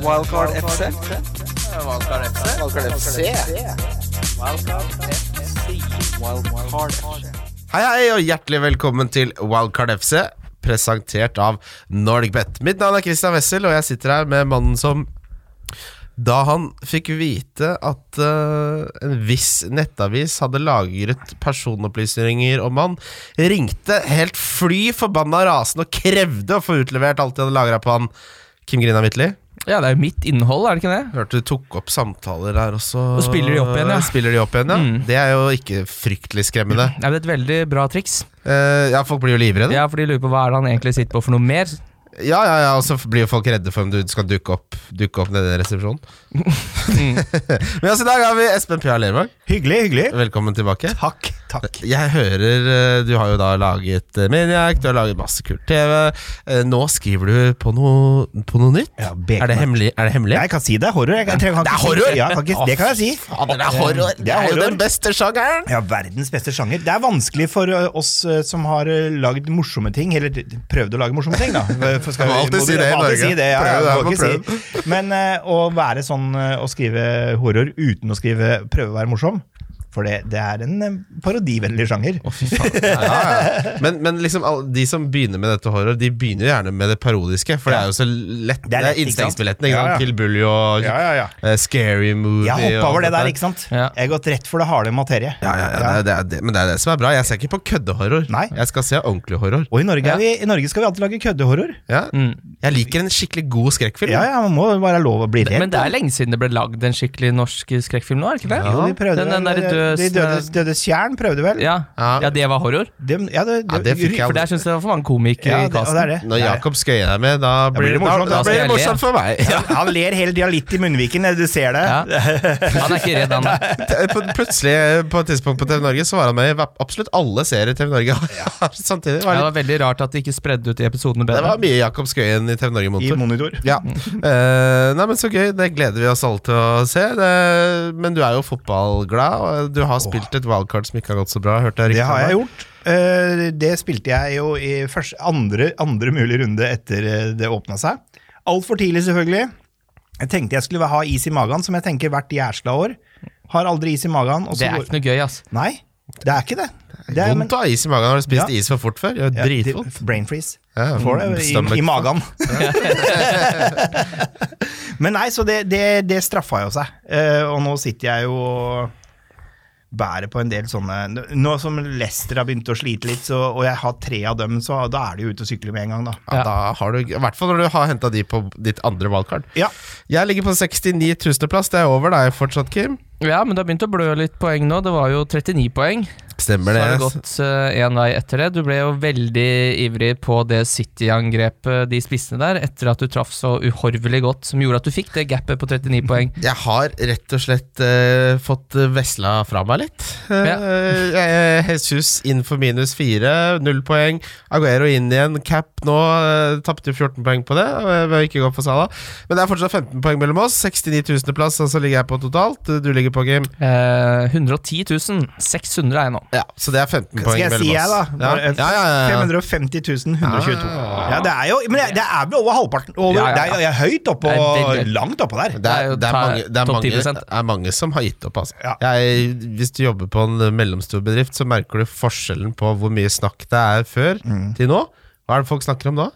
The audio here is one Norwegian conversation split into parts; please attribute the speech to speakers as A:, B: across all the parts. A: Wildcard FC.
B: Valkar FC.
A: Wildcard FC. Wildcard FC.
C: Hei, hei, og hjertelig velkommen til Wildcard FC, presentert av NordicBet. Mitt navn er Christian Wessel, og jeg sitter her med mannen som da han fikk vite at eh, en viss nettavis hadde lagret personopplysninger om han, ringte helt fly forbanna rasende og krevde å få utlevert alt de hadde lagra på han. Kim Grina Midtly,
D: Ja, det er jo mitt innhold, er det ikke det?
C: hørte du tok opp samtaler her også.
D: Og spiller de opp igjen, ja.
C: Spiller de opp igjen, ja.
D: Mm.
C: Det er jo ikke fryktelig skremmende.
D: Det er vel et veldig bra triks.
C: Eh, ja, folk blir jo livredde.
D: Ja, for de lurer på hva er det han egentlig sitter på for noe mer.
C: Ja, ja, ja, og så blir jo folk redde for om du skal dukke opp, dukke opp nede i resepsjonen. Men altså, i dag har vi Espen Pia Lervang.
E: Mm. Hyggelig, hyggelig.
C: Velkommen tilbake.
E: Takk, takk.
C: Jeg hører eh, Du har jo da laget eh, Maniac, du har laget masse kult TV. Eh, Nå skriver du på noe, på noe nytt?
E: Ja,
C: Er
E: Bekmark.
C: det hemmelig? Er det, hemmelig?
E: Jeg kan si det er horror. Jeg kan, jeg kan
C: Det er
E: ikke si-
C: horror?
E: Ja, jeg kan ikke, det kan jeg si.
C: Fader, det er horror!
E: Det er
C: jo
E: horror.
C: den beste sjangeren!
E: Ja, Verdens beste sjanger. Det er vanskelig for ø, oss ø, som har ø, lagd morsomme ting, eller d- prøvd å lage morsomme ting, da. For skal,
C: Må alltid
E: du-
C: si det i
E: må alltid
C: Norge.
E: Si det, ja,
C: Prøv
E: ja,
C: det,
E: må
C: jeg må
E: ikke si. Men ø, å være sånn ø, å skrive horror uten å skrive prøve å være morsom, for det, det er en ø, parodivennlig sjanger.
C: Ja, ja. Men, men liksom all- de som begynner med dette horror, De begynner jo gjerne med det parodiske, for det er jo så lett.
E: Det
C: Det
E: er
C: er
E: lett, ikke sant?
C: innstegsbilletten. Ikke
E: Ja, ja.
C: sant? Til Bully og
E: Ja, ja, ja.
C: eh, Scary Movie.
E: Jeg hoppa
C: og
E: over det
C: alt
E: der,
C: dette.
E: ikke sant?
D: Ja.
E: Jeg har gått rett for det harde materie.
C: Ja, ja, ja, det er, det er, det, men det er det som er bra. Jeg ser ikke på køddehorror.
E: Nei.
C: Jeg skal se ordentlig horror.
E: Og i Norge, er vi, i Norge skal vi alltid lage køddehorror.
C: Ja.
D: Mm.
C: Jeg liker en skikkelig god skrekkfilm.
E: Ja, ja, man må være lov å bli redd.
D: Men det er lenge siden det ble lagd en skikkelig norsk skrekkfilm nå, er det ikke det?
C: Ja.
E: Jo, de prøvde
D: Den- den
E: vel-
D: der døs-
E: De dødes, dødes tjern prøvde vel?
D: Ja.
C: Ja.
D: ja, det var horror.
E: De, ja, det,
C: Ja, det fikk jeg
D: For der syns jeg det var for mange komikere
E: ja,
D: i
E: det, og det er
D: casten.
E: det.
C: Når
E: Det er
C: Jakob Skøyen er med, da blir,
E: blir det
C: Da,
E: morsomt,
C: da
E: da.
C: blir det
D: Skal jeg
C: morsomt for meg.
E: det. Han ler hele tida litt i munnviken, eh, du ser det.
D: Ja. Han er ikke redd, han der.
C: På- Plutselig, på et tidspunkt på TV Norge, så var han med i hva- absolutt alle serier TV Norge har samtidig. Det
D: Ja,
C: var,
D: Det
C: litt,
D: var veldig rart at de ikke spredde ut de episodene
C: det var
D: bedre.
C: mye Jakob Skøyen i TV
E: I
C: Norge-motor.
E: monitor.
C: Ja.
D: Mm.
C: Eh, nei, men Så gøy. Det gleder vi oss alle til å se. Det, men du er jo fotballglad, og du har spilt et wildcard som ikke har gått så bra. Hørte jeg
E: Det
C: rykter
E: har
C: om
E: jeg gjort. Eh, Det spilte jeg jo i første, andre, andre mulig runde etter eh, det åpna seg. Altfor tidlig, selvfølgelig. Jeg tenkte jeg skulle ha is i magen, som jeg tenker hvert jærsla år. Har aldri is i magen. Og så
D: Det er
E: går-
D: ikke noe gøy, ass.
E: Nei, det er ikke det. Det er, men-
C: Vondt å ha is i magen. Har du spist
E: Ja.
C: is for fort før? Gjør
E: Ja,
C: dritvondt.
E: det- Brain freeze.
C: Ja,
E: Får det i,
C: stomach-
E: i magen. Men nei, så det, det, det straffa jo seg. Eh, og nå sitter jeg jo og bærer på en del sånne Nå som Lester har begynt å slite litt, så, og jeg har tre av dem, så da er de jo ute og sykler med en gang, da.
C: Ja,
D: Ja.
C: da har du, I hvert fall når du har henta de på ditt andre valgkart.
E: Ja,
C: Jeg ligger på 69 000.-plass. Det er over deg fortsatt, Kim.
D: Ja, men det har begynt å blø litt poeng nå. Det var jo 39 poeng. Så
C: Stemmer
D: har det
C: det.
D: gått én vei etter det. Du ble jo veldig ivrig på det City-angrepet, de spissene der, etter at du traff så uhorvelig godt, som gjorde at du fikk det gapet på 39 poeng.
C: Jeg har rett og slett eh, fått vesla fra meg litt. Eh, eh, Jesus inn for minus fire, null poeng. Aguero inn igjen. Cap nå. Uh, Tapte jo 14 poeng på det. eh, ved å ikke gå for Salah. Men det er fortsatt 15 poeng mellom oss. 69 000.-plass, altså ligger jeg på totalt. Du ligger på, Kim.
D: Eh, 110 600 er jeg nå.
C: Ja, så det er 15
E: skal
C: poeng
E: jeg
C: mellom
E: si, jeg, da?
C: oss.
E: Bare, eh,
C: Ja, ja, ja, ja.
E: 550 122.
C: Ah.
E: Ja, det er jo Men det det er vel over halvparten? Over,
D: Ja, ja, ja.
E: Det er, jeg er høyt oppå,
D: Det er veldig høyt.
E: langt oppå der.
C: Det er,
D: jo
C: det er,
D: ta-
C: mange, det er,
D: topp
C: mange,
D: 10%.
C: det er mange som har gitt opp. Altså.
E: Ja.
C: Jeg, hvis du jobber på en mellomstor bedrift, så merker du forskjellen på hvor mye snakk det er før
E: Mm.
C: til nå. Hva er det folk snakker om da?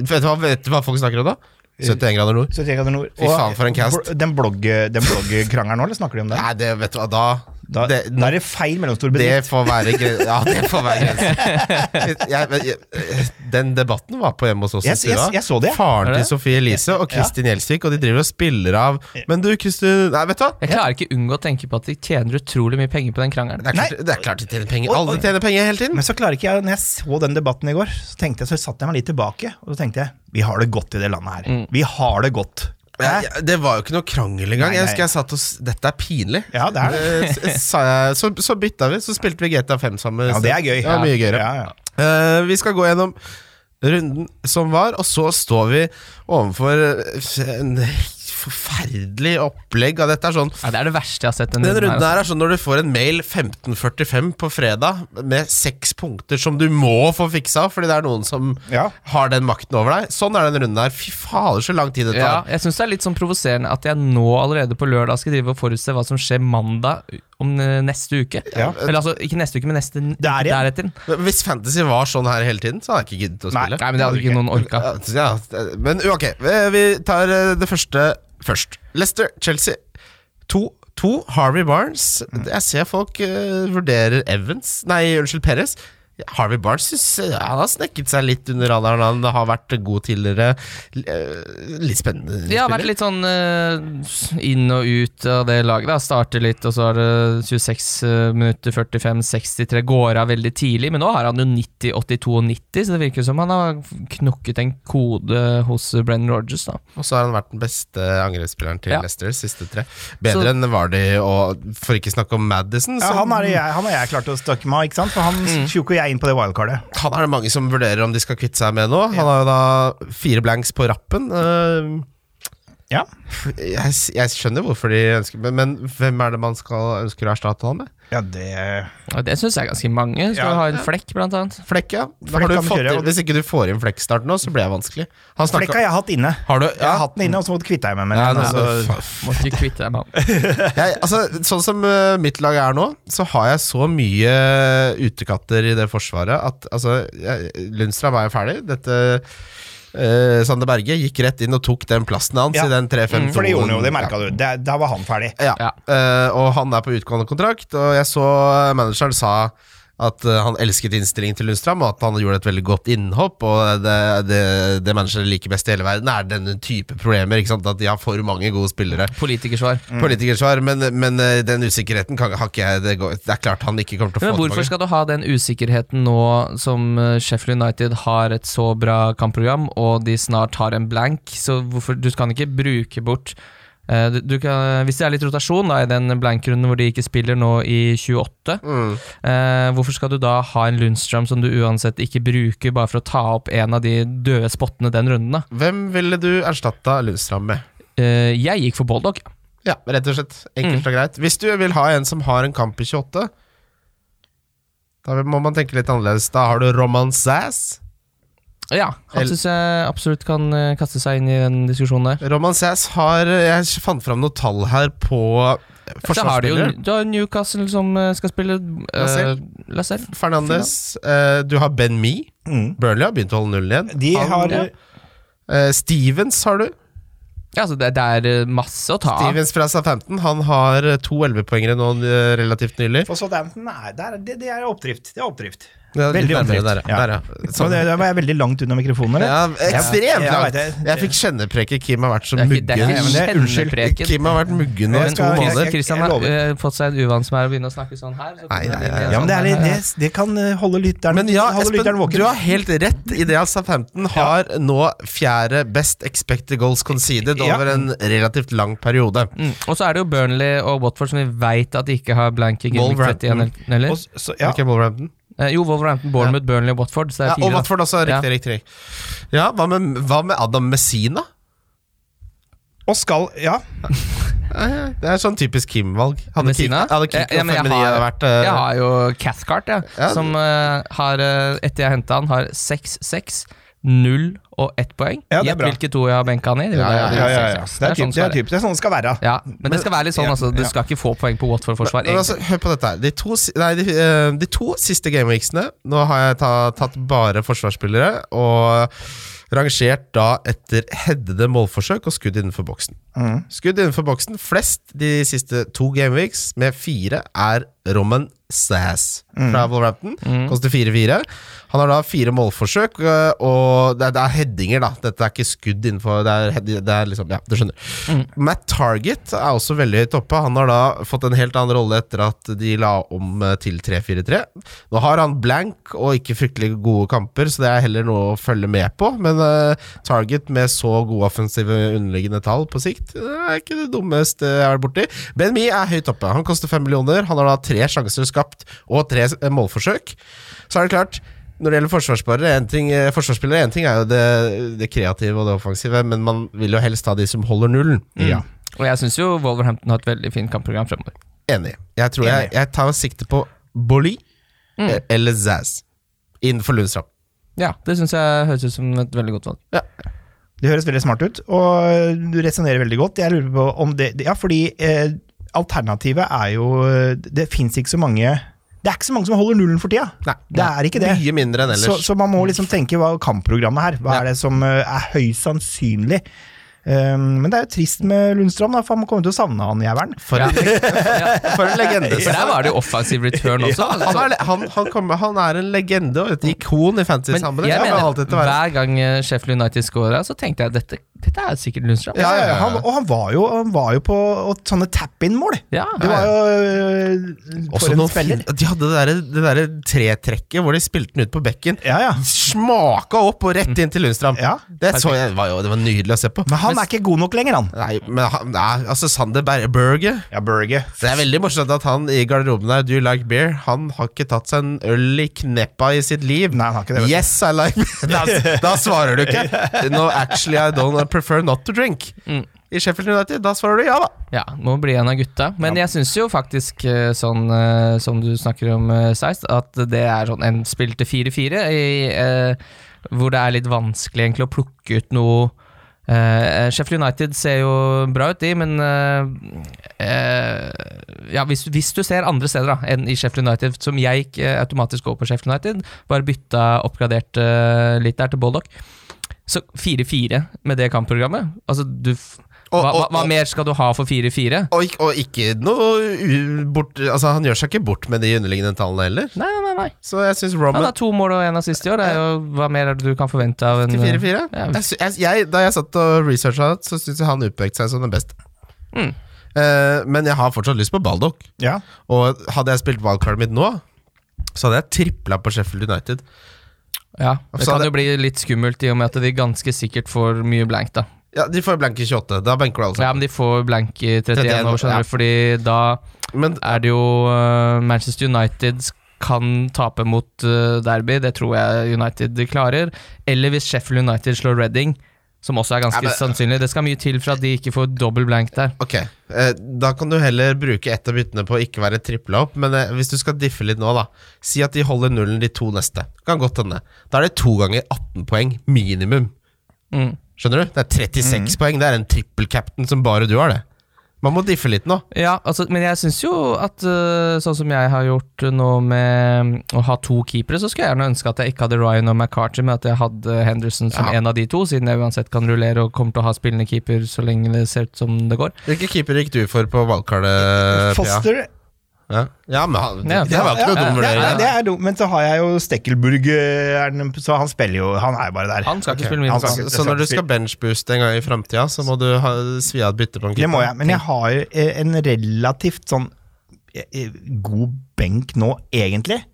C: Vet du hva, vet du hva folk snakker om da? 71 grader nord.
E: Så tenker jeg det er noe-
C: Fy faen, for en cast.
E: Og Den blogg- den bloggkrangelen nå, eller snakker de om den?
C: Nei, det vet du hva, da,
E: Da,
C: det,
E: da er det feil mellomstor
C: det
E: bedrift.
C: får være gre- Ja, det får være grensen. Jeg, men jeg, den debatten var på hjemme hos oss i
E: Jeg- jeg-
C: stua.
E: jeg så det.
C: Faren
D: Er
C: til
D: det?
C: Sofie Elise og Kristin Gjelsvik, og de driver og spiller av Men du, Kristin Nei, vet du hva?
D: Jeg klarer ikke unngå å tenke på at de tjener utrolig mye penger på den krangelen.
C: Det er klart, det er klart de tjener penger. Alle tjener penger hele tiden.
E: Men så klarer ikke jeg, når jeg så den debatten i går, så tenkte jeg, så satte jeg meg litt tilbake, og så tenkte jeg vi har det godt i det landet her. Vi har det godt.
C: Ja,
E: Hæ?
C: ja, det var jo ikke noe krangel engang.
E: Nei,
C: Jeg
E: nei.
C: husker jeg satt og s- Dette er pinlig.
E: Ja, det er det.
C: Eh, s- sa jeg, så, så bytta vi, så spilte vi GTA5 sammen.
E: Ja, det er gøy.
C: Det var mye gøyere.
E: Ja, ja.
C: Eh, vi skal gå gjennom runden som var, og så står vi overfor eh, en forferdelig opplegg av dette. er sånn
D: Ja, det er det verste jeg har sett. denne
C: Den runden
D: her, altså.
C: her er sånn når du får en mail 15.45 på fredag med seks punkter som du må få fiksa fordi det er noen som
E: Ja.
C: har den makten over deg. Sånn er den runden her. Fy fader, så lang tid det
D: Ja,
C: tar.
D: jeg syns det er litt sånn provoserende at jeg nå allerede på lørdag skal drive og forutse hva som skjer mandag om eh, neste uke.
E: Ja.
D: Eller altså, ikke neste uke, men neste
E: Der igjen.
D: deretter.
C: Men Hvis Fantasy var sånn her hele tiden, så hadde jeg ikke giddet å
E: Nei.
C: spille.
D: Nei, men det hadde ikke noen orka.
C: Ja, ja, men ok, eh, vi tar eh, det første først. Leicester, Chelsea. To, to Harvey Barnes.
D: Mm.
C: Jeg ser folk eh, vurderer Evans Nei, unnskyld, Perez. Harvey Barnes synes, eh, han har snekket seg litt under radaren. Han har vært god tidligere. L- eh, Litt spennende.
D: De har vært
C: spiller.
D: litt sånn eh, inn og ut av det laget. da Starter litt, og så er det 26 minutter, 45, 63. Går av veldig tidlig, men nå har han jo 90, 82 og 90, så det virker som han har knokket en kode hos Brennan Rogers. da
C: Og så har han vært den beste angrepsspilleren til
D: Ja.
C: Leicester siste tre. Bedre enn Vardy og for ikke snakke om Madison.
E: Ja,
C: som-
E: han har jeg, han har jeg klart å snakke med, ikke sant? for han tjukk og jeg inn på det wildcardet.
C: han er det mange som vurderer om de skal kvitte seg med nå. Han har jo da fire blanks på rappen. Eh,
E: Ja.
C: Jeg, s- jeg skjønner hvorfor de ønsker men, men hvem er det man skal ønsker å erstatte han med?
E: Ja, det
D: Og Det syns jeg er ganske mange. Skal
E: Ja.
D: ha en flekk, blant annet.
C: Flekk, ja. Da
E: Flekk
C: har du
E: kan vi
C: fått,
E: kjøre,
C: til-
E: og du-
C: hvis ikke du får inn Flekk snart nå, så blir jeg vanskelig. Han
E: Flekk
C: snakka
E: har jeg hatt inne.
C: Har du?
E: Jeg
C: Ja.
E: har hatt den inne, og så måtte kvitte jeg meg med
C: Ja,
E: den. altså.
C: nei,
E: og så-
C: faen.
D: Må ikke kvitte deg med han.
C: jeg, altså, sånn som eh, mitt lag er nå, så har jeg så mye eh, utekatter i det forsvaret at altså, jeg, Lundstrøm er jo ferdig. Dette eh, Sander Berge gikk rett inn og tok den plassen hans
E: Ja. Mm,
C: i den 3-5-2.
E: For det gjorde han jo, det merka du. Det, da var han ferdig.
C: Ja,
D: Ja.
C: eh, og han er på utgående kontrakt, og jeg så eh, manageren sa at eh, han elsket innstillingen til Lundstrøm, og at han gjorde et veldig godt innhopp. Og det, det, det manageren liker best i hele verden, er denne type problemer. Ikke sant? At de har for mange gode spillere.
D: Politikersvar.
C: Politikersvar, men, men eh, den usikkerheten kan, har ikke jeg det, går, det er klart han ikke kommer til å
D: Men
C: få
D: hvorfor
C: tilbake.
D: skal du ha den usikkerheten nå som eh, Sheffield United har et så bra kampprogram, og de snart har en blank? Så hvorfor, du kan ikke bruke bort eh, du, du kan, Hvis det er litt rotasjon da, i den blankrunden hvor de ikke spiller nå i 28, eh, hvorfor skal du da ha en Lundstrøm som du uansett ikke bruker, bare for å ta opp en av de døde spottene den runden? da?
C: Hvem ville du erstatta Lundstrøm med?
D: Eh, jeg gikk for Baldock.
C: Ja, rett og slett.
D: Mm.
C: Enkelt og greit. Hvis du vil ha en som har en kamp i 28, da må man tenke litt annerledes. Da har du Roman Sass.
D: Ja, han
C: El-
D: syns jeg absolutt kan eh, kaste seg inn i den diskusjonen der.
C: Roman Sass har Jeg fant fram noen tall her på
D: Så har du jo
C: forsvarsspillere.
D: du har Newcastle som eh, skal spille
C: Lascelles.
D: Lascelles.
C: Fernandes. eh, du har Ben Me.
E: Mm.
C: Burnley har begynt å holde nullen igjen.
E: De
C: Han-
E: har
D: ja.
C: Eh, Stevens har du.
D: Ja, altså det, det er eh, masse å ta av.
C: Stevens fra Southampton. Han har eh, to 11-poengere nå eh, relativt nylig.
E: For Southampton er der, det, det er oppdrift. Det er oppdrift.
C: Ja, litt
E: Veldig
C: nærmere
E: omstridt.
C: Der, ja.
E: Ja.
C: Der, ja.
E: Så
C: Sånn.
E: det, da var jeg veldig langt unna mikrofonen. eller?
C: ja, ekstremt
E: Ja,
C: langt.
E: jeg vet det.
C: Jeg fikk kjennepreke. Kim har vært så
D: Det er ikke, det er
C: muggen.
D: ikke
E: men det er unnskyld.
D: kjennepreken.
C: Kim har vært muggen nå
E: Jeg
C: i to
E: skal- jeg-
C: måneder.
E: jeg-
D: Kristian har
E: lover.
D: eh, fått seg en uvane som er å begynne å snakke sånn her. Så
C: Nei, nei, nei,
E: Ja, men det, er, litt- det, det kan eh, holde lytteren,
C: Men ja,
E: holde lytteren
C: Espen,
E: våken.
C: du har helt rett i det at Southampton har nå fjerde best expected goals conceded
E: Ja.
C: over en relativt lang periode.
D: Mm. Og så er det jo Burnley og Watford som vi veit at de ikke har blank i Gameweek
C: Wolverhampton.
D: 31, eller?
E: Og s- så, ja.
C: Ikke Wolverhampton?
D: Eh, jo, Wolverhampton, Bournemouth, Burnley og Watford. Så det
C: Ja,
D: er fire,
C: og
D: da.
C: Watford også. Riktig, riktig. Ja, hva med, hva med Adam Messina?
E: og skal Ja.
C: Det er sånn typisk Kim-valg. Hadde
D: Messina?
C: Kik- hadde Kik
D: Ja, ja,
C: og
D: men jeg
C: Femini
D: har-
C: vært eh,
D: Jeg har jo Cathcart, jeg.
C: Ja.
D: Som eh, har, eh, etter jeg henta han, har 6-6, 0 og 1 poeng.
E: Ja, det er
D: Gjett
E: bra.
D: hvilke to jeg har benka han i. Det er
C: Ja, ja,
E: Ja, ja, ja.
D: seks, seks.
E: Det er typ-
D: sånn
E: det
D: skal
E: er typ- det er sånn det skal være.
D: Ja, men det skal være litt sånn,
E: Ja,
D: altså. Du
E: ja.
D: skal ikke få poeng på Watford-forsvar.
C: Men altså, hør på dette her. De to, si- nei, de, eh, de to siste gameweeksene Nå har jeg ta, tatt bare forsvarsspillere og rangert da etter headede målforsøk og skudd innenfor boksen. Skudd innenfor boksen flest de siste to gameweeks, med fire, er Roman Sass fra Wolverhampton. Koster 4-4. Han har da fire målforsøk, eh, og det er, det er headinger, da. Dette er ikke skudd innenfor Det er, head- det er liksom Ja, du skjønner. Matt Target er også veldig høyt oppe. Han har da fått en helt annen rolle etter at de la om eh, til 3-4-3. Nå har han blank og ikke fryktelig gode kamper, så det er heller noe å følge med på. Men eh, Target med så gode offensive underliggende tall på sikt, det er ikke det dummeste jeg har vært borti. Ben Mee er høyt oppe. Han koster fem millioner. Han har da tre sjanser skapt og tre eh, målforsøk. Så er det klart Når det gjelder forsvarsspillere, en ting, eh, forsvarsspillere, en ting er jo det, det kreative og det offensive, men man vil jo helst ha de som holder nullen.
E: Ja.
D: Og jeg syns jo Wolverhampton har et veldig fint kampprogram fremover.
C: Enig. Jeg tror jeg, jeg tar sikte på Bolly eh, eller Zaz innenfor Lundstrand.
D: Ja, det syns jeg høres ut som et veldig godt valg.
E: Det høres veldig smart ut, og du resonnerer veldig godt. Jeg lurer på om det Ja, fordi eh, alternativet er jo Det fins ikke så mange Det er ikke så mange som holder nullen for tida.
C: Nei.
E: Det er ikke det.
C: Mye mindre enn
E: Så,
C: ellers.
E: så man må liksom tenke hva er kampprogrammet her. Hva er det som eh, er høyst sannsynlig? Um, men det er jo trist med Lundstrøm, da, for man kommer til å savne han jævelen.
C: for, en, for en legende.
D: For der var det jo offensiv return også.
C: Han,
D: altså.
C: er, han, han, kommer, han er en legende og et ikon i
D: Men
C: fantasy-sammenheng.
D: jeg
C: Han kommer alltid
D: mener,
C: til å være-
D: hver gang eh, Sheffield United scora, så tenkte jeg dette, dette er sikkert Lundstrand.
C: Ja, ja, ja.
E: Han, og han var jo, han var jo på og sånne tap-in-mål.
D: Ja.
E: Det var jo eh,
C: Også
E: For en
C: noen
E: spiller.
C: fin- De hadde det derre det derre tretrekket hvor de spilte den ut på bekken.
E: Ja, ja.
C: Smaka opp og rett inn til Lundstrand.
E: Ja.
C: Det, så jeg, var jo, det var nydelig å se på.
E: Men han er ikke god nok lenger, han.
C: Nei, men han, nei, altså Sander Berge Berge.
E: Ja, Berge.
C: Det er veldig morsomt at han i garderoben her, Do you like beer? Han har ikke tatt seg en øl i kneppa i sitt liv.
E: Nei, han har ikke det, vet du.
C: yes, I like beer. Da, da svarer du ikke. No, actually, I don't I prefer not to drink. I Sheffield United, da svarer du ja, da.
D: Ja, må bli en av gutta. Men jeg syns jo faktisk, eh, sånn eh, som du snakker om, eh, Seist, at det er sånn en spill til 4-4, i, eh, hvor det er litt vanskelig egentlig å plukke ut noe eh, Sheffield United ser jo bra ut, de, men eh, eh, ja, hvis, hvis du ser andre steder da, enn i Sheffield United, som jeg gikk eh, automatisk over på Sheffield United, bare bytta oppgradert eh, litt der til Boldock, så 4-4 med det kampprogrammet altså du, f-
C: Og-
D: hva, hva,
C: og-
D: hva
C: og-
D: mer skal du ha for 4-4?
C: Og, ikk- og ikke noe u- bort Altså, han gjør seg ikke bort med de underliggende tallene heller.
D: Nei, nei, nei, nei.
C: Så jeg syns
D: Han
C: Roman
D: har to mål og én assist i år. Det er jo, hva mer er det du kan forvente av en
C: 4-4.
D: Ja.
C: Jeg sy- jeg- jeg- Da jeg satt og researcha det, så syns jeg han utpekte seg som den beste. Eh, men jeg har fortsatt lyst på Baldock.
E: Ja.
C: Og hadde jeg spilt wildcardet mitt nå, så hadde jeg tripla på Sheffield United.
D: Ja, Det
C: Så
D: kan
C: det-
D: jo bli litt skummelt i og med at de ganske sikkert får mye blank, da.
C: Ja, De får blanke 28. Da banker du alle
D: Ja, men
C: sammen.
D: de får blank i 31 år, skjønner
C: Ja.
D: du, fordi da
C: Men
D: er det jo øh, Manchester United kan tape mot øh, Derby, det tror jeg United klarer. Eller hvis Sheffield United slår Reading, som også er ganske
C: Ja, men-
D: sannsynlig. Det skal mye til for at de ikke får dobbel blank der.
C: ok, eh, da kan du heller bruke ett av byttene på å ikke være tripla opp. Men eh, hvis du skal diffe litt nå, da. Si at de holder nullen de to neste. Kan godt hende. Da er det to ganger 18 poeng minimum.
D: Mm.
C: Skjønner du? Det er 36 poeng. Det er en trippel-captain som bare du har, det. Man må diffe litt nå.
D: Ja, altså, men jeg syns jo at øh, sånn som jeg har gjort nå med mm, å ha to keepere, så skulle jeg gjerne ønske at jeg ikke hadde Ryan og McCarthy, men at jeg hadde Henderson som
C: Ja.
D: en av de to, siden jeg uansett kan rullere og kommer til å ha spillende keeper så lenge det ser ut som det går.
C: Hvilke keeper gikk du for på valgkartet?
E: Foster
C: Ja. ja, men han, det,
D: Ja.
C: det var ikke
D: Ja, ja,
C: noe dum
E: det,
C: vurdering.
E: er- det er dumt, men så har jeg jo Stekkelburg, eh, er den- så han spiller jo Han er jo bare der.
D: Han skal ikke
C: Ok,
D: spille mye
E: han
D: fotball.
E: skal-
C: Så når du skal benchbooste en gang i framtida, så må du ha, svi av et bytte på en
E: Det
C: keeper?
E: må jeg, men jeg har jo, eh, en relativt sånn eh, eh, god benk nå, egentlig.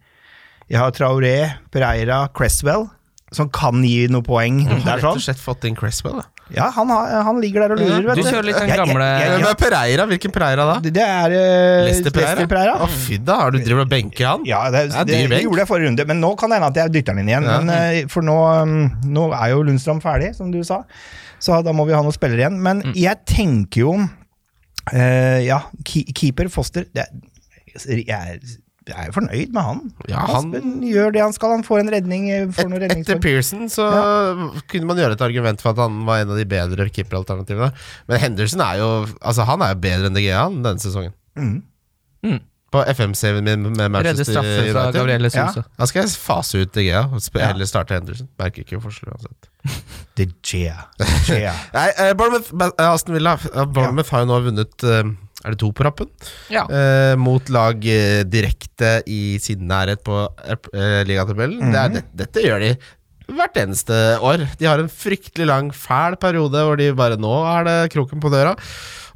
E: Jeg har Traoré, Pereira, Cresswell, som kan gi noe poeng.
C: Du har
E: Der,
C: Mm. rett og
E: sånn.
C: slett fått inn Cresswell, da.
E: Ja, han, har, han ligger der og lurer,
D: Ja,
E: vet
D: du
E: du.
D: kjører litt den
E: Jeg- jeg-
D: gamle-
E: jeg- jeg-
C: Men Pereira, hvilken Pereira da?
E: det- Det er eh,
C: Lester Pereira?
E: Lester Pereira. Mm.
C: Å, fy da, har du driver og benker han?
E: Ja, det,
C: Det er
E: det,
C: dyr benk.
E: gjorde jeg forrige runde, men nå kan det hende at jeg dytter den inn igjen.
C: Ja.
E: Men, eh, for nå, mm, nå er jo Lundstrøm ferdig, som du sa, så da må vi ha noen spillere igjen. Men
D: Mm.
E: jeg tenker jo eh, Ja, ki- keeper Foster det, er- Jeg er jeg er jo fornøyd med han.
C: Ja, han-
E: Aspen gjør det han skal, han får en redning. eh, Får noen
C: Et, etter
E: redningspoeng.
C: Pearson så kunne man gjøre et argument for at han var en av de bedre keeperalternativene. Men Henderson er jo Altså han er jo bedre enn DGA han denne sesongen.
E: Mm.
D: Mm.
C: På FM-saven min med
D: Redde
C: Manchester
D: straffe fra altså.
C: United.
D: Gabrielle
E: Ja.
D: Solse.
C: Da skal jeg fase ut DGA og sp-
E: Ja.
C: heller starte Henderson. Merker ikke forskjell uansett.
E: De Gea. De Gea.
C: Nei, eh, Bournemouth, Ba- eh, Aston Villa eh, Bournemouth har jo nå vunnet eh, Er det to på rappen?
D: Ja.
C: Eh, mot lag eh, direkte i sin nærhet på eh, ligatabellen. Det er det, dette gjør de hvert eneste år. De har en fryktelig lang, fæl periode hvor de bare Nå er det kroken på døra.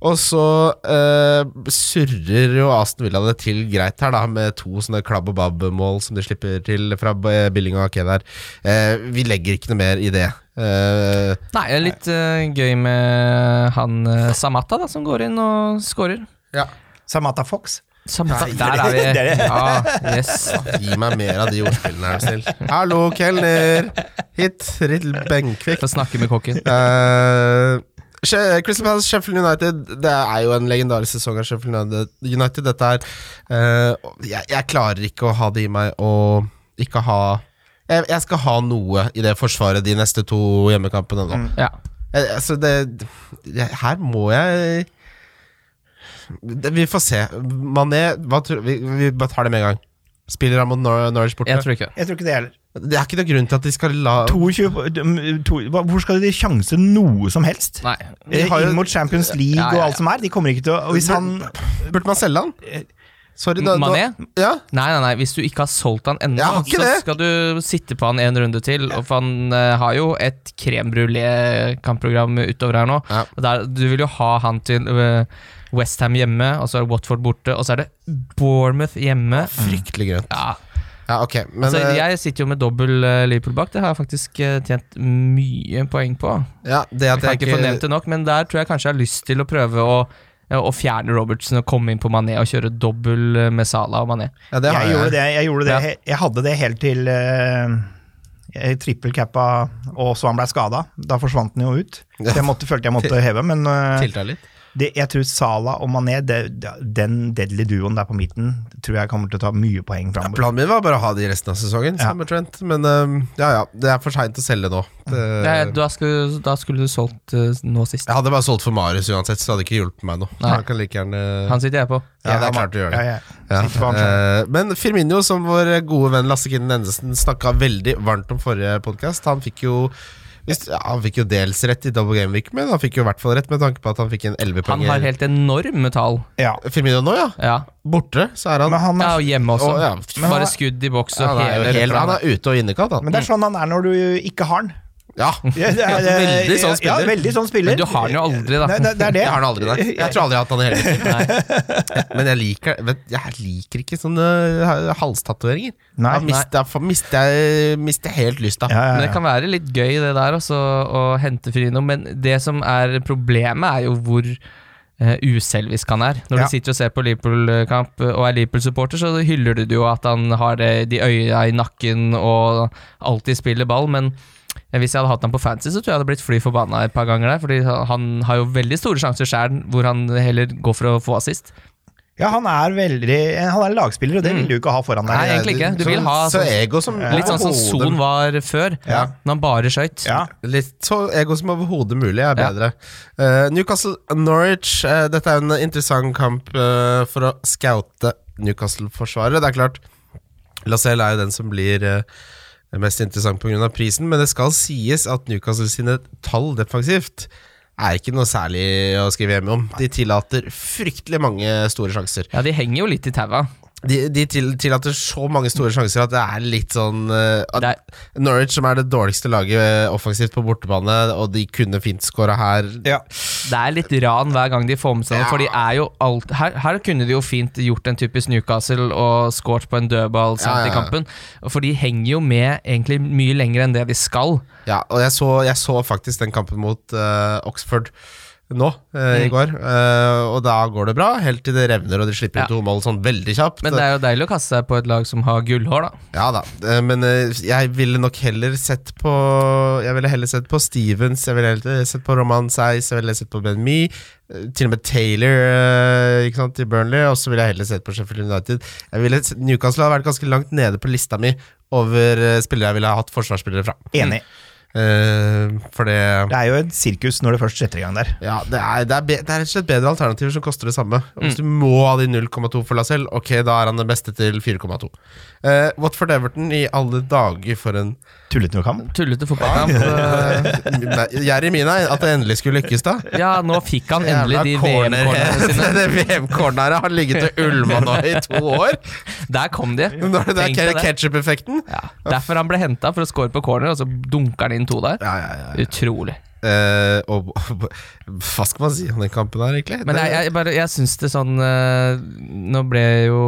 C: Og så eh, surrer jo Aston Villa det til greit her, da, med to sånne klabb og babb-mål som de slipper til fra eh, Billing og Ake der. Eh, vi legger ikke noe mer i det. Eh,
D: Nei, det er litt øh, gøy eh, med han øh, Samata, da, som går inn og scorer.
C: ja.
E: Samata Fox.
D: Samme, der er vi.
E: det er det.
D: Ja, yes.
C: Gi meg mer av de ordspillene, er du snill. Hallo, kelner! Hit, Rill Benkvik.
D: Få snakke med kokken.
C: Eh, She- Crystal Palace, Sheffield United Det er jo en legendarisk sesong av Sheffield United. United dette er eh, jeg, jeg klarer ikke å ha det i meg å ikke ha jeg, jeg skal ha noe i det forsvaret de neste to hjemmekampene nå.
D: Ja.
C: Eh, Altså, det jeg, Her må jeg det, Vi får se. Mané hva tror, vi, vi bare tar det med en gang. Spiller han mot Nor Norwich borte?
D: Jeg tror ikke det.
E: Jeg tror ikke det heller.
C: Det er ikke noen grunn til at de skal la
E: 22, på- de- to, hva- hvor skal de sjanse noe som helst? Eh,
D: Nei.
C: De har jo-
E: Inn mot Champions League
D: Ja, ja,
E: og
D: ja.
E: alt som er. De kommer ikke til å og Hvis han
C: Burde man selge han? Sorry, da,
D: Eh, Mané?
C: Da, ja?
D: Nei, nei, nei, hvis du ikke har solgt han ennå,
C: Jeg har ikke
D: så
C: det.
D: skal du sitte på han en runde til. Og for han eh, har jo et krembrulé-kampprogram utover her nå.
C: Ja.
D: Og Der, du vil jo ha han til eh, West Ham hjemme, og så er det Watford borte, og så er det Bournemouth hjemme.
C: Fryktelig grønt.
D: Ja,
C: Ja, ok. Men
D: altså,
C: eh,
D: jeg sitter jo med dobbel eh, Liverpool bak, det har jeg faktisk eh, tjent mye poeng på.
C: ja, det
D: Jeg
C: at
D: kan
C: jeg
D: ikke få nevnt det nok, men der tror jeg kanskje jeg har lyst til å prøve å eh, å fjerne Robertsen og komme inn på Mané og kjøre dobbel eh, med Salah og Mané.
C: ja, det har
E: jeg,
C: jeg.
E: gjorde det, jeg gjorde det.
D: Ja.
E: he- Jeg hadde det helt til eh, jeg trippelcappa, og så han ble skada. Da forsvant han jo ut. Så jeg måtte, følte jeg måtte heve, men eh,
C: Tilta litt.
E: det, jeg tror Sala og Mané, det, den deadly duoen der på midten, tror jeg kommer til å ta mye poeng framover.
C: Planen min var bare å ha de resten av sesongen,
E: Ja.
C: sammen med Trent. Men eh, ja, ja, det er for seint å selge nå. Det,
D: Nei, da, skulle, da skulle du solgt eh, nå sist.
C: jeg hadde bare solgt for Marius uansett, så det hadde ikke hjulpet meg noe.
D: Nei.
C: Han kan like gjerne
D: Han sitter jeg på.
C: Ja, det er klart du gjør det.
E: Ja, ja.
C: Ja.
E: Sitter på han selv.
C: eh, men Firmino, som vår gode venn Lasse Kinden Endesen snakka veldig varmt om forrige podkast, han fikk jo hvis, ja, han fikk jo dels rett i double game week, men han fikk jo i hvert fall rett med tanke på at han fikk en 11
D: Han
C: poeng.
D: har helt enorme tall.
E: ja.
C: Firmino nå, Eh, ja.
D: Ja,
C: Borte, så er han
E: Men, han
D: ja
E: er,
D: og hjemme også.
C: Å, ja.
E: Men han-
D: Bare skudd i boks og
C: han
D: hele
C: er, jo helt, han
D: referatet.
C: er ute og innekalt, han. Mm.
E: men det er sånn han er når du ikke har han.
C: Ja.
E: Ja, det er- det-
D: Veldig sånn
E: Ja,
D: spiller.
E: veldig sånn
D: Men
E: spiller.
D: du har han jo aldri, da.
E: Nei, det, det er det.
C: Jeg har den aldri, nei. Jeg tror aldri jeg har hatt den i hele mitt liv. Men jeg liker, vet, jeg liker ikke sånne eh, halstatoveringer.
E: Nei,
C: Da mister jeg- mister jeg mister jeg helt lysta.
E: Ja, ja,
D: Men det
E: ja.
D: kan være litt gøy det der også, å hente Frino, men det som er problemet er jo hvor eh, uselvisk han er. Når
E: Ja.
D: du sitter og ser på Liverpool-kamp eh, og er Liverpool-supporter, så hyller du det jo at han har det, de øya i nakken og alltid spiller ball, men eh, hvis jeg hadde hatt han på fancy, så tror jeg jeg hadde blitt fly forbanna et par ganger der, fordi han har jo veldig store sjanser sjæl, hvor han heller går for å få assist.
E: Ja, han er veldig Han er en lagspiller, og det vil du ikke ha foran deg.
D: Mm. Nei, egentlig ikke. Du vil ha
C: så, så
D: sånn-
C: ego som
D: Litt sånn som
C: overhodet-
D: Son var før,
E: Ja.
D: når han bare skøyt.
E: Ja.
C: Litt så ego som overhodet mulig er bedre. Eh, Newcastle Norwich. eh, dette er en interessant kamp eh, for å scoute Newcastle-forsvaret. Det er klart, Lacelle er jo den som blir eh, mest interessant pga. prisen, men det skal sies at Newcastle sine tall defensivt er ikke noe særlig å skrive hjemme om. De tillater fryktelig mange store sjanser.
D: Ja, de henger jo litt i taua.
C: De, de til, tillater så mange store sjanser at det er litt sånn eh, at
D: Det er-
C: Norwich, som er det dårligste laget eh, offensivt på bortebane, og de kunne fint skåra her
E: Ja.
D: Det er litt ran hver gang de får med seg noe,
C: Ja.
D: for de er jo alt her, her kunne de jo fint gjort en typisk Newcastle og skåret på en dødball sent
C: Ja, ja, ja.
D: i kampen. For de henger jo med egentlig mye lenger enn det de skal.
C: Ja, og jeg så, jeg så faktisk den kampen mot eh, Oxford nå, eh,
D: Mm.
C: i går. Eh, og da går det bra, helt til det revner og de slipper
D: Ja.
C: inn to mål sånn veldig kjapt.
D: Men det er jo deilig å kaste seg på et lag som har gullhår, da.
C: Ja da, eh, men eh, jeg ville nok heller sett på Jeg ville heller sett på Stevens, jeg ville heller sett på Roman Seis, jeg ville heller sett på Ben Mee, eh, til og med Taylor eh, ikke sant, i Burnley, og så ville jeg heller sett på Sheffield United. Jeg ville, sett- Newcastle har vært ganske langt nede på lista mi over eh, spillere jeg ville ha hatt forsvarsspillere fra.
E: Enig.
C: Eh, for det
E: Det er jo et sirkus når det først setter i gang der.
C: ja, det er, det, er be, det er rett og slett bedre alternativer som koster det samme. Og Hvis du må ha de 0,2 for Lacelle, ok, da er han den beste til 4,2. Eh, Watford Everton i alle dager for en
E: Tullete med kamp.
D: Tullete fotballkamp.
C: Eh, Jerry Mina, at det endelig skulle lykkes, da.
D: Ja, nå fikk han endelig de
C: Jævla
D: VM-cornerne
C: corner-
D: sine.
C: det VM-corneret har ligget og ulma nå i to år.
D: Der kom de.
C: Nå er det
D: Tenk deg
C: der
D: det.
C: ketsjup-effekten.
D: Ja. Derfor han ble henta, for å score på corner, og så dunker han inn to der.
C: Ja, ja, ja.
D: Utrolig.
C: Eh, og, og hva skal man si om den kampen her, egentlig?
D: Men jeg, jeg, bare, jeg syns det sånn eh, Nå ble jo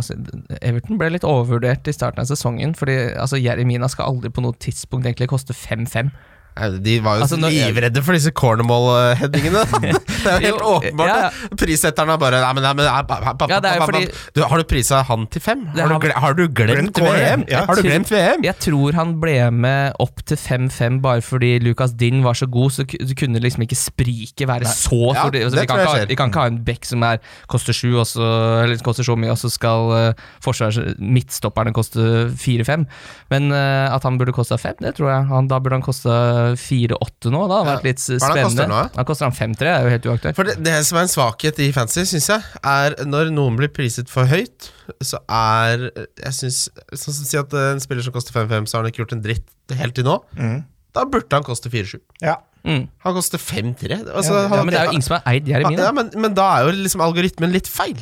D: altså, Everton ble litt overvurdert i starten av sesongen. Fordi altså, Jeremina skal aldri på noe tidspunkt egentlig koste 5-5.
C: Nei, De var jo
D: Altså, når-
C: livredde for disse cornermall-headingene. det er jo helt
D: Jo,
C: åpenbart.
D: ja,
C: det. Prissetteren er bare Nei, men, nei, men nei, ba- ba- ba-
D: Ja, det er jo
C: ba- ba-
D: fordi-
C: du, Har du prisa han til fem?
D: Det
C: Har du,
D: har-
C: gle- har du glemt,
E: Glemt kåren,
C: VM?
E: ja.
C: Har du glemt VM?
D: Jeg tror han ble med opp til 5-5 bare fordi Lucas Dinn var så god, så ku- så kunne liksom ikke spriket være så
C: Ja,
D: stort. altså, vi, kan
C: det tror jeg
D: ikke ha,
C: skjer.
D: vi kan ikke ha en back som er, koster sju, og så, eller koster så mye, og så skal eh, forsvars- midtstopperne koste 4-5. Men eh, at han burde kosta 5, det tror jeg. Han, da burde han kosta 4-8 nå. Da. Det hadde vært litt
C: Hva er det han koster
D: spennende.
C: nå, da?
D: Han koster han 5-3, det er jo helt uaktuelt.
C: For det, det som er en svakhet i fantasy, syns jeg, er når noen blir priset for høyt, så er Jeg syns Sånn som si at eh, en spiller som koster 5-5, så har han ikke gjort en dritt helt til nå.
E: Mm.
C: Da burde han koste 4-7.
E: Ja.
D: Mm.
C: Han koster 5-3. Altså,
E: Ja,
D: Ja,
C: han-
D: men det er jo ingen som er eid Jeremie.
C: ja,
D: da.
C: men, men da er jo liksom algoritmen litt feil.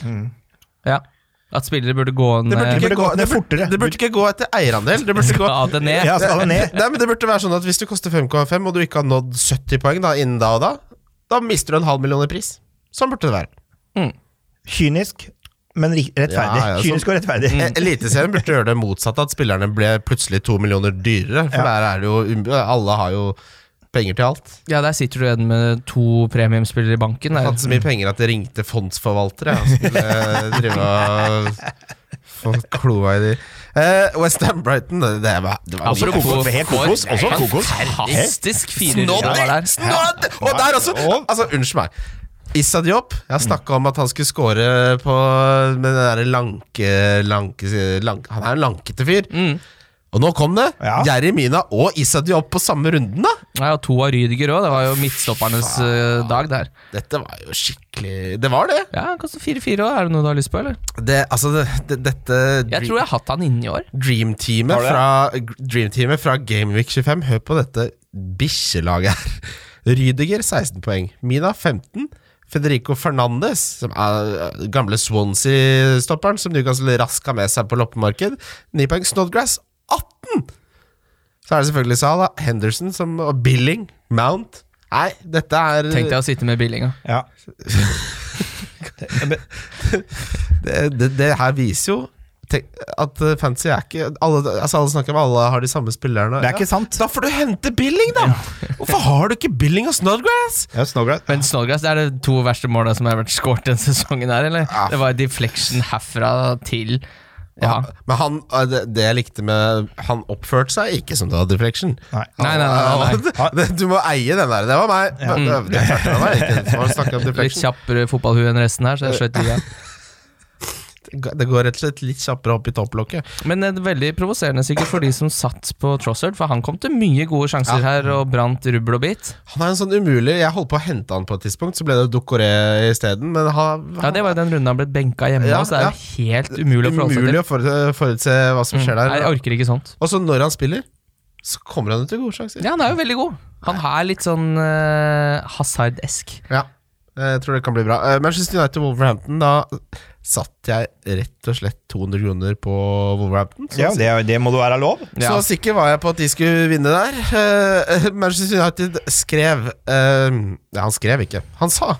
D: Ja. At spillere burde gå ned
C: Det burde,
E: Mm. Det
C: ikke
E: burde
C: gå,
E: gått ned
C: det, burde,
E: fortere.
C: det burde ikke gå etter eierandel. Det burde gå
D: Skal det ned?
E: ja, skal det ned?
C: Nei, men det burde være sånn at Hvis du koster 5,5 og du ikke har nådd 70 poeng da, innen da og da, da mister du en halv million i pris. Sånn burde det være.
E: Kynisk, men ri- rettferdig.
C: Ja, ja, sånn.
E: Kynisk og rettferdig.
C: Eh,
D: Mm.
C: Eliteserien burde gjøre det motsatte, at spillerne ble plutselig to millioner dyrere. For der er det jo um- Alle har jo penger til alt.
D: Ja, der sitter du igjen med to premiumspillere i banken.
C: Jeg
D: Der.
C: hadde så mye penger at det ringte fondsforvaltere jeg, og skulle eh, drive og få kloa i de. Eh, West Ham Brighton, det, det var, det
E: Altså,
C: var
D: Apropos
E: kokos, helt kokos,
D: for-
E: også kokos.
D: Fantastisk fire runder
C: Snodder!
D: var der.
C: Snodd! Og der også! Altså, unnskyld meg. Issa Diop. Jeg snakka om at han skulle score på med den derre lanke, lanke lank, Han er en lankete fyr. Og nå kom det!
E: Ja.
C: Jerry Mina og Issa Diop på samme runden, da!
D: Ja, og to av Rydiger òg. Det var jo midtstoppernes eh, dag der.
C: Dette var jo skikkelig Det var det!
D: Ja, Han koster 4-4 òg. Er det noe du har lyst på, eller?
C: det altså, det, det, dette
D: Jeg tror jeg har hatt han inne i år.
C: Dream-teamet
E: Har du det?
C: fra, Dream fra Gameweek 25 Hør på dette bikkjelaget her. Rydiger 16 poeng, Mina 15. Federico Fernandes, som er eh, gamle Swansea-stopperen som Newcastle raskt har med seg på loppemarked, 9 poeng. Snodgrass 18! Så er det selvfølgelig Sala, Henderson som, og Billing, Mount. Nei, dette er
D: Tenk deg å sitte med Billinga.
E: Ja.
C: det, det, det her viser jo tenk, at eh, fantasy er ikke alle, altså alle snakker om alle har de samme spillerne.
E: Det er ikke sant.
C: Da får du hente Billing, da! Hvorfor har du ikke Billing og Snodgrass?
E: Ja, Snowgrass.
D: Men Snodgrass det er det to verste måla som har vært scoret denne sesongen her, eller?
C: Ja.
D: Det var deflection herfra til ja.
C: Men han, eh, det, det jeg likte med Han oppførte seg ikke som det var deflection.
E: Nei.
D: Nei, nei, nei. nei, nei.
C: Det- Du må eie den der. Det var meg. Men, Det klarte han meg ikke. Det var snakk om
D: Litt
C: deflection.
D: kjappere fotballhue enn resten her, så jeg skjøt ligaen.
C: Det går rett og slett litt kjappere opp i topplokket.
D: Men eh, veldig provoserende sikkert for de som satt på Trossard, for han kom til mye gode sjanser her og brant rubbel og bit.
C: Han er en sånn umulig Jeg holdt på å hente han på et tidspunkt, så ble det Dokoré isteden. Men han,
D: Ja, det var jo den runden han ble benka hjemme
C: Ja,
D: hos. Det er jo helt umulig å forholde seg
C: umulig
D: til. Mm.
C: å forut- forutse hva som skjer
D: Nei, jeg
C: der.
D: orker ikke sånt.
C: Og så når han spiller, så kommer han ut til gode sjanser.
D: Ja, han er jo veldig god. Han er litt sånn eh, Hazard-esk.
C: Ja. Jeg tror det kan bli bra. Eh, Manchester United Wolverhampton, da satt jeg rett og slett 200 kroner på Wolverhampton. Så,
E: Ja, det, det må du være lov.
D: Ja.
C: så sikker var jeg på at de skulle vinne der. Eh, Manchester United skrev eh, Ja, han skrev ikke. Han sa.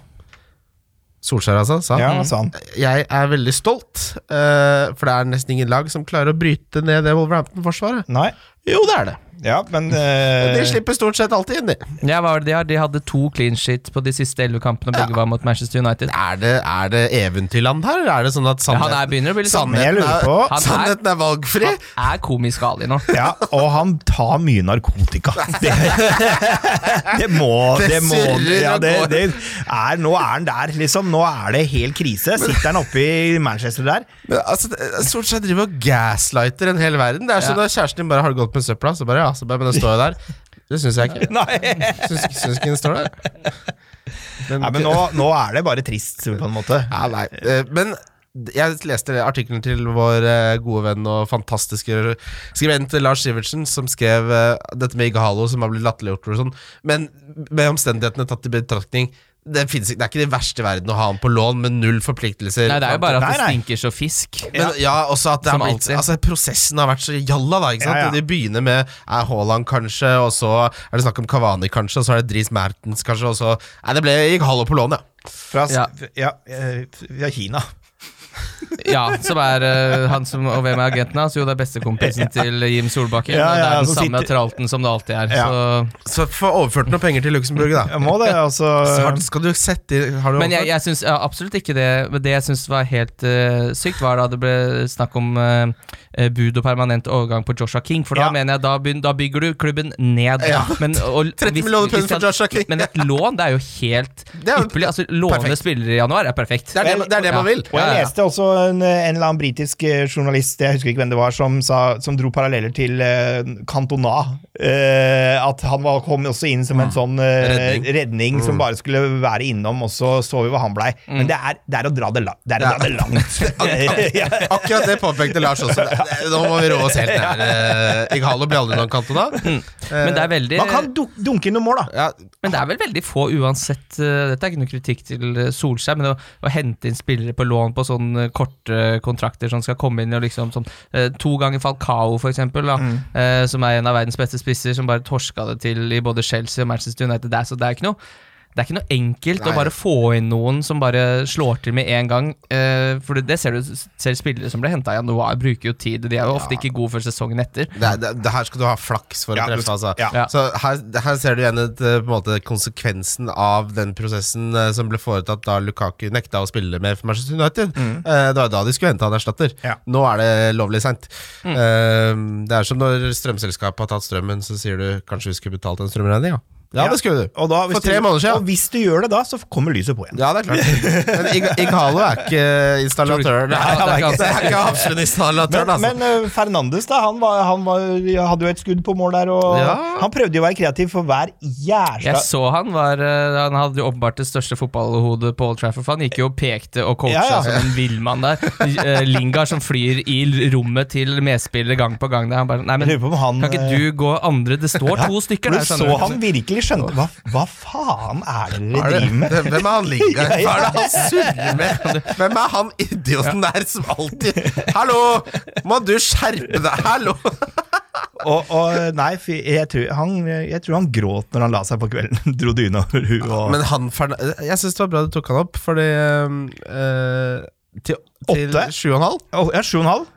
C: Solskjær, altså. Sa.
E: Ja, sa han.
C: Jeg er veldig stolt, eh, for det er nesten ingen lag som klarer å bryte ned det Wolverhampton-forsvaret.
E: Nei.
C: Jo, det er det.
E: Ja, men eh,
C: De slipper stort sett alltid inn, de.
D: Ja, hva var det de har? De hadde to clean shit på de siste elleve kampene, og begge var mot Manchester United.
C: Er det, er det eventyrland her, eller er det sånn at
D: Ja, han
C: sannheten,
D: er begynner å bli litt sånn
E: Men jeg
C: sannheten,
E: lurer
C: er,
E: på-
D: Han er-
C: sannheten er valgfri?
D: Han er komisk Ali nå.
E: Ja, og han tar mye narkotika. Det, det må
C: Det
E: Det må
C: surrer
E: ja,
C: og
E: det,
C: går.
E: det er, Nå er han der, liksom. Nå er det helt krise. Sitter han oppe i Manchester der?
C: Men, altså, det- Stort sett driver og gaslighter en hel verden. Det er sånn
D: Ja.
C: når kjæresten din bare har det godt med søpla, så bare ja, så bare, men den står jo der. Det syns jeg ikke.
E: Nei,
C: Syns, syns ikke den står der. Den-
E: men nå, nå er det bare trist, på en måte.
C: Ja, nei. eh, Men jeg leste artikkelen til vår eh, gode venn og fantastiske skribent Lars Sivertsen, som skrev eh, dette med Igalo, som har blitt latterliggjort og sånn. Men med omstendighetene tatt i betraktning, det, finnes, ikke- det er ikke det verste i verden å ha han på lån med null forpliktelser.
D: Nei, det er jo bare at det
E: Nei, nei.
D: stinker så fisk.
C: Men ja, også at det har
D: Som
C: blitt,
D: alltid.
C: altså, prosessen har vært så jalla, da. ikke sant?
E: Ja, ja.
C: De begynner med er Haaland, kanskje, og så er det snakk om Kavani, kanskje, og så er det Dries Mertens, kanskje, og så Nei, det ble, gikk hallo på lån, ja.
E: Fra, s-
D: Ja.
E: ja, eh, fra Kina.
D: Ja, som er eh, han som, Og hvem er agenten hans? Jo, det er bestekompisen til Jim Solbakken.
E: Ja,
D: og det
E: ja,
D: er den
E: som
D: samme
E: sitter-
D: tralten som det alltid er.
E: Ja.
D: Så.
C: Så få overført noen penger til Luxembourg, da.
E: Jeg må det, altså.
C: Så har- Skal du sette i Har du
D: Men jeg,
C: overført?
D: jeg syns ja, absolutt ikke det. Men det jeg syns var helt eh, sykt, var da det ble snakk om eh, eh, bud og permanent overgang på Joshua King. For da
E: Ja.
D: mener jeg da, begyn- da bygger du klubben ned.
C: Ja.
D: Men, og,
C: 30 millioner pund for
D: hvis-
C: Joshua King.
D: Men et lån, det er jo helt
C: Det er jo
D: ypperlig. Altså, låne
C: perfekt.
D: spillere i januar er perfekt.
C: Det er det, det, er det
D: Ja.
C: man vil.
E: Og jeg leste også en, en eller annen britisk eh, journalist, jeg husker ikke hvem det var, som, sa, som dro paralleller til eh, Cantona. Eh, at han var, kom også inn som en sånn eh, redning, som bare skulle være innom, og så så vi hva han blei. Men det er, det er å dra det, la, det, er å
C: Ja.
E: dra det langt. ja.
C: Akkurat det påpekte Lars også. Det- det- Nå må vi roe oss helt ned. Eh, Ighalo blir aldri noen kantona.
D: Men det er
C: Eh,
D: veldig
E: Man kan duk, dunke inn noen mål, da.
C: Ja,
D: Men det er vel veldig få uansett eh, Dette er ikke noe kritikk til eh, Solskjær, men å, å hente inn spillere på lån på sånne korte kontrakter som skal komme inn og liksom sånn eh, To ganger Falcao, for eksempel, da, eh, som er en av verdens beste spisser, som bare torska det til i både Chelsea og Manchester United. Det er, så det er ikke noe det er ikke noe enkelt
C: Nei.
D: å bare få inn noen som bare slår til med en gang. eh, for det, det ser du selv spillere som ble henta i januar, bruker jo tid. og De er jo ofte ikke gode før sesongen etter.
C: det, er- det, det her skal du ha flaks for
E: Ja,
C: å
E: du
C: treffe.
E: skal-
C: Altså.
E: ja.
D: Ja.
C: Så her, her ser du igjen et, eh, på en måte, konsekvensen av den prosessen eh, som ble foretatt da Lukaku nekta å spille med for Manchester United. Eh, Det var da de skulle hente han erstatter.
E: Mm. Ja. Mm.
C: Nå er det lovlig seint. Eh, Det er som når strømselskapet har tatt strømmen, så sier du kanskje vi skulle betalt en strømregning. Ja. ja,
E: Ja.
C: det skulle du.
E: Og da, hvis
C: for tre
E: du,
C: måneder siden.
E: Og hvis du gjør det da, så kommer lyset på igjen.
C: Ja, det er klart. Men Ig- Ighalo er ikke installatør. Nei,
D: han er ikke
C: det er ikke absolutt installatør,
E: Men,
C: altså.
E: men eh, Fernandes da, han, var, han var, hadde jo et skudd på mål der. Og
C: Ja.
E: Han prøvde jo å være kreativ for hver jævla
D: Jeg så han var eh, Han hadde jo åpenbart det største fotballhodet på Old Trafford. For han gikk jo og pekte og coacha
E: Ja, ja.
D: som en villmann der. Eh, Lingard som flyr i l- rommet til medspillere gang på gang. Der. Han bare Nei,
E: Jeg lurer på
D: men
E: om han
D: kan ikke du gå andre? Det står to stykker
E: Men
D: der.
C: sånn
E: så
D: skjønner du.
E: han virkelig skjønte Hva, hva faen er det dere
C: Er det-
E: driver med?
C: Hvem hvem er han Lingard?
E: Ja, ja.
C: Hva er det han surrer med? Hvem er han idioten der som alltid Hallo! Må du skjerpe deg? Hallo!
E: Og, og nei, fy- jeg tror, han, jeg tror han gråt når han la seg på kvelden. Dro dyna over huet og
C: Men han Fern- Jeg syns det var bra du tok han opp, fordi um, eh, til, til
E: Åtte?
C: sju og en halv
E: Å, Ja, sju og en halv?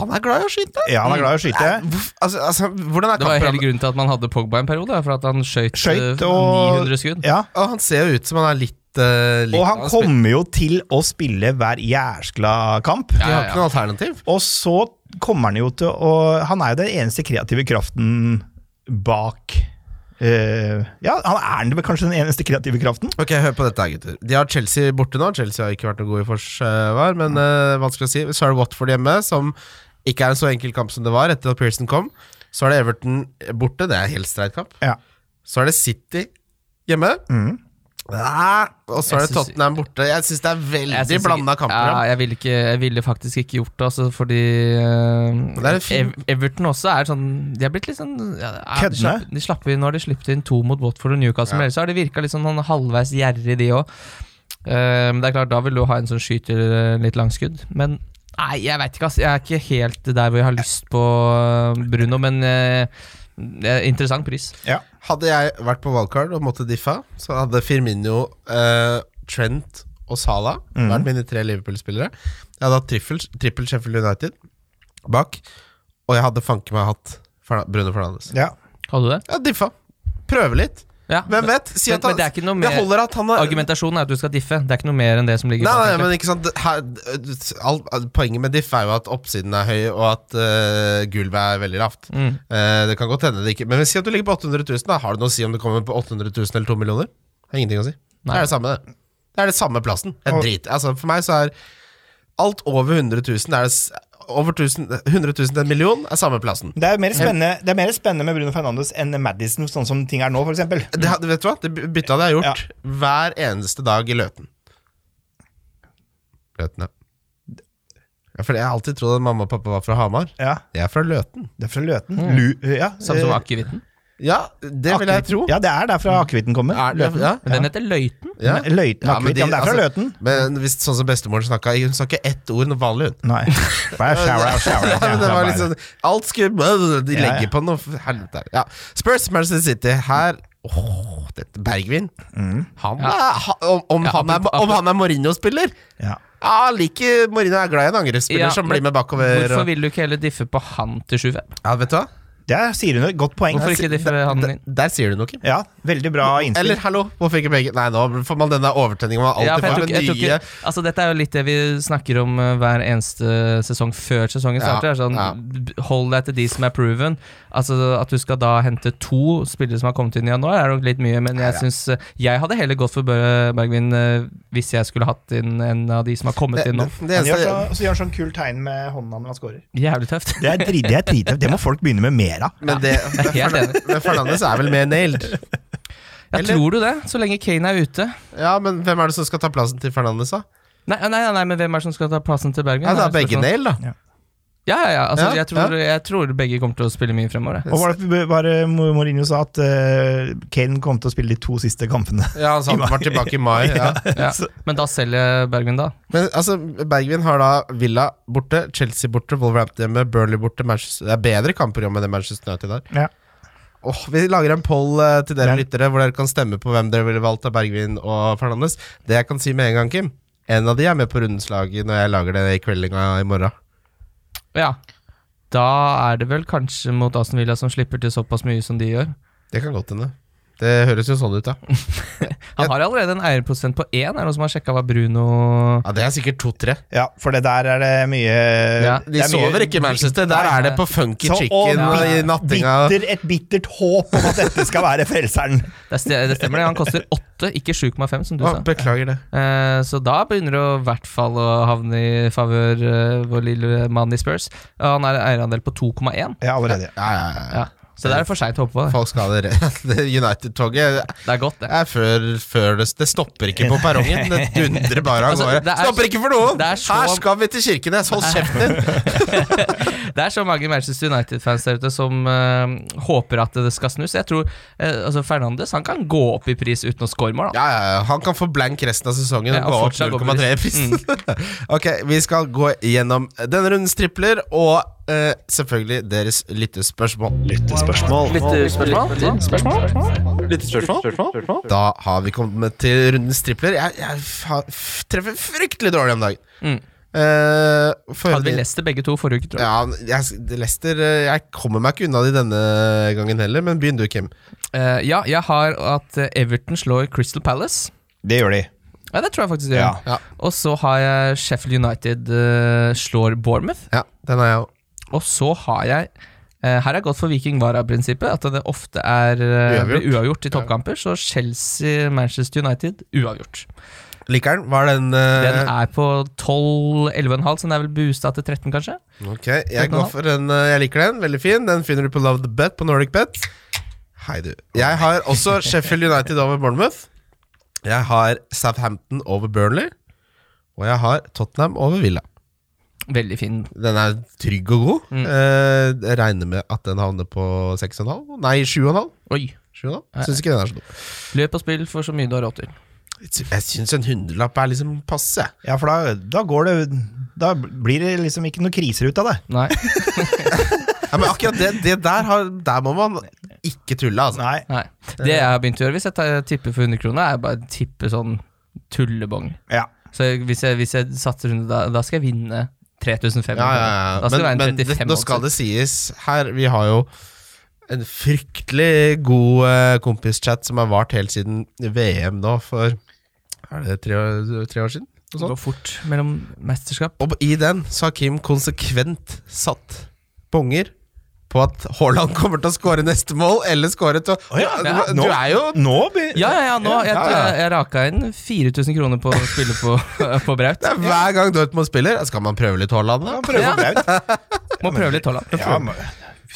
C: Han er glad i å skyte!
E: Ja, han er glad i å skyte.
C: Hvorf- Altså, altså, hvordan er
D: Det var jo hele
C: kampprogrammet?
D: grunnen til at man hadde Pogba en periode. da, For at han skøyt
E: Skøyt og
D: 900 skudd.
E: ja.
C: Å, Han ser jo ut som han er litt, eh, litt
E: Og han kommer jo til å spille hver jæskla kamp.
C: De har
D: Ja, ja.
C: ikke noe alternativ.
E: Og så kommer han jo til å Han er jo den eneste kreative kraften bak eh, Ja, han er den- kanskje den eneste kreative kraften?
C: Ok, hør på dette her, gutter. De har Chelsea borte nå. Chelsea har ikke vært noe gode i forsvar, men eh, vanskelig å si. Så er det Watford hjemme, som ikke er en så enkel kamp som det var etter at Pearson kom. Så er det Everton borte, det er helt streit kamp.
E: Ja.
C: Så er det City hjemme. Ah, og så
D: Mm. Jeg
C: er det
D: synes-
C: Tottenham borte. Jeg syns det er
D: Jeg
C: veldig
D: synes ikke-
C: blanda kamper.
D: Ja, jeg ville, ikke, jeg ville faktisk ikke gjort det, altså, fordi eh,
C: det er en fin-
D: Ev- Everton også er sånn De er blitt litt sånn ja, er-
E: Køddende.
D: De slapp, de slapp inn, når de slapp inn to mot Watford og Newcastle, men ellers har de virka litt sånn noen halvveis gjerrig, de òg. men det er klart, da vil du ha en som skyter eh, litt langskudd. Men nei, jeg veit ikke, ass. Jeg er ikke helt der hvor jeg har lyst på eh, Bruno, men eh, det er interessant pris.
E: ja.
C: Hadde jeg vært på wildcard og måtte diffa, så hadde Firmino, eh, Trent og Salah
D: Mhm.
C: vært mine tre Liverpool-spillere. Jeg hadde hatt trippel, trippel Sheffield United bak, og jeg hadde fanken meg hatt Ferna- Bruno Fernandes.
E: ja.
D: Hadde du det?
C: Jeg hadde diffa. Prøve litt.
D: Ja.
C: Hvem vet? Si
D: men-
C: at han,
D: men det er ikke noe mer-
C: holder at han har
D: Argumentasjonen er at du skal diffe. Det er ikke noe mer enn det som ligger
C: Nei,
D: bak, egentlig.
C: nei, men ikke sant Her, all, all, Poenget med diff er jo at oppsiden er høy, og at eh, gulvet er veldig lavt.
D: Mm.
C: Eh, det kan godt hende det ikke Men si at du ligger på 800 000. Da. Har det noe å si om du kommer på 800 000 eller 2 millioner? Det har ingenting å si. Det
D: Nei.
C: er det samme, det. Det er det samme plassen. Jeg
E: Og-
C: driter altså, For meg så er alt over 100 000 er det, s- over 1000, 100 000 til en million er samme plassen.
E: Det er mer spennende, det er mer spennende med Bruno Fernandes enn Madison, sånn som ting er nå, for eksempel.
C: Det, hadde- vet du hva? Det by- byttet hadde jeg gjort hver eneste dag i Løten. Løten, ja. ja. For jeg har alltid trodd at mamma og pappa var fra Hamar.
E: Ja,
C: Jeg er fra Løten.
E: det er fra Løten.
C: Mm.
E: Lu, ja,
D: Samme som
E: eh,
D: akevitten.
C: Ja, det vil jeg tro.
E: Ja, det er derfra akevitten kommer.
C: Er det-
E: Løten.
C: ja,
D: Men den heter Løiten.
C: ja. Ja,
E: Løyten,
C: men
E: akevitt. Ja, men det er fra
C: altså,
E: Løten.
C: Men hvis, sånn som bestemoren snakka Hun snakka ett ord noe vanlig, hun.
E: Nei. Bare shower, shower.
C: Ja, men det var liksom, alt skulle De
E: Ja, ja.
C: legger på noe for helvete. Ja. Spurs Manchester City her Åh, dette Bergvin. Han er, ha- om, om,
D: Ja,
C: Mm. han er,
D: apropos-
C: om han er Mourinho-spiller,
E: Ja.
C: Ja, liker Mourinho er glad i en angrepsspiller
D: Ja,
C: som
D: men
C: blir med bakover.
D: Hvorfor
C: Og,
D: vil du ikke heller diffe på han til 7-5?
C: ja, vet du hva?
E: Der sier hun et godt poeng.
D: Hvorfor ikke diffe han
C: Der,
D: inn?
C: der sier du noe. Kim.
E: Ja, veldig bra innspill.
C: Eller hallo, hvorfor ikke begge? Nei, nå får man denne overtenningen man alltid
D: Ja, for jeg
C: får
D: tror, ikke-
C: med
D: jeg tror
C: nye
D: ikke, altså dette er jo litt det vi snakker om eh, hver eneste sesong før sesongen
C: Ja,
D: starter. er sånn,
C: ja.
D: b- Hold deg til de som er proven. Altså At du skal da hente to spillere som har kommet inn i januar, er nok litt mye. Men jeg synes, eh, jeg hadde heller gått for Bø- Bergvin eh, hvis jeg skulle hatt inn en av de som har
C: Eh,
D: kommet inn nå.
C: det
E: Han
C: eneste,
E: gjør så, så gjør han sånn kul tegn med hånda når han scorer.
D: Jævlig tøft.
E: Det er drit- det er drittøft. Det må folk begynne med mer av.
C: Men det
D: Helt enig.
C: Men Fernandes er vel mer nailed?
D: Jeg
C: Eller-
D: tror du det, så lenge Kane er ute.
C: Ja, men hvem er det som skal ta plassen til Fernandes, da?
D: Nei, nei, nei, nei men hvem er det som skal ta plassen til Bergvin?
C: Ja, det
D: Det
C: er begge
D: spørsmålet.
C: nailed, da.
D: Ja, ja, ja. Altså,
C: Ja,
D: jeg, tror, jeg tror begge kommer til å spille mye fremover. jeg.
E: Og var det bare Mourinho sa at eh, Kane kom til å spille de to siste kampene.
C: Ja, han sa han var tilbake i mai. Ja.
D: Ja. Men da selger Bergvin, da.
C: Men altså, Bergvin har da Villa borte, Chelsea borte, Wolverhampton hjemme, Burnley borte. Manchester, det er bedre kampprogram enn det Manchester United har.
E: Ja.
C: Åh, vi lager en poll eh, til dere
E: Men-
C: lyttere, hvor dere kan stemme på hvem dere ville valgt av Bergvin og Fernandes. Det jeg kan si med en gang, Kim En av de er med på rundens lag når jeg lager det i kveldinga i morgen.
D: Ja. Da er det vel kanskje mot Aston Villa som slipper til såpass mye som de gjør.
C: Det kan godt hende. Det høres jo sånn ut, da.
D: Han har allerede en eierprosent på én, er det noen som har sjekka hva Bruno
C: Ja, Det er sikkert to-tre.
E: Ja, for det der er det mye
D: Ja,
E: det
C: De
E: er mye-
C: sover ikke i Manchester. Der er det på funky
E: Så-
C: chicken
E: og
C: og i
E: bit-
C: nattinga.
E: Bitter, et bittert håp om at dette skal være frelseren.
D: Det, st det stemmer, det. Han koster åtte, ikke 7,5, som du
C: Å,
D: sa.
C: beklager det.
D: Eh, så da begynner det å i hvert fall å havne i favør eh, vår lille mann i Spurs. Ja, han har en eierandel på 2,1,
E: Ja, allerede.
C: Ja, ja, ja.
D: ja. så det er for seint å håpe på. det.
C: Folk skal ha det rett. Det United-toget
D: Det er godt, det.
C: er før, før det, det stopper ikke på perrongen. Det dundrer bare av
D: Altså,
C: gårde.
D: det er-
C: stopper ikke for noen!
D: det er så-
C: Her skal vi til Kirkenes! Hold kjeften din!
D: Det er så mange Manchester United-fans der ute som eh, håper at det skal snus. Jeg tror eh, altså Fernandes han kan gå opp i pris uten å score mål. da.
C: Ja, ja, ja. Han kan få blank resten av sesongen
D: Ja,
C: og gå opp
D: fortsatt gå med
C: 0,3 i prisen. ok, vi skal gå gjennom denne rundens tripler og eh, selvfølgelig deres lyttespørsmål. Da har vi kommet til rundens tripler. Jeg, jeg fa- f- treffer fryktelig dårlig om dagen.
D: Mm.
C: Eh, får
D: Hadde vi
C: høre-
D: lest det begge to forrige uke, tror jeg.
C: Ja, jeg, Lester, eh, jeg kommer meg ikke unna det denne gangen heller, men begynn du, Kim.
D: Eh, ja, jeg har at eh, Everton slår Crystal Palace.
E: Det gjør de.
D: Ja, det tror jeg faktisk det gjør.
C: Ja. Ja.
D: Og så har jeg Sheffield United eh, slår Bournemouth.
C: Ja, den har jeg òg.
D: Og så har jeg eh, Her er godt for Viking Vara-prinsippet, at det ofte er eh, blir
C: Uavgjort.
D: uavgjort i toppkamper. Så Chelsea-Manchester United uavgjort.
C: Liker den? Var den, eh,
D: Den er på 12-11,5, så den er vel boosta til 13, kanskje?
C: Ok, jeg går for den. eh, Jeg liker den. Veldig fin. Den finner du på Love the Bet på Nordic Bet. Hei, du. Jeg har også Sheffield United over Bournemouth. Jeg har Southampton over Burnley. Og jeg har Tottenham over Villa.
D: Veldig fin.
C: Den er trygg og god. Eh, jeg regner med at den havner på 6,5. Nei, 7,5.
D: Oi.
C: 7,5. Syns ikke den er så dum.
D: Løp og spill for så mye du har råd til.
C: Jeg syns en hundrelapp er liksom passe. jeg.
E: Ja, for da, da går det Da blir det liksom ikke noen kriser ut av det.
D: Nei.
C: Ja, men akkurat det, det der, har, der må man ikke tulle, altså.
E: Nei.
D: Nei. Det jeg har begynt å gjøre hvis jeg tar- tipper for 100 kroner, er bare å tippe sånn tullebong.
E: Ja.
D: Så jeg- hvis jeg, hvis jeg satser 100, da, da skal jeg vinne 3500.
C: Ja, ja, ja.
D: Da skal
C: Men,
D: det være
C: men
D: en altså.
C: det,
D: 35
C: nå skal det sies her Vi har jo en fryktelig god eh, kompischat som har vart helt siden VM nå, for Er det tre, år- tre år siden?
D: Det går fort mellom mesterskap.
C: Og i den så har Kim konsekvent satt bonger på at Haaland kommer til å skåre neste mål, eller skåre til å
E: ja,
C: du,
E: ja, nå-
C: du er jo
E: Nå blir
D: Ja, ja, ja, nå, jeg,
C: Ja, ja.
D: Jeg, jeg raka inn 4000 kroner på å spille på, på Braut.
C: det er Hver gang Dortmund spiller, skal man prøve litt Haaland, da?
E: Ja, prøv å få det ut.
D: Må prøve litt, Haaland.
E: Ja, men-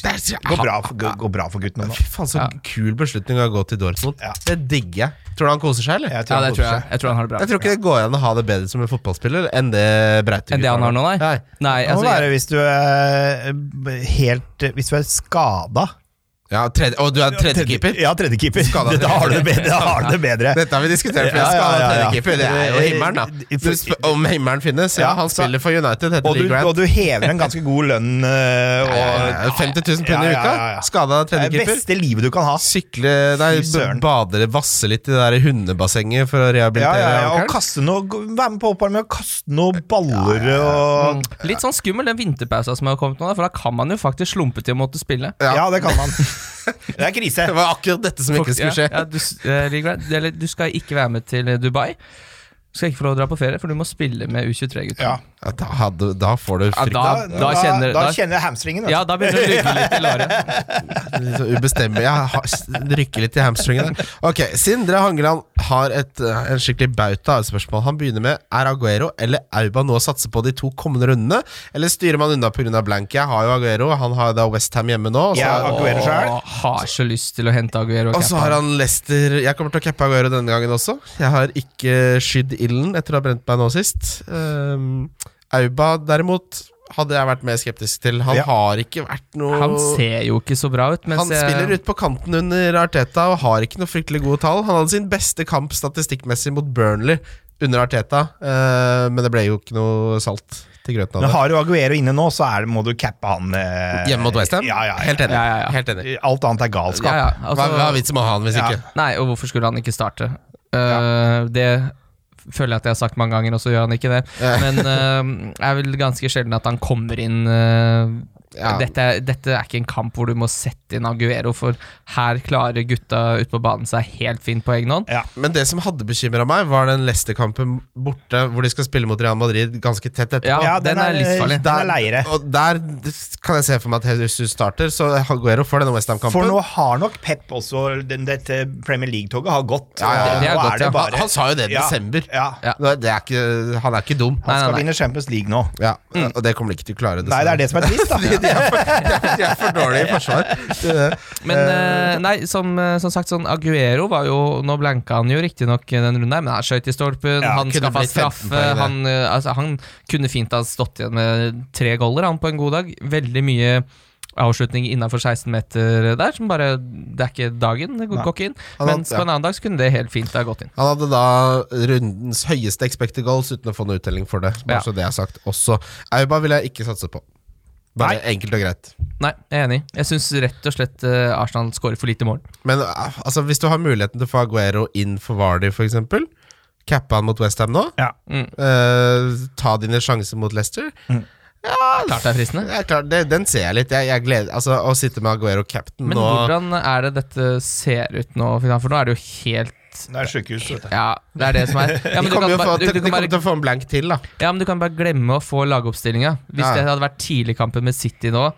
C: Det
E: går bra for- Går går bra for guttene nå.
C: Fy faen, så
D: Ja.
C: kul beslutning å gå til Dortmund.
E: Ja.
C: Det digger jeg. Tror du han koser seg, eller?
E: Jeg
D: Ja,
E: han
D: det
E: koser
D: tror jeg.
E: seg.
D: Jeg tror han har det bra.
C: Jeg tror ikke det går an å ha det bedre som en fotballspiller enn det Braute
D: Enn det han har nå, nei? Nei,
E: Det må
D: altså, jeg,
E: eh, være hvis du er helt Hvis du er skada.
C: Ja, tredje, og du er tredjekeeper?
E: Ja, tredjekeeper.
C: Skada
E: Da har du det bedre. Da har du det bedre.
C: Dette har vi diskutert før.
E: Ja, ja,
C: Skada
E: ja, ja.
C: tredjekeeper, det er jo himmelen, da. Du spør om himmelen finnes? Ja,
E: Ja,
C: han
E: så-
C: spiller for United, heter
E: Og du,
C: Lee Grant.
E: og du hever en ganske god lønn. eh, Og,
C: Ja, ja, ja. 50 000 pund i
E: Ja, ja, ja, ja.
C: uka? Skada
E: Det er det
C: tredjekeeper?
E: beste livet du kan ha.
C: Sykle Nei,
E: Fy søren.
C: bade, vasse litt i det der hundebassenget for å
E: Ja,
C: rehabilitere
E: ja, ja, og
C: ankelen?
E: kaste noe, Være med på oppvarming og kaste noen baller og
D: Litt sånn skummel den vinterpausa som har kommet nå, da, for da kan man jo faktisk slumpe til å måtte spille.
C: Ja.
E: Ja, det kan man. Det er krise.
C: Det var akkurat dette som ikke skulle skje.
D: Ja, ja, du, s- eh, Lee Grant, eller, du skal ikke være med til eh, Dubai. Du skal ikke få lov å dra på ferie, for du må spille med U23-gutta.
E: Ja.
C: Ja, da, hadde, da får du
D: Ja,
C: frykt.
D: da, da kjenner
E: da
D: da-
E: kjenner jeg hamstringen. vet du.
D: Ja, da begynner det å lugge litt i låret.
C: Litt sånn ubestemmelig. Jeg har- s- rykker litt i hamstringen der. Ok, Sindre Hangeland har et, eh, en skikkelig bauta av et spørsmål. Han begynner med Er Aguero eller Auba nå å satse på de to kommende rundene, eller styrer man unna pga. blank? Jeg har jo Aguero, han har jo da Westham hjemme nå. Og så,
E: Ja, Aguero. Aguero selv?
D: Åh, Har så lyst til å hente Aguero.
C: og så har han Leicester Jeg kommer til å cappe Aguero denne gangen også. Jeg har ikke skydd ilden etter å ha brent meg nå sist. Um, Auba derimot hadde jeg vært mer skeptisk til. Han
E: Ja.
C: har ikke vært noe
D: Han ser jo ikke så bra ut. Mens
C: Han spiller
D: jeg,
C: ut på kanten under Arteta og har ikke noe fryktelig gode tall. Han hadde sin beste kamp statistikkmessig mot Burnley under Arteta, eh, men det ble jo ikke noe salt til grøten
E: Men
C: av det.
E: har du Aguero inne nå, så er, det- må du cappe han. eh,
C: Hjemme mot Westham?
E: Ja, ja, ja.
C: Helt enig.
D: Ja, ja, ja.
C: Helt enig.
E: Alt annet er galskap.
D: ja, ja,
C: Hva, hva er
D: altså,
C: vitsen med å ha han hvis
E: Ja.
C: ikke?
D: nei, og hvorfor skulle han ikke starte? Eh, det føler jeg at jeg har sagt mange ganger, og så gjør han ikke det. Men eh, det er vel ganske sjelden at han kommer inn eh,
C: Ja.
D: dette, er- dette er ikke en kamp hvor du må sette inn Aguero, for her klarer gutta ute på banen seg helt fint på egen hånd.
E: Ja.
C: Men det som hadde bekymra meg, var den Leicester-kampen borte, hvor de skal spille mot Real Madrid ganske tett etterpå.
D: Ja, den er livsfarlig.
E: Den er leire.
C: og der kan jeg se for meg at Jesus starter, så Aguero får denne
E: For
C: Westham-kampen.
E: nå har nok Pep også den, Dette Premier League-toget har gått.
C: Ja, ja, ja.
E: og
D: Det er
E: nå
D: godt, ja.
E: bare-
C: Han, han sa jo det i
E: Ja,
C: desember.
E: Ja.
D: Ja.
C: Det er ikke, han er ikke dum.
E: Han
D: Nei, nei,
E: skal
D: nei.
E: vinne Champions League nå.
C: Ja, Og det kommer de ikke til å klare.
E: Nei, det er det som er trist, da.
C: De er for dårlige i forsvar.
D: Men eh, nei, som, eh, som sagt, sånn Aguero var jo Nå blanka han jo riktignok den runden der, men han skøyt i stolpen,
E: Ja,
D: han
C: kunne
D: skaffa
C: blitt 15
D: straffe.
C: poeng der.
D: Han, eh, altså, han kunne fint ha stått igjen med tre goller, han, på en god dag. Veldig mye avslutning innafor 16 meter der, som bare Det er ikke dagen, det går går ikke inn.
C: Han hadde-
D: Mens på en annen dag så kunne det helt fint ha gått inn.
C: Han hadde da rundens høyeste expected goals uten å få noe uttelling for det. Bare
D: Ja.
C: så det er sagt også. Auba vil jeg ikke satse på. Bare enkelt og greit.
D: Nei, jeg er enig. Jeg syns rett og slett eh, Arsenal skårer for lite mål.
C: Men eh, altså, hvis du har muligheten til å få Aguero inn for Vardy, f.eks. Cappe han mot Westham nå.
E: Ja.
D: Mm.
C: eh, ta dine sjanser mot Leicester.
D: Klart det er fristende.
C: Det er klart, det, den ser jeg litt. Jeg, jeg gleder, altså, å sitte med Aguero captain
D: Men
C: nå
D: hvordan er det dette ser ut nå, for nå er det jo helt
E: Det er sjukehus, vet du.
D: Ja, det er det som er ja,
C: De
D: men du
C: kommer
D: kan
C: jo
D: bare-
C: få-
D: du- du
C: de
D: kan
C: kommer
D: bare-
C: til å få en blank til, da.
D: Ja, men du kan bare glemme å få lagoppstillinga. Hvis
C: Ja.
D: det hadde vært tidligkampen med City nå,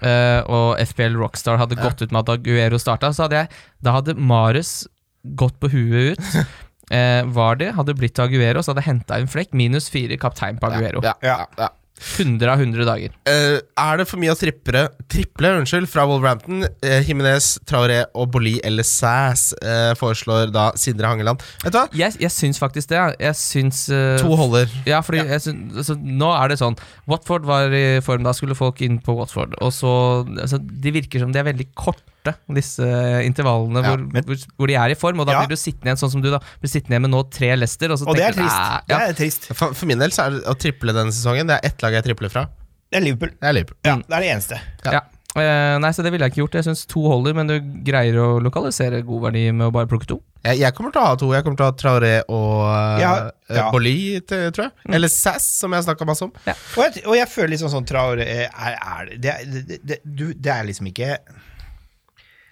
D: eh, og FPL Rockstar hadde gått ut med at Aguero starta, så hadde jeg Da hadde Marius gått på huet ut. Eh, Vardy hadde blitt til Aguero, så hadde jeg henta en flekk. Minus fire kaptein på Aguero.
C: Ja, ja,
E: Ja.
C: ja.
D: 100 av 100 dager.
C: Eh, er det for mye å triple, triple unnskyld, fra Wolverhampton? Uh, Jimenez, Traoré og Boli eller Sæs eh, foreslår da Sindre Hangeland. Vet du hva?
D: Jeg, jeg syns faktisk det. ja. Jeg syns eh,
C: To holder.
D: Ja, fordi Jeg syn- altså, nå er det sånn Watford var i form, da skulle folk inn på Watford. Og så, altså, De virker som de er veldig korte, disse intervallene
C: Ja,
D: hvor,
E: men-
D: hvor, hvor de er i form. Og da
E: Ja.
D: blir du sittende igjen sånn som du da blir sittende igjen med nå tre Leicester. Og, så
E: Og det er
D: tenker du,
E: trist.
D: "Æ,
E: Det
D: Ja.
E: er trist.
C: For, for min del så er det å triple denne sesongen. Det er ett lag jeg tripler fra.
E: Det er Liverpool.
C: Det er Liverpool.
E: Ja, det er det eneste.
D: Ja. Eh, nei, så det ville jeg ikke gjort. Jeg syns to holder, men du greier å lokalisere god verdi med å bare plukke to.
C: Jeg, jeg kommer til å ha to. Jeg kommer til å ha Traoré og eh,
E: Ja,
C: eh,
E: ja.
C: Boli, til, tror jeg. Eller Sæs, som jeg snakka masse om.
E: Og jeg, og jeg føler liksom sånn Traoré er, er, det, er- det, det, du, det er liksom ikke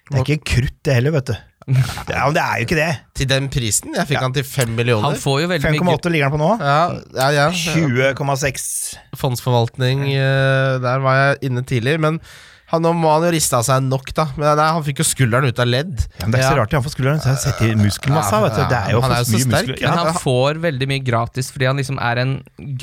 E: Det er ikke krutt, det heller, vet du. Det er, det er jo ikke det.
C: Til den prisen. Jeg fikk han til fem
D: Han
C: millioner.
D: får jo veldig mye
E: 5,8 ligger han på nå.
C: Ja, ja, ja.
E: 20,6.
C: Fondsforvaltning, eh, der var jeg inne tidlig. Men han, nå må han jo riste av seg nok, da. Men nei, han fikk jo skulderen ut av ledd.
E: Ja, men det er ikke så rart de har fått skulderen. Så jeg setter i muskelmassa, vet du. Det er jo
C: Han er jo
E: for
C: så
E: mye
C: sterk.
E: muskler.
D: Men
E: Ja,
D: han får veldig mye gratis fordi han liksom er en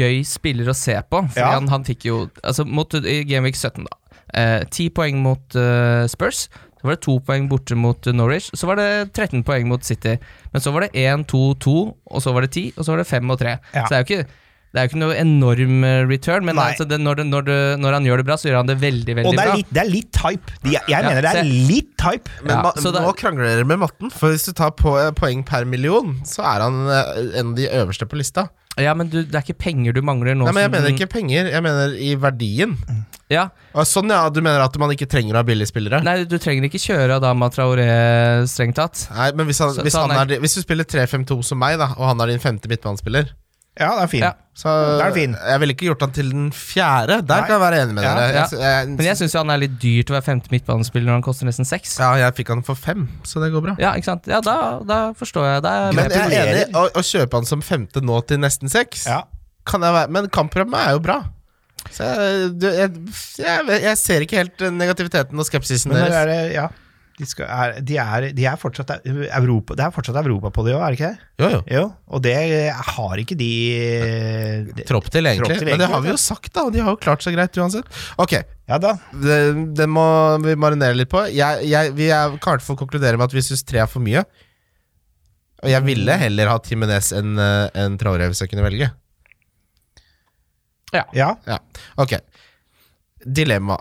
D: gøy spiller å se på. Fordi
E: Ja.
D: han, han fikk jo Altså mot, I Gameweek 17, da. Eh, 10 poeng mot eh, Spurs. Så var det 2 poeng borte mot eh, Norwich. Så var det 13 poeng mot City. Men så var det 1, 2, 2, og så var det 10, og så var det 5 og 3.
E: Ja.
D: Så det er jo ikke Det er jo ikke noe enorm eh, return, men
E: Nei.
D: altså det, når, det, når, det, når han gjør det bra, så gjør han det veldig, veldig
E: Og det er
D: bra.
E: litt, det er litt type. De, jeg mener det
D: se.
E: er litt type.
C: Men
D: Ja,
C: ma-
D: så det-
C: nå krangler dere med matten, for hvis du tar po eh, poeng per million, så er han eh, en av de øverste på lista.
D: Ja, men du, det er ikke penger du mangler nå.
C: Nei, men Jeg
D: som-
C: mener ikke penger, jeg mener i verdien.
D: Ja,
C: Og sånn, ja, Du mener at man ikke trenger å ha billige spillere?
D: Nei, du trenger ikke kjøre Adama Traoré strengt tatt.
C: Nei, men Hvis, han,
D: Så-
C: hvis,
D: så
C: han
D: han er-
C: er, di- hvis du spiller 3-5-2 som meg, da og han er din femte midtbanespiller
E: Ja, det er fint.
D: Ja.
C: så
E: Da er det fin.
C: Jeg ville ikke gjort han til den fjerde. Der
E: Nei.
C: kan jeg være enig med
E: Ja,
C: dere.
D: ja.
C: Jeg, jeg,
D: Men jeg syns han er litt dyrt å være femte midtbanespiller når han koster nesten seks.
C: ja, jeg fikk han for fem, så det går bra.
D: Ja, ikke sant? Ja, da, da forstår jeg. Da er jeg
C: Men
D: med på
C: jeg
D: det.
C: er enig å, å kjøpe han som femte nå til nesten seks.
E: Ja.
C: Kan jeg være, men kampprogrammet er jo bra. Så jeg, du, jeg, jeg, vet- jeg ser ikke helt negativiteten og skepsisen
E: Men når
C: deres.
E: er det, ja. De, skal, er, de, er, de er fortsatt Europa, Det er fortsatt Europa på de òg, er det ikke det?
C: Jo, jo.
E: Jo, og det har ikke de det-
C: Tropp til, egentlig.
E: Tropp til,
C: Men det
E: egentlig,
C: har vi
E: ja.
C: jo sagt, da. og De har jo klart seg greit uansett. Ok,
E: Ja da.
C: det, det må vi marinere litt på. Jeg, jeg, vi er kanskje for å konkludere med at vi syns tre er for mye. Og jeg ville heller hatt Jimenez enn eh, enn Traoré hvis jeg kunne velge.
E: Ja.
C: Ja, ok Dilemma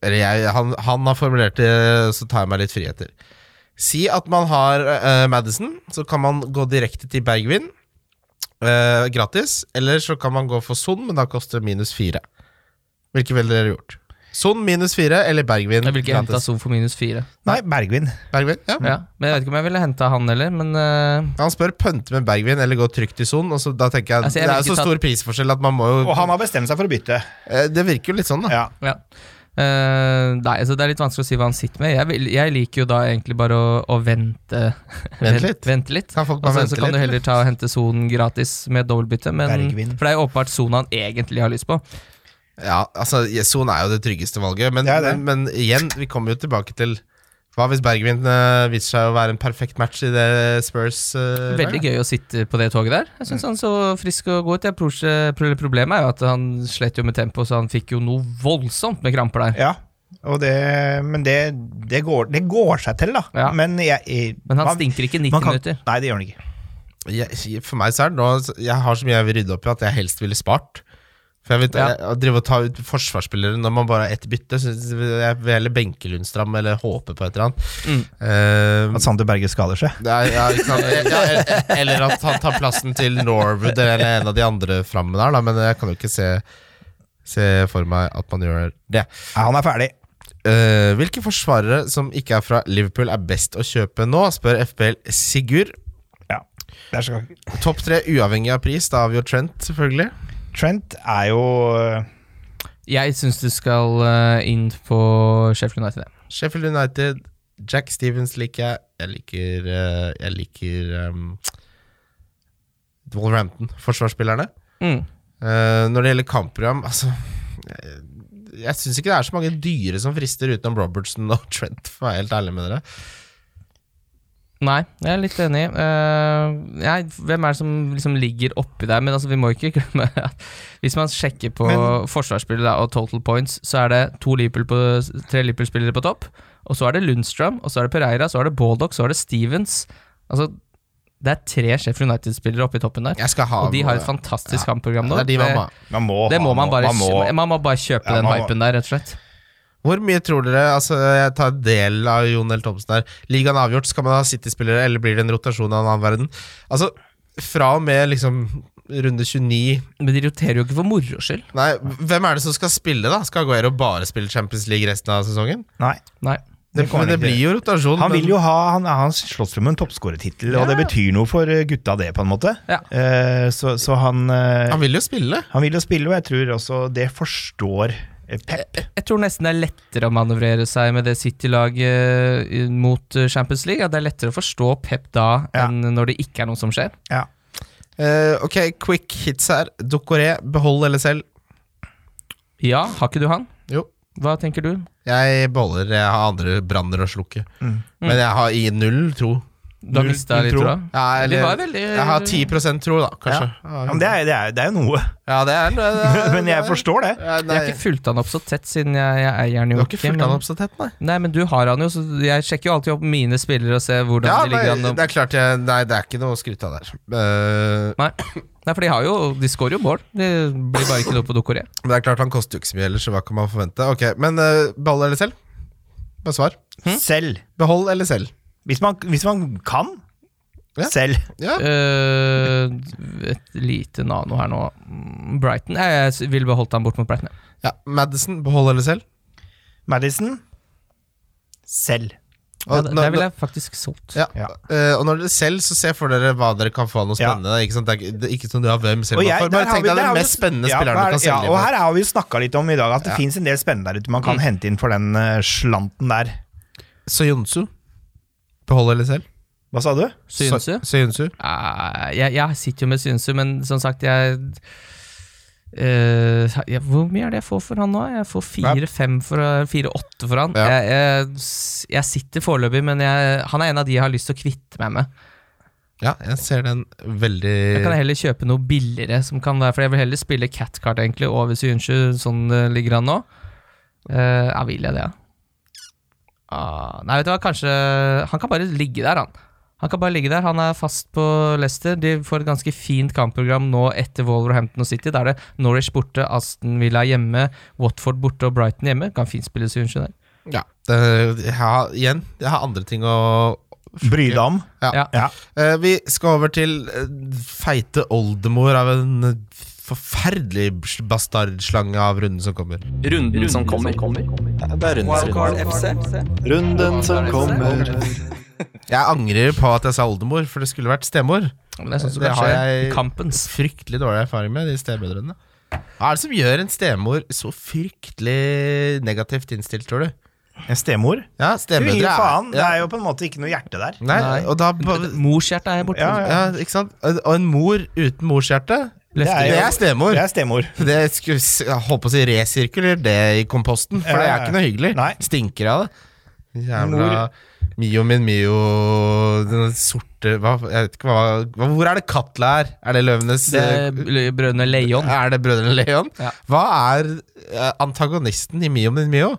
C: Eller jeg, han, han har formulert det Så tar jeg meg litt friheter Si at man har eh, Madison Så kan man gå direkte til Bergvin eh, Gratis Eller så kan man gå for Son Men da koster det minus 4 Hvilke vil dere gjort? Son minus 4 eller Bergvin
D: Jeg vil ikke hente
C: gratis? Mm.
D: Son for minus fire.
E: Nei, Bergvin.
C: Bergvin, ja
D: Ja. Men jeg vet ikke om jeg ville henta han heller, men eh,
C: Han spør pønte med Bergvin Eller gå trygt i Son Og så da tenker jeg
D: Altså, jeg
C: Det
D: vil
C: er jo
D: ikke
C: så
D: ta-
C: stor prisforskjell At man må jo
E: Og han har bestemt seg for å bytte.
C: Eh, Det virker jo litt sånn da
E: Ja.
D: ja. Eh, nei, så Det er litt vanskelig å si hva han sitter med. Jeg, vil, jeg liker jo da egentlig bare å, å vente.
C: Vent litt.
D: Vente litt.
C: Kan folk
D: Og
C: bare
D: så,
C: vente
D: så kan du
C: litt
D: heller ta og hente sonen gratis med dobbeltbytte. Men,
E: Bergvin.
D: for det er jo åpenbart sonen han egentlig har lyst på.
C: Ja, altså Son er jo det tryggeste valget, men,
E: Det er det.
C: men, men igjen, vi kommer jo tilbake til Hva hvis Bergvin eh, viser seg å være en perfekt match i det Spurs eh,
D: Veldig
C: laget?
D: gøy å sitte på det toget der. Jeg syns han så frisk og god ut. Jeg pro- pro- Problemet er jo at han slet jo med tempo, så han fikk jo noe voldsomt med kramper der.
E: ja. Og det, men det, det, går, det går seg til, da.
D: Ja.
E: Men, jeg, jeg,
D: Men han
E: man-
D: stinker ikke 90
E: man kan-
D: minutter.
E: Nei, det gjør han ikke.
C: Jeg, for meg så er det nå Jeg har så mye jeg vil rydde opp i at jeg helst ville spart. For jeg vet,
D: Ja.
C: jeg, Å drive og ta ut forsvarsspillere når man bare har ett bytte så Jeg vil heller benke Lundstram eller håpe på et eller annet.
D: Mm.
C: Eh,
E: At Sander Berge skader seg.
C: det er, ja, ikke sant? ja, eller- eller at han tar plassen til Norwood eller en av de andre framme der, da, men jeg kan jo ikke se, se for meg at man gjør det.
E: Nei, han er ferdig.
C: Eh, hvilke forsvarere som ikke er fra Liverpool, er best å kjøpe nå? spør FPL Sigurd.
E: Ja. Der skal ikke
C: Topp tre uavhengig av pris. Da har vi jo Trent, selvfølgelig.
E: Trent er jo
D: Jeg syns du skal eh, inn på Sheffield United. jeg.
C: Sheffield United. Jack Stevens liker jeg. Jeg liker, eh, jeg liker um, Wolverhampton-forsvarsspillerne.
D: Mm.
C: Eh, når det gjelder kampprogram, altså Jeg, jeg syns ikke det er så mange dyre som frister utenom Robertson og Trent, for å være helt ærlig med dere.
D: Nei, jeg er litt enig. Eh, nei, hvem er det som liksom ligger oppi der? Men altså, vi må ikke glemme at hvis man sjekker på
E: Men-
D: forsvarsspillet da, og total points, så er det to Liverpool på, tre Liverpool-spillere på topp. Og så er det Lundstrøm, og så er det Pereira, så er det Baldock, så er det Stevens. Altså, det er tre Sheffield United-spillere oppi toppen der.
C: Jeg skal ha eh,
D: Og de har et fantastisk kampprogram nå.
C: Det er de man må ha.
E: Man må
D: det, det må
E: ha
D: man
E: noe.
D: bare,
E: man må,
D: man må bare kjøpe
E: Ja,
D: den
E: man må-
D: hypen der, rett og slett.
C: Hvor mye tror dere Altså, jeg tar en del av Jon L. Thomsen her. Ligaen avgjort, skal man ha City-spillere, eller blir det en rotasjon av en annen verden? Altså, fra og med liksom runde 29
D: Men de roterer jo ikke for moro skyld.
C: Nei, hvem er det som skal spille, da? Skal Aguero bare spille Champions League resten av sesongen?
E: Nei.
D: Nei.
C: Det,
E: kommer
C: men det
E: ikke
C: blir
E: til.
C: jo rotasjon.
E: Han
C: men-
E: vil jo ha Han, han slåss jo med en toppskårertittel, og det betyr noe for eh, gutta, det, på en måte.
D: Ja.
E: Eh, så, så han eh,
C: Han vil jo spille.
E: Han vil jo spille, og jeg tror også det forstår eh, Pep.
D: Jeg tror nesten det er lettere å manøvrere seg med det City-laget eh, mot eh, Champions League. At det er lettere å forstå Pep da
E: Ja.
D: enn når det ikke er noe som skjer.
E: Ja.
C: Eh, ok, quick hits her. Dokoré, behold eller selv?
D: Ja, har ikke du han?
C: Jo.
D: Hva tenker du?
E: Mm.
C: Jeg beholder. Jeg har andre branner å slukke. Men jeg har i null tro.
D: Du har
E: Null-
D: mista
E: null
D: litt
E: tro.
D: troa?
C: Ja,
D: Eller var
C: eller,
D: veldig
C: jeg har 10 tro, da, kanskje.
E: Ja, men det, er, det, er, det er jo noe.
C: Ja, det er det er-
E: Men jeg forstår det.
C: Ja,
D: Jeg
C: nei,
D: har ikke fulgt han opp så tett siden jeg, jeg eier han
C: Du
D: jo
C: har ikke fulgt han
D: men-
C: opp så tett, nei?
D: Nei, men du har han jo, så jeg sjekker jo alltid opp mine spillere og ser hvordan
C: Ja,
D: de ligger
C: nei,
D: an.
C: det er klart jeg, Nei, det er ikke noe å skryte av der. Eh,
D: Nei. Nei, for de har jo De skårer jo mål. De blir bare ikke noe på Dokore.
C: men det er klart han koster jo ikke så mye ellers, så hva kan man forvente? Ok, Men eh, ball eller selv? Bare svar.
E: Selv.
C: Behold eller selv?
E: Hvis man, hvis man kan.
C: Ja.
E: Selv.
C: Ja,
D: Eh, et lite nano her nå. Mm, Brighton Nei, Jeg s- ville beholdt han bort mot Brighton. jeg.
C: ja. Madison, behold eller selv?
E: Madison. Selv.
D: Ja,
C: Og
D: det-
C: når-
D: der ville jeg faktisk solgt.
C: ja.
E: Ja.
C: Eh, og når dere selv, så ser for dere hva dere kan få av noe
E: Ja.
C: spennende. Ikke sant? Det er ikke- det er ikke sånn du har hvem selv
E: Og
C: man
E: jeg-
C: får.
E: der
C: Bare
E: har
C: tenk
E: vi-
C: deg
E: der
C: den
E: har vi-
C: mest spennende
E: ja,
C: spilleren
E: hver-
C: du kan selge.
E: ja, Og
C: på.
E: her har vi jo snakka litt om i dag at det
C: Ja. Hm.
E: finnes en del spennende der ute man kan hente inn for den eh, slanten der.
C: Soyuncu, behold eller selv?
E: Hva sa du?
D: Synes du?
C: So- Soyuncu.
D: Eh, jeg, jeg sitter jo med Synsu, men som sagt, jeg eh, jeg- Hvor mye er det jeg får for han nå? Jeg får fire-fem for Fire-åtte for han.
C: Ja.
D: Jeg, jeg, s- jeg sitter foreløpig, men jeg, han er en av de jeg har lyst til å kvitte meg med.
C: Ja, jeg ser den
D: Da kan
C: veldig
D: jeg heller kjøpe noe billigere, som kan være, for jeg vil heller spille Catcart egentlig over Synsju, sånn det ligger an nå. Eh, ja, vil jeg det, ja. Ah, nei, vet du hva, kanskje Han kan bare ligge der, han. Han kan bare ligge der, han er fast på Leicester. De får et ganske fint kampprogram nå etter Wolverhampton og City. Da er det Norwich borte, Aston Villa hjemme, Watford borte og Brighton hjemme. Kan fint spille Synsju der.
C: Ja. Det, jeg har, igjen, jeg har andre ting å
E: Bry deg om.
D: Ja.
E: Ja.
C: Eh, Vi skal over til eh, feite oldemor av en forferdelig bs- bastardslange av runden som kommer.
F: Runden som kommer.
A: Det er Wildcard FC.
G: Runden som kommer.
C: Jeg angrer på at jeg sa oldemor, for det skulle vært stemor.
D: Men det er sånn som
C: Det
D: kan
C: har
D: skje
C: jeg-
D: i kampens.
C: Fryktelig dårlig erfaring med de stebrødrene. Hva er det som gjør en stemor så fryktelig negativt innstilt, tror du?
E: En stemor.
C: Ja,
E: Du
C: stemødre
E: gir
C: er-
E: faen. Det
C: ja.
E: er jo på en måte ikke noe hjerte der.
C: Nei, og da ba-
D: Morshjertet er borte.
E: Ja,
C: ja, ikke sant? Og en mor uten morshjerte,
E: Det er,
D: Løfter.
E: jo-
C: det er stemor.
E: Det er stemor.
C: Det skulle, s- jeg holdt på å si resirkuler det i komposten, for det
E: Ja,
C: er
E: ja,
C: ikke noe hyggelig.
E: Nei.
C: Stinker av det. Jævla Mio min Mio Den sorte hva, Jeg vet ikke hva, hva Hvor er det Katla er? Er det Løvenes eh,
D: Det er Bl- Brødrene Leon.
C: Er det Brødrene Leon?
D: Ja.
C: Hva er eh, antagonisten i Mio min Mio?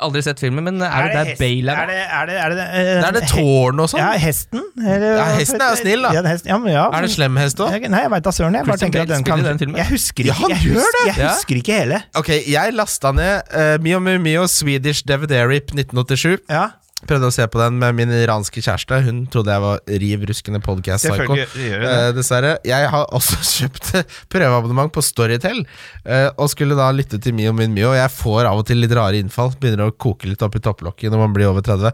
D: Aldri sett filmen, men er det der
E: hest-
D: Bale er?
E: Er
D: med?
E: det, er det, er det, eh,
C: Det er det tårn og sånn?
E: Ja, hesten. eller-
C: Ja, hesten er jo snill, da.
E: Ja, det er hesten- ja, men ja,
C: Er det slem hest òg?
E: Jeg- Nei, jeg veit da søren. Jeg bare
D: Christian
E: tenker
D: Bale
E: at den
D: spiller
E: kan
D: i den filmen.
E: Jeg husker
C: Ja,
E: ikke,
C: han
E: jeg
C: gjør det!
E: husker, jeg
D: Ja.
E: husker ikke hele.
C: Ok, jeg lasta ned eh, Mio Mio Mio Swedish DVD-rip 1987.
E: Ja,
C: Prøvde å se på den med min iranske kjæreste. Hun trodde jeg var riv ruskende podcast-psyko.
E: selvfølgelig. det gjør det.
C: Eh, dessverre. Jeg har også kjøpt prøveabonnement på Storytel, eh, og skulle da lytte til Mio min Mio. Jeg får av og til litt rare innfall. Begynner å koke litt opp i topplokket når man blir over 30.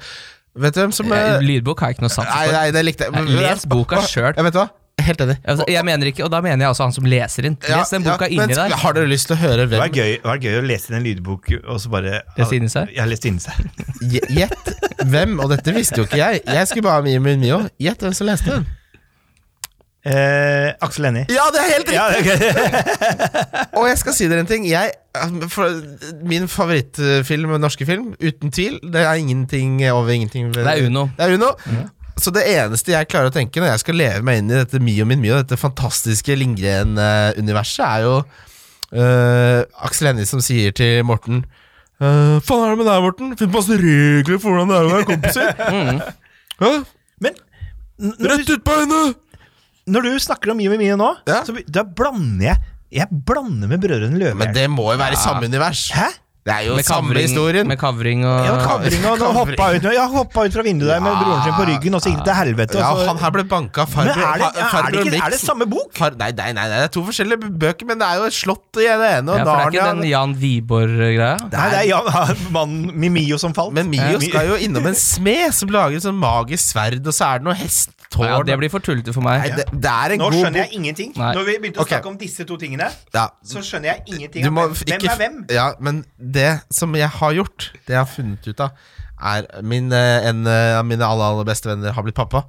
C: Vet du hvem som eh,
D: Eh, Lydbok har jeg ikke noe sans
C: Nei,
D: for.
C: nei, det likte jeg.
D: Les boka sjøl.
C: Jeg vet hva? Helt enig.
D: Altså, jeg mener ikke, og da mener jeg altså han som leser inn. Les den boka
C: men
D: inni der.
C: Har dere lyst til å høre
E: Det var
C: hvem
E: gøy, det var gøy å lese inn en lydbok og så bare
D: Lese inni seg?
E: Ja, lese inni seg.
C: Gjett hvem, og dette visste jo ikke jeg. Jeg skulle bare ha Mio min Mio. Gjett hvem som leste den.
E: Eh, Aksel Hennie.
C: Ja, det er helt
E: Ja, det er gøy.
C: Og jeg skal si dere en ting. Jeg, for, min favorittfilm, norske film, uten tvil, det er ingenting over ingenting.
D: Det er Uno.
C: Det er Uno. Så det eneste jeg klarer å tenke når jeg skal leve meg inn i dette Mio min Mio, dette fantastiske Lindgren-universet, er jo øh, Aksel Hennie som sier til Morten «Øh, Faen er det med deg, Morten? Finn på masse regler for hvordan det er å være kompiser. Hæ?
E: Men n- når
C: Rett
E: du,
C: ut på henne!
E: når du snakker om Mio med Mio nå,
C: Ja.
E: så be- da blander jeg Jeg blander med Brødrene
C: Men
E: Løvehjerte.
C: det må jo være i samme univers.
E: Hæ?
C: Det er jo
D: Med
C: samme
D: kavring,
C: historien.
D: med kavring og
E: Ja, kavring og nå
C: Kavring.
E: hoppa ut, ja, hoppa ut fra vinduet der med broren sin på ryggen, og så gikk det til helvete.
C: Ja,
E: Og så,
C: han her ble banka av
E: Altså, men
C: Farber.
E: er det,
C: Fa-
E: er, det
C: Farber
E: ikke, er det
C: Nixon.
E: samme bok?
C: Far, nei, nei, nei, nei, det er to forskjellige b- bøker, men det er jo et slott i det ene og
D: ja, For det er ikke
C: Narnia.
D: den Jan Wiborg-greia?
E: Nei, det er Jan, mannen Mimio som falt.
C: Men Mio
E: Eh, Mi-
C: skal jo innom en smed som lager et sånn magisk sverd, og så er det noe hesttårn.
D: Ja, det blir for tullete for
C: nei,
D: meg.
C: det, det er en
E: Nå
C: god
E: skjønner
C: bok.
E: jeg ingenting.
D: Nei.
E: Når vi begynte å
C: Ok.
E: snakke om disse to tingene,
C: Ja.
E: så skjønner jeg ingenting.
C: Du
E: av
C: må
E: hvem,
C: f-
E: hvem
C: ikke
E: er hvem?
C: f- eh, Ja, men det som jeg har gjort, det jeg har funnet ut av, er min, eh, en eh, av mine aller, aller beste venner har blitt pappa.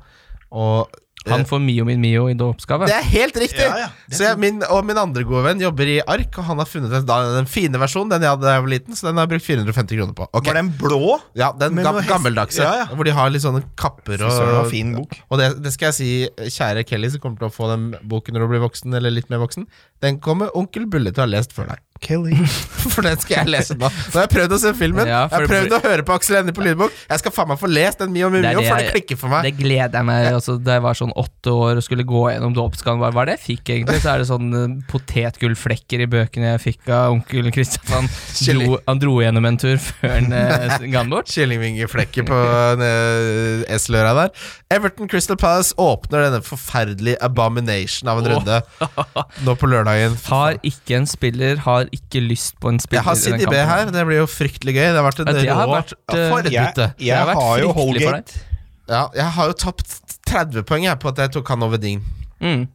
C: Og
D: Han får Mio min Mio i dåpsgave.
C: Det er helt riktig!
E: Ja, ja. Det er
C: Så jeg, min, og min andre gode venn jobber i ARK, og han har funnet den, da, den fine versjonen. Den jeg hadde da jeg var liten, så den har jeg brukt 450 kroner på. Ok.
E: Var den blå?
C: Ja, den
E: Men
C: gam,
E: noe hest-
C: gammeldagse,
E: Ja, ja.
C: hvor de har litt sånne kapper
E: Så det var
C: og
E: fin bok.
C: Og det, det skal jeg si, kjære Kelly, som kommer til å få den boken når du blir voksen, eller litt mer voksen, den kommer onkel Bulle til å ha lest før deg.
E: Kelly.
C: For den skal jeg lese nå. Nå har jeg prøvd å se filmen,
D: Ja,
C: jeg har
D: for det
C: prøvd å høre på Aksel Hennie på lydbok. Jeg skal faen meg få lest den Mio Mio
D: Det er
C: Mio,
D: det
C: for det
D: jeg-
C: klikker for meg.
D: Det gleder jeg meg altså, Da jeg var sånn åtte år og skulle gå gjennom dåpsgaven, hva var det jeg fikk egentlig? Så er det sånn eh, potetgullflekker i bøkene jeg fikk av onkel Kristian. Han,
C: Chili.
D: dro- han dro gjennom en tur før han eh, ga den bort.
C: Kyllingvingeflekker på eh, S-løra der. Everton Crystal Palace åpner denne forferdelige abomination av en runde nå på lørdagen.
D: Har ikke en spiller, har ikke lyst på en spiller.
C: Jeg har
D: i den
C: CDB
D: kampen.
C: her, det blir jo fryktelig gøy. Det har vært en
D: Ja, det har
C: rå
D: vært, eh,
C: For et bytte.
D: har
E: Jeg, jeg
D: vært
E: har jo
D: fryktelig for
E: Holgate.
C: Ja, jeg har jo tapt 30 poeng jeg, på at jeg tok han over Ding.
D: Mm.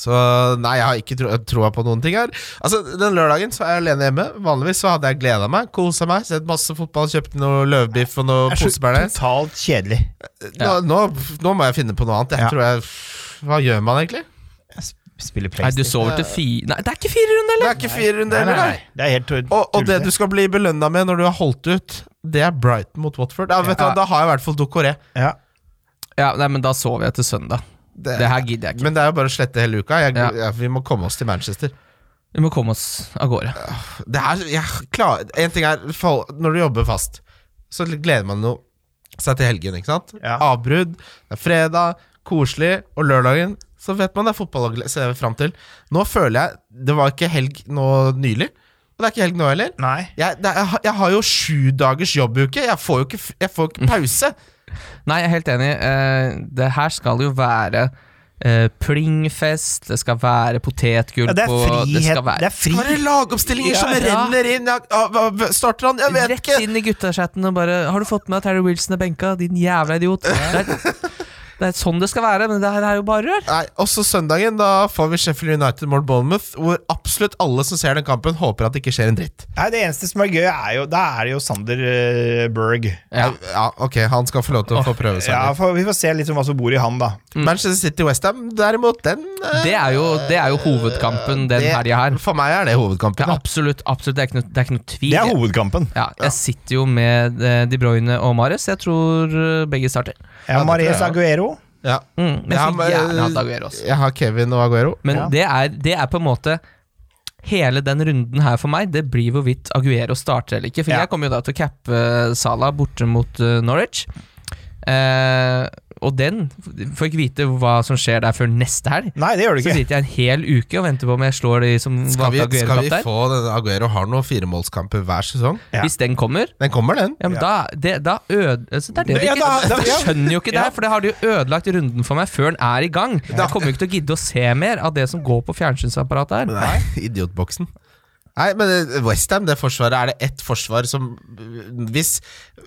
C: Så nei, jeg har ikke tro- troa på noen ting her. Altså, Den lørdagen så er jeg alene hjemme. Vanligvis så hadde jeg gleda meg, kosa meg, sett masse fotball, kjøpt noe løvbiff og noe
E: Det er så
C: posebærnes.
E: totalt kjedelig.
C: Nå, nå, nå må jeg finne på noe annet. Jeg
E: Ja.
C: tror jeg Hva gjør man egentlig?
E: Jeg sp- Spiller
D: Nei, du
E: PlayStation.
D: sover til fire Nei, det er ikke fire runder,
C: Det
D: eller?
C: er ikke fire runder
E: Nei, nei,
C: heller,
E: nei.
C: nei.
E: Det er helt tull-
C: Og, og det
E: tullete.
C: du skal bli belønna med når du har holdt ut, det er Brighton mot Watford. Ja, vet du,
D: Ja.
C: hva, Da har jeg i hvert fall Dokoré.
E: ja.
D: Ja, nei, men da sover jeg til søndag.
C: Det,
D: Det her gidder jeg ikke.
C: men det er jo bare å slette hele uka. Jeg,
D: Ja.
C: ja, vi må komme oss til Manchester.
D: Vi må komme oss av gårde.
C: det er, jeg klar, En ting er for, Når du jobber fast Så gleder man noe, seg til helgen ikke sant?
E: Ja.
C: Avbrudd, det er fredag Koselig, og lørdagen Så vet man det er fotball å gle- se frem til Nå føler jeg, det var ikke helg nå nylig Og det er ikke helg nå heller
E: Nei.
C: jeg, det, er- jeg, har- jeg har jo sju dagers jobbuke Jeg får jo ikke, f- jeg får jo
D: Mm.
C: ikke pause
D: Nei, jeg er helt enig. Eh, det her skal jo være eh, plingfest, det skal være potetgull
E: Ja, det er
D: på det
E: frihet.
D: skal være
E: Det er fri.
C: Bare lagoppstillinger som
D: Mm. Ja, ja.
C: renner inn jeg, ah, hva- hva- Starter han, jeg vet
D: Rett
C: ikke
D: inn i guttachatten og bare 'Har du fått med at Terry Wilson er benka, din jævla idiot?' Det er, det er sånn det skal være, men det her er jo bare rør.
C: Nei, også søndagen da får vi Sheffield United mot Bournemouth, hvor absolutt alle som ser den kampen, håper at det ikke skjer en dritt.
E: Nei, det eneste som er gøy, er jo Da er det jo Sander eh, Berg.
C: Ja, ok, han skal få lov til å få prøve seg.
E: Ja,
C: litt.
E: for Vi får se litt om hva som bor i han, da.
C: Manchester City-Westham, derimot, den eh,
D: Det er jo, det er jo hovedkampen den
C: det-
D: helga her.
C: For meg er det hovedkampen.
D: Det er
C: da.
D: absolutt, absolutt, det er ikke noe, det er ikke noe tvil.
E: Det er hovedkampen.
D: ja, jeg sitter jo med eh, De Bruyne og Mares. Jeg tror eh, begge starter.
E: Ja,
C: det
E: Mares
C: tror jeg.
E: Aguero.
C: Ja.
D: Mm, men jeg
C: Ja,
D: skulle
C: men-
D: gjerne hatt Aguero også.
C: Jeg har Kevin og Aguero.
D: Men
E: Ja.
D: det, er, det er på en måte Hele den runden her for meg, det blir hvorvidt Aguero starter eller ikke. For
E: Ja.
D: jeg kommer jo da til å cappe eh, Salah borte mot eh, Norwich. Eh, og den får ikke vite hva som skjer der før neste helg.
E: Nei, det gjør du
D: Så
E: ikke.
D: sitter jeg en hel uke og venter på om jeg slår de som
C: Skal vi,
D: valgte
C: skal
D: Aguero-kapp
C: vi
D: der.
C: få denne Aguero har noen firemålskamper hver sesong?
E: Ja.
D: Hvis den kommer,
C: Den kommer, den.
D: ja, men da, det, da øde, altså, det er det de
E: Ja,
D: ikke,
E: da- da- ja.
D: Jeg skjønner jo ikke det her, for det har de jo ødelagt runden for meg før den er i gang. Jeg kommer jo ikke til å gidde å se mer av det som går på fjernsynsapparatet her.
C: Nei, idiotboksen. Nei, men Westham, det forsvaret, er det ett forsvar som Hvis,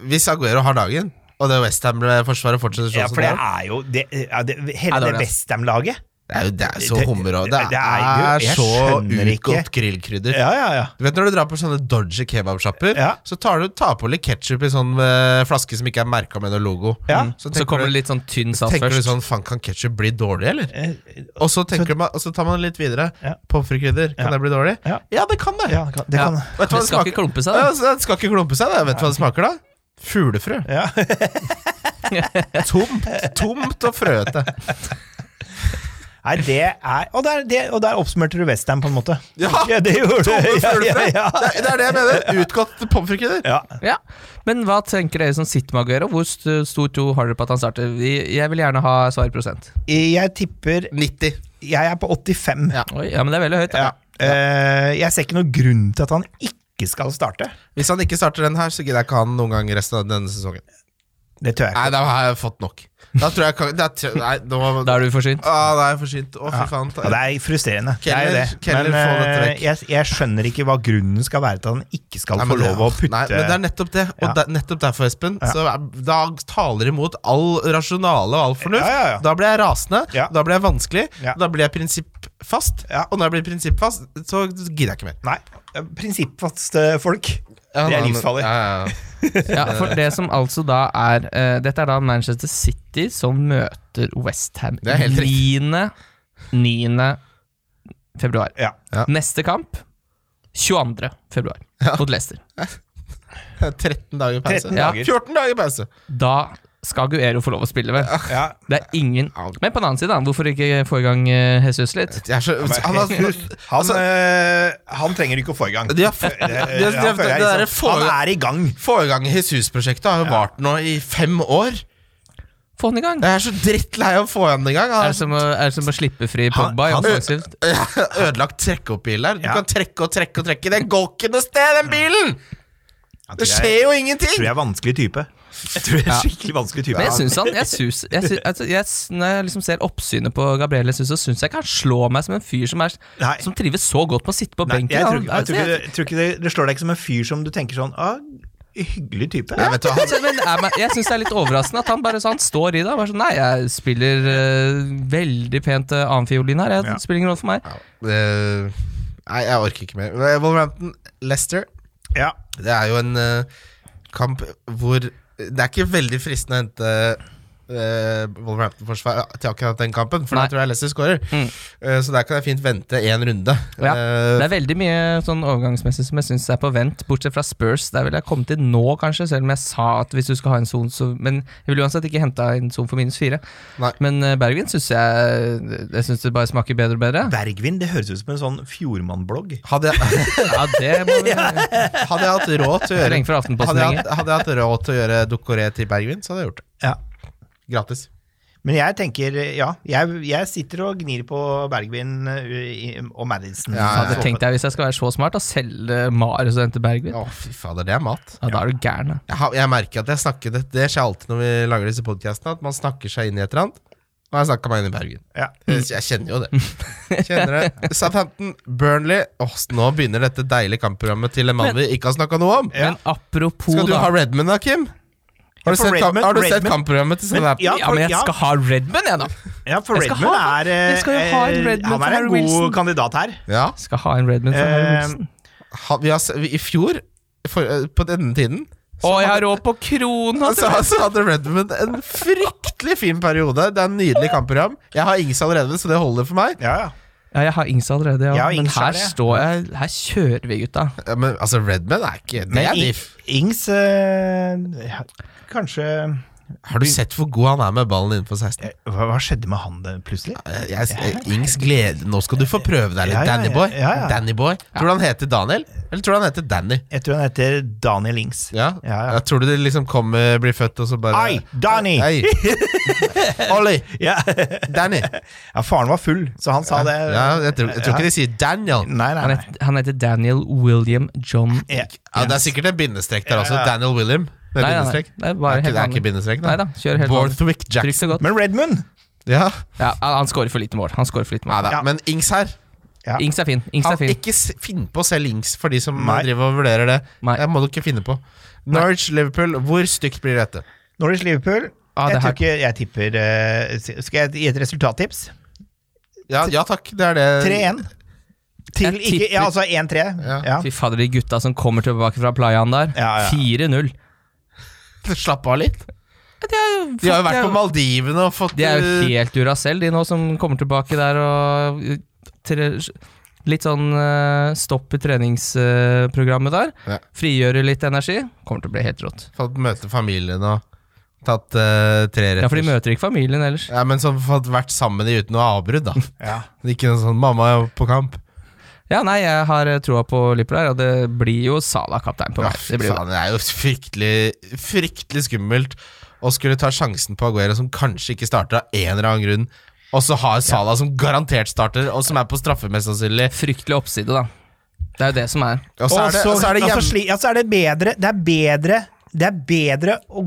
C: hvis Aguero har dagen, og det Westham-forsvaret fortsetter sånn
E: Ja,
C: som
E: for
C: det
E: det
C: er
E: er jo det, ja, det, Hele
D: Ja, det er
E: det
D: det.
E: Westham-laget.
C: Det er jo det er så
E: Det-
C: hummer og Det
E: det- det
C: er
E: er jo- jeg
C: så
E: skjønner ikke.
C: utgått grillkrydder.
E: Ja, ja, ja.
C: Du vet Når du drar på sånne dodgy kebabsjapper,
E: Ja.
C: så tar du tar på litt ketsjup i sånn eh, flaske som ikke er merka med noe logo. Mm.
E: Ja.
C: Så
D: Så
C: tenker,
D: kommer det
C: du,
D: litt sånn tynn saft
C: tenker du
D: først.
C: sånn Faen, kan ketsjup bli dårlig, eller?
E: Eh,
C: Og så, tenker man, og så tar man litt videre.
E: Ja.
C: Pommes frites-krydder, kan
E: Ja.
C: det bli dårlig?
E: Ja.
C: det kan det!
E: ja, det kan- det kan
D: Ja.
C: Vet du
D: Det
C: hva det
D: skal ikke
C: smaker?
D: klumpe seg,
C: Ja,
D: da.
C: altså, det skal ikke klumpe seg, det. Vet du hva det smaker, da? Fuglefrø.
E: Ja.
C: Tomt, tomt og frøete.
E: Nei, det er Og der, det, og der oppsummerte du Westham, på en måte.
C: Ja,
E: det gjorde
C: Tomme fuglefrø!
E: Ja, ja,
C: Det, er- det er det jeg mener. Utgått pommes frites-krydder.
E: ja.
D: Ja. Men hva tenker dere som sitter med Aguero? Hvor st- stor tro har dere på at han starter? Vi- Jeg vil gjerne ha svar i prosent.
E: Jeg tipper
C: 90.
E: Jeg er på 85.
C: Ja.
D: Oi, ja, men det er veldig høyt.
E: Ja.
D: Da.
E: Eh, jeg ser ikke noen grunn til at han ikke skal starte.
C: Hvis han ikke starter den her, så gidder jeg ikke han noen gang resten av denne sesongen.
E: Det tør jeg
C: Nei,
E: ikke.
C: da har jeg fått nok. Da tror jeg kan- da tror- Nei, nå må-
D: Da er du forsynt.
C: Ah, da er jeg for sent. Å, fy faen.
E: Og det er frustrerende. Det er jo
C: Keller-
E: det.
C: Keller,
E: men
C: få dette
E: eh,
C: vekk.
E: jeg, jeg skjønner ikke hva grunnen skal være til at han ikke skal
C: Nei,
E: få
C: men det-
E: lov å putte
C: Nei, men det er nettopp det. Og
E: Ja.
C: det er nettopp derfor, Espen, så er- da taler imot all rasjonale og all fornuft.
E: Ja, ja, ja.
C: Da blir jeg rasende,
E: Ja.
C: da blir jeg vanskelig,
E: Ja.
C: da blir jeg prinsipp... fast,
E: Ja.
C: og når jeg blir prinsippfast, så gidder jeg ikke mer.
E: Nei, prinsippfaste folk. det er livsfarlig.
C: Ja, ja, ja.
D: Ja, for det som altså da er eh, Dette er da Manchester City som møter Westham
C: Det er helt riktig.
D: 9. 9. februar.
E: Ja.
C: Ja.
D: Neste kamp 22. februar mot Leicester.
C: 13 dager pause.
E: 13
D: Ja.
E: dager.
C: 14 dager pause!
D: Da skal Guero få lov å spille, vel?
C: Ah.
E: Ja.
D: Det er ingen Men på den annen side, da, hvorfor ikke få i gang eh, Jesus litt?
C: Jeg er så, han har,
E: Han,
C: altså,
E: øh, han trenger ikke å få i gang.
C: de har, f- de,
E: Eh,
C: har- de,
E: han
C: har-
E: føler jeg
C: det derre
E: liksom-
C: få-
E: Han er i gang.
C: få i gang Jesus-prosjektet har jo vart nå i fem år.
D: Få han i gang!
C: Jeg er så drittlei av å få han i gang.
D: Er
C: Han
D: det som å, er det som å slippe fri Pogba i
C: han-
D: offensivt?
C: har ødelagt trekkeoppbil der. Du
E: Ja.
C: kan trekke og trekke og trekke. Den går ikke noe sted, den bilen! Det skjer jo
E: Jeg tror
C: ingenting!
E: jeg er vanskelig type. Jeg tror jeg er skikkelig vanskelig type.
D: Men jeg syns han jeg synes, jeg synes, altså, jeg, s- Når jeg liksom ser oppsynet på Gabriel Jesus, så syns jeg ikke han slår meg som en fyr som, er,
E: Nei.
D: som trives så godt med å sitte på
E: Nei,
D: benken.
E: jeg tror,
D: Han-
E: ikke- jeg
D: altså,
E: tror, ikke, jeg tror ikke det, det slår deg ikke som en fyr som du tenker sånn ah, Hyggelig type.
C: Jeg vet du,
D: Altså,
C: han,
D: men det er, meg- jeg syns det er litt overraskende at han bare så han står i det. og Bare sånn, Nei, jeg spiller eh, veldig pent uh, annenfiolin her. Jeg
E: Ja.
D: spiller ingen rolle for meg.
C: ja, det- nei, jeg orker ikke mer. Wolverhampton, Leicester.
E: Ja.
C: Det er jo en eh, kamp hvor Det er ikke veldig fristende å hente eh, Wolverhampton-forsvar til akkurat den kampen, for
D: Nei.
C: da tror jeg Leicester skårer. Eh, så der kan jeg fint vente én runde.
D: Ja.
C: Eh,
D: Det er veldig mye sånn overgangsmessig som jeg syns er på vent, bortsett fra Spurs. Der ville jeg kommet til nå, kanskje, selv om jeg sa at hvis du skal ha en son, så Men jeg ville uansett ikke henta en son for minus fire.
C: Nei.
D: Men eh, Bergvin syns jeg Jeg syns det bare smaker bedre og bedre.
E: Bergvin, det høres ut som en sånn Fjordmann-blogg.
C: hadde, jeg,
D: Ja, det må vi
C: hadde jeg hatt råd til å gjøre
D: Lenge for Aftenposten
C: hadde jeg,
D: lenge.
C: hatt, hadde jeg hatt råd til å gjøre Dokoré til Bergvin, så hadde jeg gjort det.
E: Ja.
C: Gratis.
E: Men jeg tenker, ja, jeg, jeg sitter og gnir på Bergvin uh, i- og Madison.
C: Ja,
D: Hadde tenkt jeg, hvis jeg skal være så smart, å selge Marius og hente Bergvin.
C: Å, fy fader, det er mat.
D: Ja, da er du gæren. da.
C: Jeg, har, jeg merker at jeg snakker det, det skjer alltid når vi lager disse podkastene, at man snakker seg inn i et eller annet. Og jeg snakka meg inn i Bergen.
E: Ja.
C: Jeg jeg kjenner jo det. Kjenner det. Southampton, Burnley Åh, Nå begynner dette deilige kampprogrammet til en mann vi ikke har snakka noe om.
D: Men apropos
C: Skal du
D: da-
C: ha Redmond da, Kim? Har du
E: for
C: sett, kam-
E: Redmond-
C: har du sett
E: Redmond-
C: kampprogrammet til Southampton?
E: Ja,
D: Ja,
E: for-
D: men jeg
E: ja.
D: skal ha Redman, jeg, da.
E: Ja, for
D: Jeg skal
E: Redmond
D: ha-
E: er eh,
D: jeg skal jo ha en
E: eh,
D: Redmond
E: Han
D: for
E: er en
D: Harry
E: god
D: Wilson.
E: kandidat her.
C: Ja.
D: Skal ha en Redman for
C: Ehm,
D: Harry
E: Eh,
D: Wilson.
C: Ha, vi har, se- vi, I fjor, for, eh, på denne tiden
D: Å, jeg har råd på krona!
C: så, så hadde Redmond en fryktelig fin periode. Det er en nydelig kampprogram. Jeg har Ings allerede, så det holder for meg.
E: Ja, ja.
D: Ja, jeg har Ings allerede, ja.
E: Jeg har
D: men
E: Ings
D: her
E: allerede.
D: står jeg Her kjører vi, gutta.
C: Ja, men altså, Redmond er ikke det er
E: I-
C: diff.
E: Ings eh, ja, Kanskje eh,
C: Har du sett hvor god han er med ballen innenfor 16?
E: hva, hva skjedde med han eh, plutselig?
C: Eh, Jeg, jeg- Ings glede Nå skal du få prøve deg litt,
E: Ja, ja, ja,
C: Danny Boy.
E: ja, ja.
C: Danny Boy Tror du han heter Daniel, eller tror du han heter Danny?
E: Jeg tror han heter Daniel Ings.
C: Ja,
E: Ja, ja.
C: Jeg Tror du det liksom kommer, blir født, og så bare
E: Ai, Danny!
C: Ei. Ollie!
E: Ja.
C: Danny!
E: ja, faren var full, så han sa det.
C: Ja, jeg, tror, jeg tror ikke de sier Daniel.
E: Nei, nei,
D: Han,
E: nei.
D: het, han heter Daniel William John
E: Ja.
C: Ja, det er sikkert en bindestrek der også.
E: Ja, ja.
C: Daniel William. Det er
D: Nei, nei, nei.
C: bindestrek.
D: Det er bare helt
C: ikke, det er
D: vanlig.
C: ikke bindestrek, da.
D: Nei da, kjør helt vanlig.
C: Borthwick
D: Trygt
C: Jackson.
D: og godt.
E: Men Redmond
C: Ja.
D: Ja, han han scorer for lite mål. Han scorer for lite
C: Nei
D: mål.
C: da,
E: Ja.
C: Men Ings her
E: Ja.
D: Ings er fin. Ings er
C: Han,
D: fin.
C: Ikke s- finn på å selge Ings for de som
E: Nei.
C: driver og vurderer det.
D: Nei.
C: Det må du ikke finne på. Norwich, Liverpool, hvor stygt blir dette?
E: Norwich Liverpool.
D: Ah,
E: jeg,
D: det her-
E: tror ikke, jeg tipper eh, Skal jeg gi et resultattips?
C: Ja, ja takk, det er det.
E: 3-1. Til
D: Jeg
E: ikke
D: tipper-
E: Ja, altså 1-3. Ja. Ja.
D: Fy fader, de gutta som kommer tilbake fra playaen der.
E: Ja, ja.
D: 4-0.
C: Slapp av litt. De har jo vært på Maldivene og fått
D: De er jo
C: eh,
D: helt Duracell, de nå, som kommer tilbake der og uh, tre, Litt sånn eh, stopp i treningsprogrammet der.
C: Ja.
D: Frigjøre litt energi. Kommer til å bli helt rått.
C: Fått møte familien og tatt eh, tre retter.
D: Ja, for de møter ikke familien ellers.
C: Ja, men så fått vært sammen i uten noe avbrudd, da.
E: Ja.
C: Ikke noe sånn 'mamma er på kamp'.
D: Ja, nei, jeg har eh, troa på Liverpool her, og det blir jo Salah kaptein på
C: Ja,
D: meg.
C: fy
D: Det blir jo
C: faen, det er jo fryktelig, fryktelig skummelt å skulle ta sjansen på Aguero, som kanskje ikke starter av en eller annen grunn, og så har Salah som garantert starter, og som er på straffe, mest sannsynlig.
D: fryktelig oppside, da. Det er jo det som er.
C: Og så er det, og så er det
E: og
C: hjemme...
E: så sli- ja, så er det bedre Det er bedre, det er bedre å,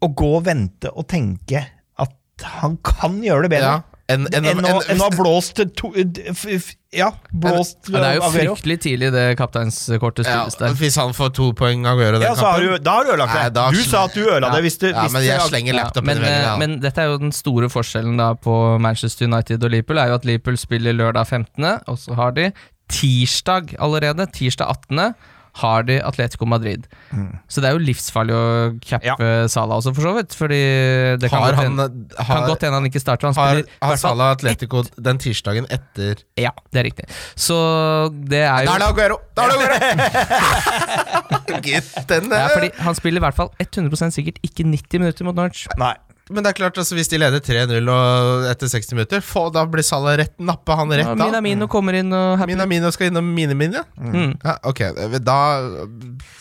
E: å gå og vente og tenke at han kan gjøre det bedre.
C: Ja, enn en,
E: Enn å enn å ha blåst to f, f, Ja, blåst eh,
D: Men det er jo
E: Aguero.
D: fryktelig tidlig det kapteinskortet
C: ja,
D: spilles der.
C: Hvis han får to poeng av Aguero den
E: Ja, så har du,
C: kampen
E: da har du ødelagt
C: Nei,
E: det.
C: da
E: du
C: sl-
E: sa at du ødela det hvis du
C: Ja,
E: hvis
C: men jeg
E: det-
C: slenger laptopen
D: men,
C: i veggen.
D: eh,
C: Ja.
D: men dette er jo den store forskjellen da på Manchester United og Liverpool, er jo at Liverpool spiller lørdag 15., og så har de tirsdag allerede, tirsdag 18., har de Atletico Madrid.
C: Mm.
D: Så det er jo livsfarlig å cappe Salah også, for så vidt. Fordi det kan,
C: har
D: godt
C: han
D: hende- kan
C: har,
D: godt hende han ikke starter. Han
C: har,
D: spiller i
C: har
D: hvert fall-
C: Salah Atletico den tirsdagen etter
D: Ja, det er riktig. Så det er jo
C: Da er det Aguero! Da er det Aguero! Gitt, den,
D: Ja,
C: eh,
D: fordi Han spiller i hvert fall 100 sikkert ikke 90 minutter mot Norwich.
E: Nei.
C: Men det er klart, altså, hvis de leder 3-0 og- etter 60 minutter, få, da blir Salah rett nappa han
D: Ja,
C: rett av.
D: Minamino kommer inn og happy.
C: Minamino skal innom mine-mine?
D: Mm.
C: Ja, ok, da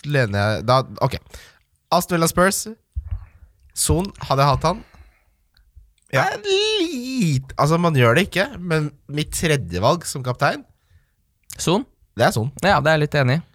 C: lener jeg da, Ok. Aston Villa Spurs. Son, hadde jeg hatt han
E: Ja.
C: Det er Lite Altså, man gjør det ikke, men mitt tredjevalg som kaptein,
D: Son?
C: det er Son.
D: Ja, det er jeg litt enig i.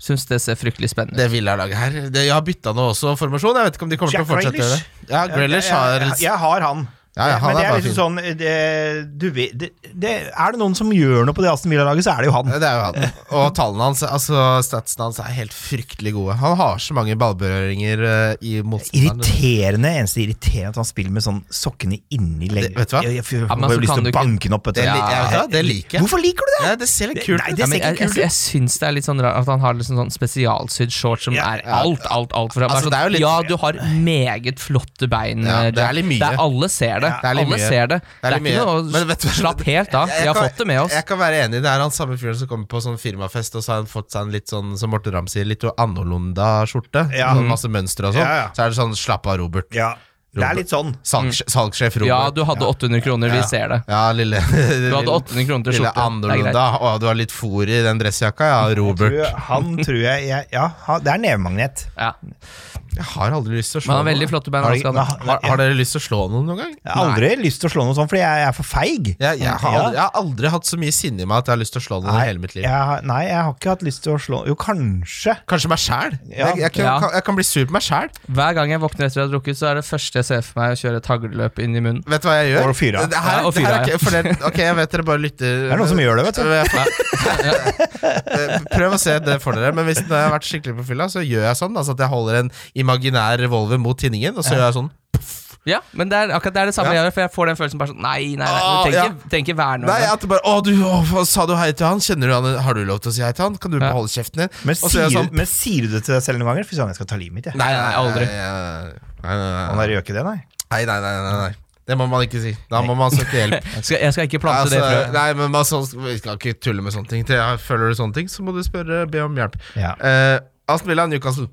D: Syns det ser fryktelig spennende ut.
C: Det Villa-laget her det, Jeg har bytta nå også formasjon. Jeg vet ikke om de kommer til å
E: Jack
C: fortsette å gjøre det.
E: Grealish.
C: Ja, Grealish
E: jeg,
C: har
E: jeg, jeg har han.
C: Ja, ja, han
E: men det
C: er
E: er
C: bare
E: liksom
C: fin.
E: sånn det, du, vet- det, det, Er det noen som gjør noe på det Aston Villa-laget, så er det jo han.
C: Ja, Det er jo han. Og tallene hans, altså statsene hans, er helt fryktelig gode. Han har så mange ballberøringer eh, i motstanderen.
E: Irriterende, Eneste irriterende at han spiller med sånn sokkene inni leggen.
C: vet du hva?
E: Jeg, jeg, jeg,
D: Ja, men så
E: får jo lyst
D: kan
E: til
D: du
E: å
D: ikke-
E: banke den opp. Vet du.
C: Det, li- jeg vet hva, det liker jeg.
E: Hvorfor liker du det?
C: Ja, det ser litt kult
E: Nei,
C: ut.
E: det
D: Ja, men
E: ser
D: jeg,
E: ikke
D: jeg,
E: kult ut.
D: jeg syns det er litt sånn rart at han har liksom sånn spesialsydd shorts som
E: Ja,
D: er alt, alt, alt for bare
C: Altså,
D: sånn,
C: det er jo litt-
D: Ja, du har meget flotte bein. eh,
C: Ja, det er
D: Jack.
C: litt mye.
D: Det er, alle ser det.
C: Ja, det er litt
D: alle
C: mye.
D: ser det. Det er,
C: litt
D: ikke
C: mye.
D: noe
C: Men
D: å
C: vet du hva?
D: Slapp helt av. Vi
C: Jeg
D: har
C: kan-
D: fått det med oss.
C: Jeg kan være enig. Det er han samme fyren som kommer på sånn firmafest og så har han fått seg en litt sånn, som Morten Ramm sier, litt annorlunda skjorte.
E: Ja.
C: Sånn masse mønstre og sånn.
E: Ja, ja.
C: Så er det sånn slapp av, Robert.
E: Ja, det er litt sånn.
C: Salgs, Salgssjef
D: Mm.
C: Robert.
D: Ja, du hadde 800 kroner, vi ser det.
C: Ja, lille
D: Du hadde 800 kroner til skjorte.
C: Lille
D: Det er greit.
C: annorlunda. Å, du har litt fôr i den dressjakka, ja, Robert.
E: Du, Han tror jeg, jeg Ja, han- det er nevemagnet.
D: Ja.
C: Jeg har aldri lyst til å slå
D: Men han har
C: noen.
D: veldig flotte bein. altså. Han
E: Har de-
D: skal ha.
E: Nei, han-
C: Har, har dere lyst til å slå noen noen gang?
E: Jeg har aldri lyst til å slå noe sånt, fordi jeg er for feig.
C: Jeg, jeg, har
E: Ja.
C: aldri, jeg har aldri hatt så mye sinne i meg at jeg har lyst til å slå noen i hele mitt liv.
E: Jeg, har- nei, jeg har ikke hatt lyst til å slå Jo, kanskje.
C: Kanskje meg sjæl.
E: Ja.
C: Jeg, jeg, kan-
D: Ja.
C: kan- jeg kan bli sur på meg sjæl.
D: Hver gang jeg våkner etter å ha drukket, så er det første jeg ser for meg, å kjøre et hagleløp inn i munnen.
C: Vet du hva jeg gjør?
E: Og fyre av.
C: Det her,
D: Ja, og
C: det her
D: fyre av,
C: er
D: ja.
C: ikke, for det, ok, jeg vet dere bare lytter
E: Det er noen som gjør det, vet du.
C: Eh, Prøv å se det for dere, men hvis når jeg har vært skikkelig på fylla, så gjør jeg sånn. Altså at jeg holder en imaginær revolver mot tinningen, og så gjør jeg sånn.
D: Ja, men det er akkurat det, er det samme
C: Ja.
D: jeg gjør, for jeg får den følelsen bare sånn Nei, nei, nei,
C: Åh,
D: du trenger
C: ja.
D: ikke- trenger ikke være noe.
C: Nei, at det bare Å, du, å, hva sa du hei til han? Kjenner du han? Har du lov til å si hei til han? Kan du
D: Ja.
C: beholde kjeften din?
E: Men
C: Og så gjør
E: sier,
C: jeg sånn
E: men sier du det til deg selv noen ganger? Fy søren, jeg skal ta livet mitt, jeg.
D: Nei, nei, aldri.
C: Nei, nei, nei, nei.
E: Han der gjør ikke det, nei.
C: Nei, nei, nei, nei, nei. Det må man ikke si. Da må man søke hjelp.
D: Jeg skal, jeg skal ikke plante
C: Altså,
D: det frøet.
C: nei, men man sånn, Vi skal ikke tulle med sånne ting. Til jeg føler du sånne ting, så må du spørre, be om hjelp.
E: Ja.
C: Eh, Aston Villa, Newcastle.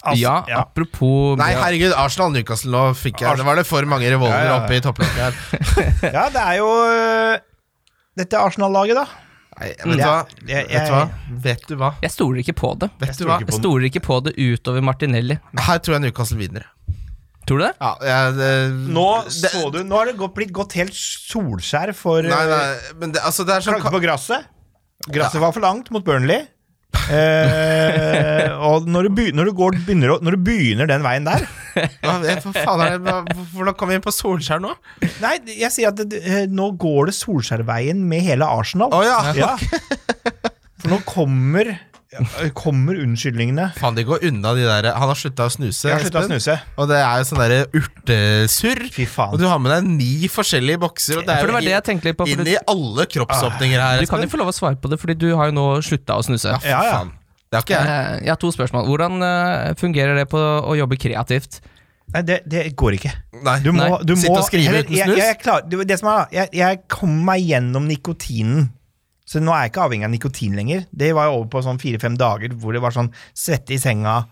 E: Altså,
D: ja,
E: ja.
D: apropos
C: Nei, herregud, Arsenal, Newcastle. Nå fikk jeg, det var det for mange revolver
E: Ja, ja, ja.
C: oppe i topplokket her.
E: ja, det er jo øh, Dette Arsenal-laget, da.
C: Nei, vet, du
E: Ja.
C: hva?
E: Jeg- jeg-
C: vet du hva? Vet du hva?
D: Jeg stoler ikke på det.
C: Vet du hva?
D: Jeg stoler ikke på det utover Martinelli.
C: Her tror jeg Newcastle vinner.
D: Tror du det?
C: Ja, jeg, det,
E: Nå
C: det,
E: så du Nå har det gått, blitt gått helt solskjær for
C: Nei,
E: øh,
C: nei, men det, altså, det er sånn
E: Klagde på gresset. Gresset var for langt mot Burnley. Eh, og når du, begy- når, du går, begynner, å- når du begynner den veien der
C: Hva hva faen er det hva- Hvordan kom vi inn på Solskjær nå?
E: Nei, jeg sier at det, eh, nå går det Solskjær-veien med hele Arsenal.
C: Å ja.
E: Ja. For nå kommer, kommer unnskyldningene.
C: Faen, de går unna de der Han har slutta å snuse.
E: Jeg har slutta å
C: Espen.
E: snuse.
C: Og det er jo sånn derre urtesurr.
E: Fy faen.
C: Og du har med deg ni forskjellige bokser, og
D: Ja,
C: det er
D: for det
C: jo
D: var det jeg tenkte litt på.
C: inn,
D: For
C: inn i
D: du,
C: alle kroppsåpninger her.
D: du kan jo
C: Espen.
D: få lov å svare på det, Fordi du har jo nå slutta å snuse.
C: Ja, fy
E: Ja, ja.
C: faen. Det har ikke jeg.
D: Eh, Jeg har to spørsmål. Hvordan eh, fungerer det på å jobbe kreativt?
E: Nei, det, det går ikke.
C: Nei.
E: Du må,
D: Nei,
E: du
C: sitte og
E: må
C: skrive
E: heller-
C: uten
E: jeg,
C: snus?
E: jeg, er klar, det, det som er, da, jeg, jeg kom meg gjennom nikotinen. Så nå er jeg ikke avhengig av nikotin lenger. Det var jo over på sånn fire-fem dager hvor det var sånn svette i senga,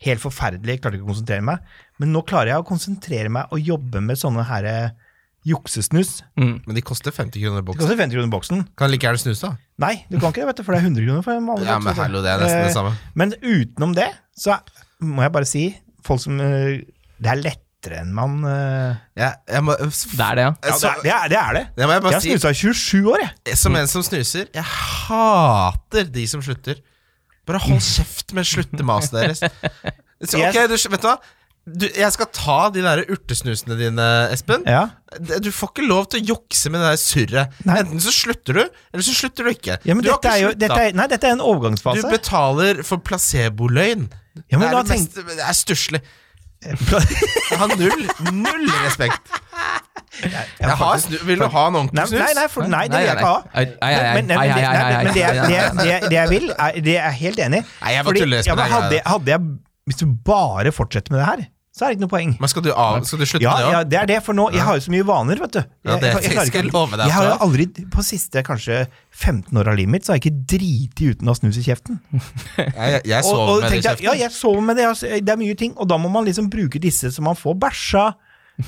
E: helt forferdelig, jeg klarte ikke å konsentrere meg. Men nå klarer jeg å konsentrere meg og jobbe med sånne her eh, juksesnus.
C: Men de koster 50 kroner
E: Det
C: boksen.
E: koster 50 kroner boksen.
C: Kan like gjerne snuse, da.
E: Nei, du kan ikke det, vet du, for det er 100 kroner for en vanlig
C: Ja, men
E: boks, vet du.
C: hallo, det er nesten det
E: Eh,
C: samme.
E: Men utenom det, så må jeg bare si, folk som eh, Det er lettere enn man eh,
C: Jeg, jeg må,
D: Det er det, ja.
E: ja, det,
C: så,
E: er, det, er, det er det.
C: Altså, det må jeg bare
E: Jeg
C: si.
E: snusa i 27 år, jeg.
C: Som en som snuser, jeg hater de som slutter. Bare hold kjeft med sluttemaset deres. Så, ok, du, vet du hva? du, jeg skal ta de der urtesnusene dine, Espen.
E: Ja.
C: Det- Du får ikke lov til å jukse med det der surret.
E: Nei.
C: Enten så slutter du, eller så slutter du ikke.
E: Ja, men
C: du har
E: dette
C: ikke
E: er jo
C: sluttet.
E: dette er, Nei, dette er en
C: Du
E: overgangsfase.
C: betaler for placeboløgn.
E: Ja, men
C: det
E: da
C: er, det mest- det er stusslig. Jeg har null, null respekt. Jeg har snu, vil du ha en
E: Nei,
C: ordentlig snus?
E: nei, nei, for, nei, det vil jeg ikke ha.
D: Ei, ei, ei,
E: Men, men,
D: ei, ei,
E: men, det-
D: ei,
E: nei,
D: ei,
E: men det,
D: ei, ei,
E: det,
D: ei.
E: det, det jeg vil, er, det er jeg helt enig i.
C: Nei, jeg bare tuller, Espen,
E: ja, men
C: jeg-
E: hadde, hadde jeg, Hvis du bare fortsetter med det her, så er det ikke noe poeng.
C: Men skal du, av, skal du slutte
E: Ja,
C: med det
E: ja,
C: òg?
E: det er det, for nå Jeg har jo så mye vaner, vet du.
C: Ja, det
E: klarer
C: skal jeg
E: ikke-
C: love deg altså. at
E: Jeg har jo
C: du har.
E: aldri, på siste kanskje 15 år av livet mitt, så har jeg ikke driti uten å ha snus i kjeften.
C: Jeg, jeg, jeg
E: Og-
C: sover
E: og
C: med det i
E: tenkte jeg,
C: kjeften.
E: Ja, jeg sover med det. altså, Det er mye ting. Og da må man liksom bruke disse som man får bæsja.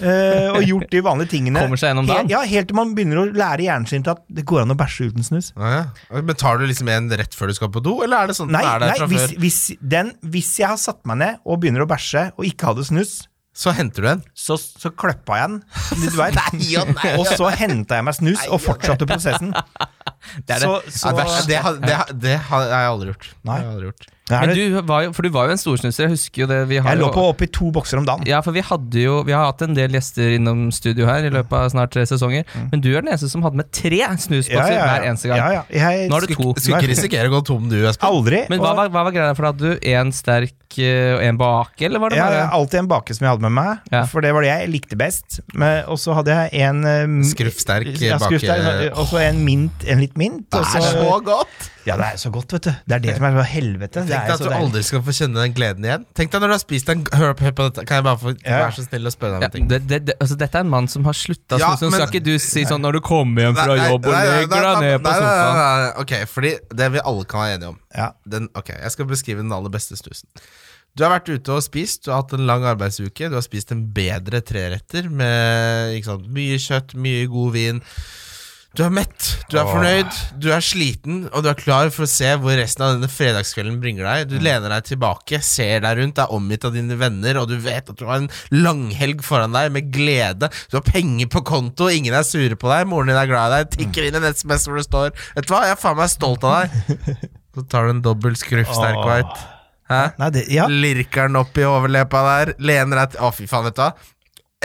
E: eh, og gjort de vanlige tingene.
D: Kommer seg gjennom dagen.
E: Helt, ja, helt til man begynner å lære hjernen sin til at det går an å bæsje uten snus.
C: Ja, ja. Betaler du liksom en rett før du skal på do, eller er det sånn at
E: Nei,
C: den er der
E: nei
C: fra
E: hvis,
C: før?
E: hvis, den, hvis jeg har satt meg ned og begynner å bæsje og ikke hadde snus,
C: Så henter du en.
E: så, så kløppa jeg den. Du vet. Og så henta jeg meg snus og fortsatte prosessen.
D: Det er det.
E: Så,
C: Ja,
E: så,
C: bæsj, det, har- det, har- det har jeg aldri gjort. Det
E: Nei.
C: har jeg aldri gjort.
E: er
D: Men
E: det,
D: du var jo, for du var jo en storsnuser, jeg husker jo det. Vi har
E: jeg lå
D: jo-
E: på oppi to bokser om dagen.
D: Ja, for vi hadde jo Vi har hatt en del gjester innom studio her i løpet av snart tre sesonger.
C: Mm.
D: Men du er den eneste som hadde med tre snusbokser
E: Ja, ja, ja.
D: hver eneste gang.
E: Ja, ja. Jeg
D: Nå har du
E: skulle
D: to.
C: Skulle ikke risikere å gå tom du, Espen.
E: Aldri.
D: Men hva
E: og-
D: var, hva var greia? For hadde du én sterk eh, og én bake, eller var det
E: Ja,
D: bare
E: ja, alltid en bake som jeg hadde med meg,
D: Ja.
E: for det var det jeg likte best. Men- Og så hadde jeg en um,
D: Mm.
C: Skruffsterk
E: ja, skruffsterk,
C: bake...
E: og så en mint, en litt mint. og
C: Det er
E: så-
C: så godt!
E: Ja, det er så godt, vet du. Det er det som er så helvete. Det
C: Tenk
E: er
C: deg
E: jo
C: at
E: så
C: du
E: deilig.
C: aldri skal få kjenne den gleden igjen. Tenk deg når du har spist en Hør på, hør på dette, kan jeg bare få
E: Ja.
C: være så snill å spørre deg om
D: ja,
C: en ting?
D: det, det, det, altså, Dette er en mann som har slutta å
C: Ja,
D: snuse. Skal
C: men-
D: ikke du si sånn når du kommer hjem fra
C: Nei, nei,
D: jobb og
C: nei, nei,
D: legger deg
C: nei,
D: ned på
C: nei, nei,
D: sofaen?
C: nei, nei, nei. Ok, fordi det vi alle kan være enige om
E: Ja.
C: den, Ok, jeg skal beskrive den aller beste snusen Du har vært ute og spist, du har hatt en lang arbeidsuke Du har spist en bedre treretter Med ikke sant, mye kjøtt, mye god vin Du er mett, du er fornøyd Du er sliten, og du er klar for å se Hvor resten av denne fredagskvelden bringer deg Du lener deg tilbake, ser deg rundt Er omgitt av dine venner, og du vet at du har en Langhelg foran deg med glede Du har penger på konto, ingen er sure på deg Moren din er glad i deg, tikker inn en sms Hvor det står, vet du hva, jeg er faen meg stolt av deg så tar du en dobbelt skruffsterk
E: Åh.
C: white. Hæ?
E: Nei, det, ja.
C: Lirker den opp i overleppa der. Lener deg til Å, fy faen, vet du hva.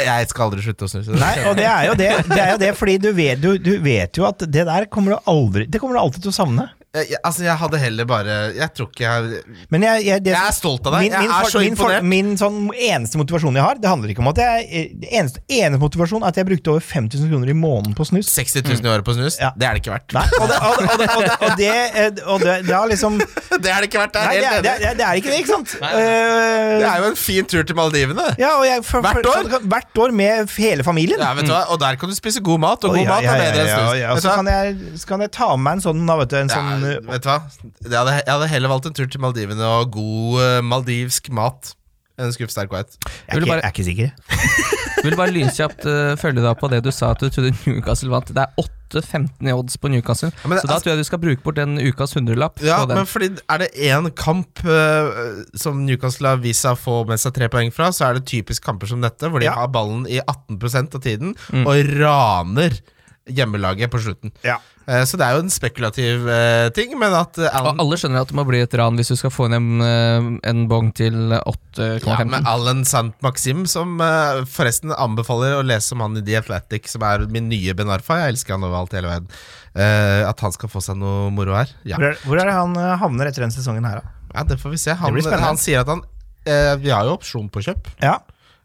C: Jeg skal aldri slutte å snuse.
E: Nei, og det er jo det, det, er jo det fordi du vet, du, du vet jo at det der kommer du aldri Det kommer du alltid til å savne.
C: Jeg, jeg, altså, jeg hadde heller bare Jeg tror ikke jeg
E: Men jeg, jeg, det,
C: Jeg er stolt av deg. Jeg er
E: for-
C: så
E: min, for-
C: imponert.
E: Min sånn eneste motivasjon jeg har, det handler ikke om at jeg eh, det eneste, eneste motivasjon er at jeg brukte over 5000 kroner i måneden på snus.
C: 60 000 i året på snus?
E: Ja.
C: Det er det ikke verdt.
E: Nei, og det, og, det- og, det, og, det, og, det, eh, og det, det har liksom Nei,
C: Det er det ikke verdt. Jeg
E: det
C: er
E: er,
C: helt
E: det,
C: enig.
E: er- det er ikke det, ikke sant?
C: Det
E: Eh,
C: er jo en fin tur til Maldivene.
E: ja, og jeg, for,
C: Hvert
E: for,
C: år?
E: så- hvert år med hele familien.
C: Ja, vet du hva? Og der kan du spise god mat, og
E: Og
C: god
E: ja,
C: mat
E: ja,
C: er
E: ja,
C: bedre enn
E: ja,
C: snus.
E: ja, og
C: Vet du
E: Så
C: hva?
E: kan jeg, så kan jeg ta med meg en sånn, da, vet du. En
C: Ja,
E: sånn eh,
C: vet du hva? Jeg hadde, jeg hadde heller valgt en tur til Maldivene og god eh, maldivsk mat enn en skruffsterk white.
E: Jeg er
D: vil
E: ikke,
D: bare-
E: jeg er ikke sikker.
D: Jeg Vil bare lynkjapt eh, følge deg opp på det du sa at du trodde Newcastle vant. Det er 8-15 i odds på Newcastle,
C: men det-
D: så da tror jeg du skal bruke bort den ukas hundrelapp
C: Ja,
D: på den.
C: men fordi er det én kamp eh, som Newcastle har vist seg å få med seg tre poeng fra, så er det typisk kamper som dette, hvor de
E: Ja.
C: har ballen i 18 av tiden og raner hjemmelaget på slutten.
E: Ja.
C: Eh, Så det er jo en spekulativ eh, ting, men at eh,
D: Og
C: Alan,
D: alle skjønner at det må bli et ran hvis du skal få inn en, eh, en bong til
C: ja,
D: 8,15.
C: med Alan Sant Maxim, som eh, forresten anbefaler å lese om han i The Athletic, som er min nye Ben Arfa, jeg elsker han overalt i hele verden, Eh, at han skal få seg noe moro her. Ja.
E: Hvor, er, hvor er det han eh, havner etter den sesongen her, da?
C: Ja, det får vi se. Han,
E: blir spennende.
C: han sier at han eh, Vi har jo opsjon på kjøp.
E: Ja.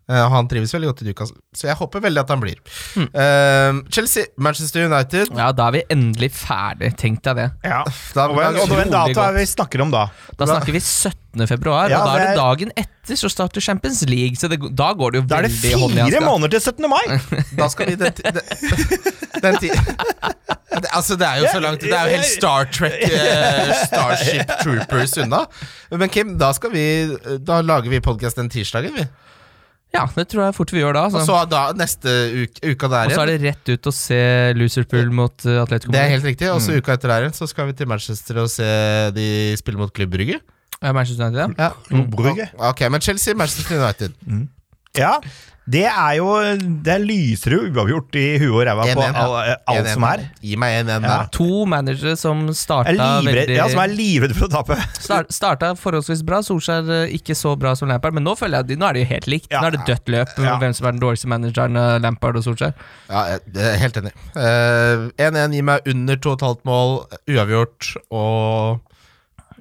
C: Eh, og han trives veldig godt i Newcastle, så jeg håper veldig at han blir.
D: Hmm.
C: Eh, Chelsea, Manchester United
D: Ja, da er vi endelig ferdig. Tenk deg det.
E: ja.
C: Da-
E: Og, og, og
D: utrolig
E: den dato
D: godt.
E: er vi snakker om da.
D: Da snakker vi 17. februar,
E: Ja,
D: og da er
E: det
D: det
E: er-
D: dagen etter så starter Champions League. Så det, da går det jo
E: Da er det
D: veldig hånd i
E: fire
D: hanske.
E: måneder til 17. mai!
C: Da skal vi den, ti- den, den ti Det- Altså, det er jo så langt Det er jo helt Star Trek, eh, Starship Troopers unna. Men Kim, da skal vi Da lager vi podkast den tirsdagen, vi.
D: Ja, det tror jeg fort vi gjør da.
C: Og
D: Så.
C: så da neste uke, uka der
D: Og så
C: igjen.
D: er det rett ut å se Loserpool mot eh, Atletico
C: Det er
D: Madrid.
C: helt riktig. Og
D: Mm.
C: så uka etter der igjen Så skal vi til Manchester og se de spille mot Klubb Brygge.
D: Ja, Manchester United, ja.
C: Ja.
E: Brugge.
C: Ok, men Chelsea, Manchester United.
E: Ja. Det er jo Det lyser jo uavgjort i huet og ræva på eh,
C: 1-1, ja.
E: alt all
C: 1-1.
E: som er.
C: Gi meg 1-1
E: Ja.
C: der.
D: To managere som starta
E: er livredd,
D: veldig
E: ja, som er livredd for å tape.
D: Star- Starta forholdsvis bra, Solskjær eh, ikke så bra som Lampard, men nå føler jeg at de, nå er det jo helt likt.
E: Ja.
D: Nå er det dødt løp
E: Ja.
D: hvem som er den dårligste manageren, eh, Lampard og Solskjær.
C: Ja, jeg jeg er helt enig. Eh, 1-1 gir meg under 2,5 mål, uavgjort og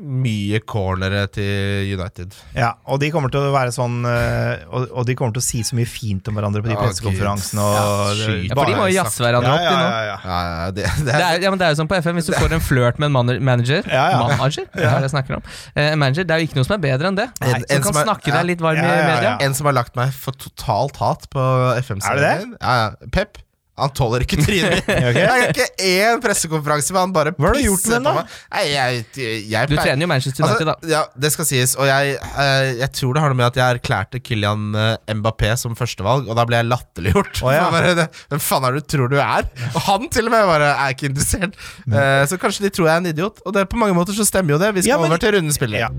C: mye cornere til United.
E: Ja, og de kommer til å være sånn eh, Og, og de kommer til å si så mye fint om hverandre på de
C: Ja,
E: pressekonferansene.
C: Gud. Ja,
E: og-
C: skyt.
D: Ja, for de må jo jazze hverandre
E: Ja,
D: opp, de
E: ja,
D: nå.
E: ja, ja.
C: Ja, ja, det, det,
D: Det er, ja, men det er jo sånn på FM, hvis du får en flørt med en maner- manager
E: Ja, ja.
D: Manager? Det er det jeg snakker om. Eh, en manager, det er jo ikke noe som er bedre enn det.
C: En-
D: som
C: en
D: kan
C: som er-
D: snakke
C: ja.
D: deg litt varm
E: Ja, ja,
D: i media.
E: ja.
C: En som har lagt meg for totalt hat på
E: Er det
C: FM-sendingen. Ja, ja. Pep. Han tåler ikke trynet mitt.
E: Ok.
C: Jeg har ikke én pressekonferanse, men han bare
E: Hva har du gjort med den, da?
C: meg. Nei, jeg, jeg, jeg
D: Du
C: pleier-
D: trener jo Manchester United, da.
C: Altså, ja, det skal sies. Og jeg, eh, jeg tror det har noe med at jeg erklærte Kylian eh, Mbappé som førstevalg, og da ble jeg latterliggjort.
E: Å, ja.
C: For bare det, Hvem faen er det du tror du er? Og han til og med bare er ikke interessert.
E: Mm.
C: Eh, så kanskje de tror jeg er en idiot. Og det, på mange måter så stemmer jo det. Vi skal
E: Ja, men-
C: over til rundens spillere.
E: Ja.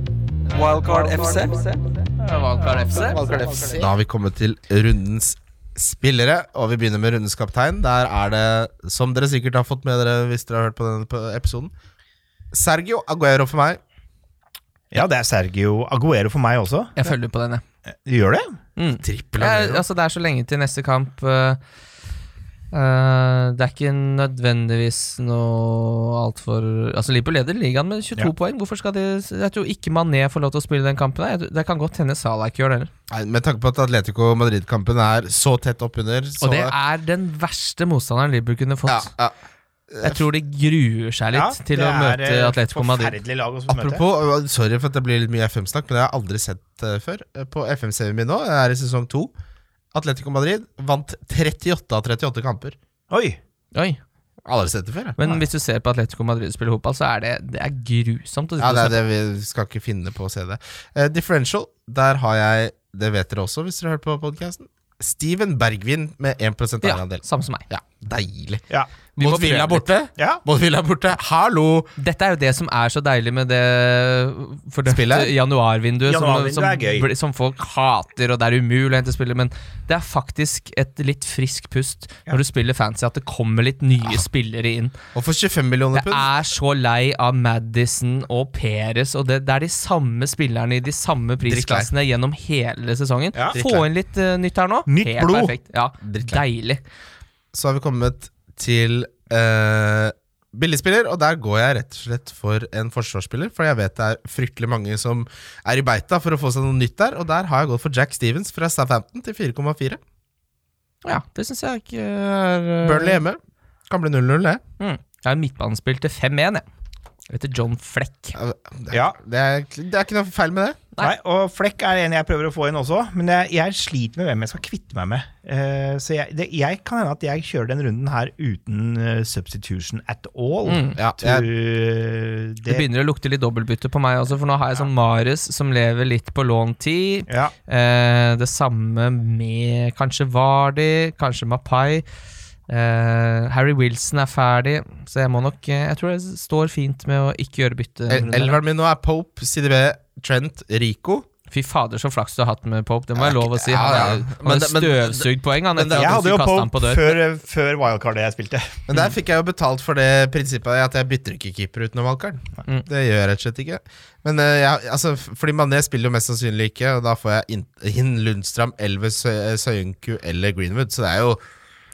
A: Wildcard FC.
B: Wildcard FC.
E: Altså-
C: Da har vi kommet til rundens spillere, og vi begynner med rundens kaptein. Der er det, som dere sikkert har fått med dere hvis dere har hørt på denne på episoden, Sergio Aguero for meg.
E: ja, det er Sergio Aguero for meg også.
D: Jeg følger på den, jeg.
E: Gjør det?
D: Mm.
C: Trippel
D: Jeg-
C: Aguero.
D: altså, det er så lenge til neste kamp. eh, eh, det er ikke nødvendigvis noe altfor Altså, Liverpool leder ligaen med 22
E: Ja.
D: poeng. Hvorfor skal de Jeg tror ikke Mané får lov til å spille den kampen. her. Jeg tror- Det kan godt hende Salah ikke gjør det heller.
C: Nei, Med tanke på at Atletico Madrid-kampen er så tett oppunder, så
D: Og det er den verste motstanderen Liverpool kunne fått.
C: ja, ja.
D: Jeg tror de gruer seg litt
E: Ja,
D: til å
E: det
D: møte
E: er, eh,
D: Atletico Madrid.
E: Forferdelig lag å møte.
C: Apropos, øh, sorry for at det blir litt mye FM-snakk, men det har jeg aldri sett eh, før. Eh, På FM-serien min nå, jeg er i sesong to. Atletico Madrid vant 38 av 38 kamper.
E: Oi!
D: Oi,
C: Aldri sett det før, jeg.
D: Men hvis du ser på Atletico Madrid spille fotball, så er det, det er grusomt. å sitte
C: Ja,
D: og
C: det er
D: se
C: det vi skal ikke finne på å se det. Eh, differential, der har jeg Det vet dere også, hvis dere har hørt på podkasten. Steven Bergvin med 1
D: på. Ja,
C: eierandel.
D: samme som meg.
C: Ja, deilig.
E: Ja.
D: Vi må
C: Mot Villa
D: prøve litt.
C: borte.
E: ja.
C: Mot Villa borte. Hallo!
D: Dette er jo det som er så deilig med det fordømte
C: Spillet?
D: januarvinduet,
E: Januarvinduet
D: som,
E: er gøy.
D: som, bli- som folk hater, og det er umulig å hente spillere, men det er faktisk et litt frisk pust når du spiller fancy, at det kommer litt nye spillere inn.
C: Og for 25 millioner
D: Jeg
C: pund.
D: er så lei av Madison og Perez, og det, det er de samme spillerne i de samme prisklassene gjennom hele sesongen.
E: Ja.
D: Få inn litt eh, nytt her nå.
E: Nytt
D: Helt
E: blod.
D: Perfekt. Ja, deilig.
C: Så har vi kommet til eh, billigspiller, og der går jeg rett og slett for en forsvarsspiller. For jeg vet det er fryktelig mange som er i beita for å få seg noe nytt der, og der har jeg gått for Jack Stevens fra Southampton til 4,4.
D: Ja, det syns jeg ikke er eh,
C: Burnley hjemme. Kan bli 0-0, det.
D: Mm. Jeg har midtbanespill til 5-1, jeg. Jeg heter John Fleck.
C: Ja, Det er,
E: Ja.
C: det, er, det er ikke noe feil med det.
D: Nei.
E: Nei, og Flekk er en jeg prøver å få inn også, men jeg, jeg sliter med hvem jeg skal kvitte meg med. Eh, så jeg, det, jeg kan hende at jeg kjører den runden her uten eh, substitution at all.
D: Mm.
C: Ja,
E: To,
C: jeg,
E: det,
D: Det begynner å lukte litt dobbeltbytte på meg også, for nå har jeg sånn Mares som lever litt på lånt tid.
E: ja.
D: Eh, det samme med kanskje Vardi, kanskje Mapai. Eh, Harry Wilson er ferdig, så jeg må nok eh, Jeg tror det står fint med å ikke gjøre bytte.
C: el- elveren min nå er Pope, CDB, Trent, Rico.
D: Fy fader, så flaks du har hatt med Pope. Det må
C: Ja,
D: jeg lov å si. Han
C: ja, ja.
D: er, han
C: Men
D: er
C: det- men-
D: støvsugd poeng. Han
C: men det-
D: etter
E: Jeg
D: at
E: hadde
D: du
E: jo
D: kastet han på
E: Pope
D: dør.
E: før, eh, før wildcardet jeg spilte.
D: Mm.
C: Men der fikk jeg jo betalt for det prinsippet at jeg bytter ikke keeper utenom valgkaren.
D: Mm.
C: Det gjør jeg rett og slett ikke. Men eh, jeg, altså, f- fordi Mané spiller jo mest sannsynlig ikke, og da får jeg inn, inn Lundstram, Elves, Sø- eh, Søyenku eller Greenwood, så det er jo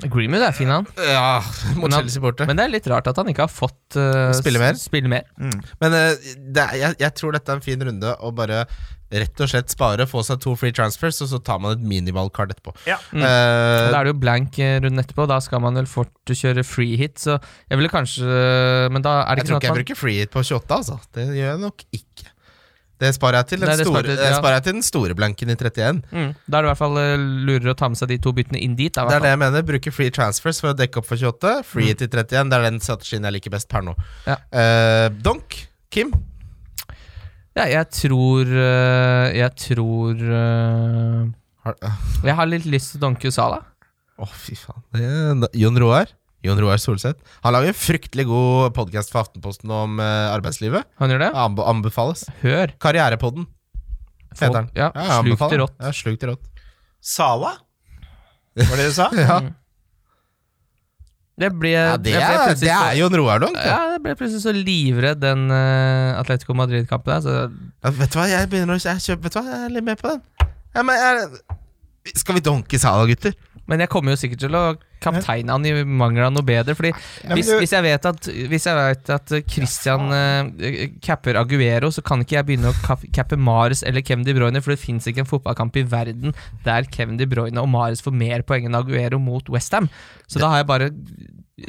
D: Greenwood er fin, han.
C: Ja, mot
D: Men han-
C: Chelsea borte.
D: Men
C: Men,
D: det er litt rart at han ikke har fått eh,
C: Spille mer?
D: s- Spille mer.
C: eh, det, er- jeg, jeg tror dette er en fin runde å bare rett og slett spare, få seg to free transfers, og så tar man et minivalgkart etterpå.
E: Ja.
D: Mm.
C: Eh,
D: Da er det jo blank eh, runden etterpå, da skal man vel fort kjøre free hit, så jeg ville kanskje Men da er det ikke
C: Jeg tror
D: sånn
C: ikke
D: at
C: jeg
D: man
C: bruker free hit på 28, altså. Det gjør jeg nok ikke. Det sparer jeg til den,
D: Nei, det
C: store,
D: sparer til-
C: det
D: ja.
C: sparer jeg til den store blanken i 31.
D: mm, Da er det i hvert fall eh, lurere å ta med seg de to byttene inn dit. Da, i
C: Det
D: hvert Mm.
C: er det jeg mener. Bruke free transfers for å dekke opp for 28. Free hit i 31. Det er den strategien jeg liker best per nå.
D: Ja.
C: Eh, donk, Kim.
D: fall. Ja, jeg tror eh, Jeg tror eh,
C: Har- Åh,
D: Jeg har litt lyst til Donkey Sala.
C: fy faen. Det er, Jon Roar. Jon Roar Solseth. Han lager en fryktelig god podkast for Aftenposten om eh, arbeidslivet.
D: Han gjør det?
C: Anbe anbefales.
D: Hør.
C: Karrierepodden,
D: Folk-
C: heter den.
D: ja,
C: jeg
D: slukt i
C: anbefaler.
D: rått.
C: Ja, slukt i rått.
E: Sala? var det det du sa?
C: Ja.
D: Eh, Jeg ble,
C: Ja, det, er, det er jo en Roar-dunk.
D: Ja, jeg ble plutselig så livredd den eh, Atletico Madrid-kampen der. Så
C: Ja, vet du hva, jeg begynner å jeg kjøper, Vet du hva, jeg er litt med på den. Ja, men jeg, skal vi donke Sala, gutter?
D: men jeg kommer jo sikkert til å kapteine han i mangel av noe bedre. Fordi
E: men
D: hvis,
E: du-
D: hvis jeg vet at, hvis jeg vet at Christian eh, capper Aguero, så kan ikke jeg begynne å kap- cappe Mares eller Kevin De Bruyne, for det fins ikke en fotballkamp i verden der Kevin De Bruyne og Mares får mer poeng enn Aguero mot Westham. Så da har jeg bare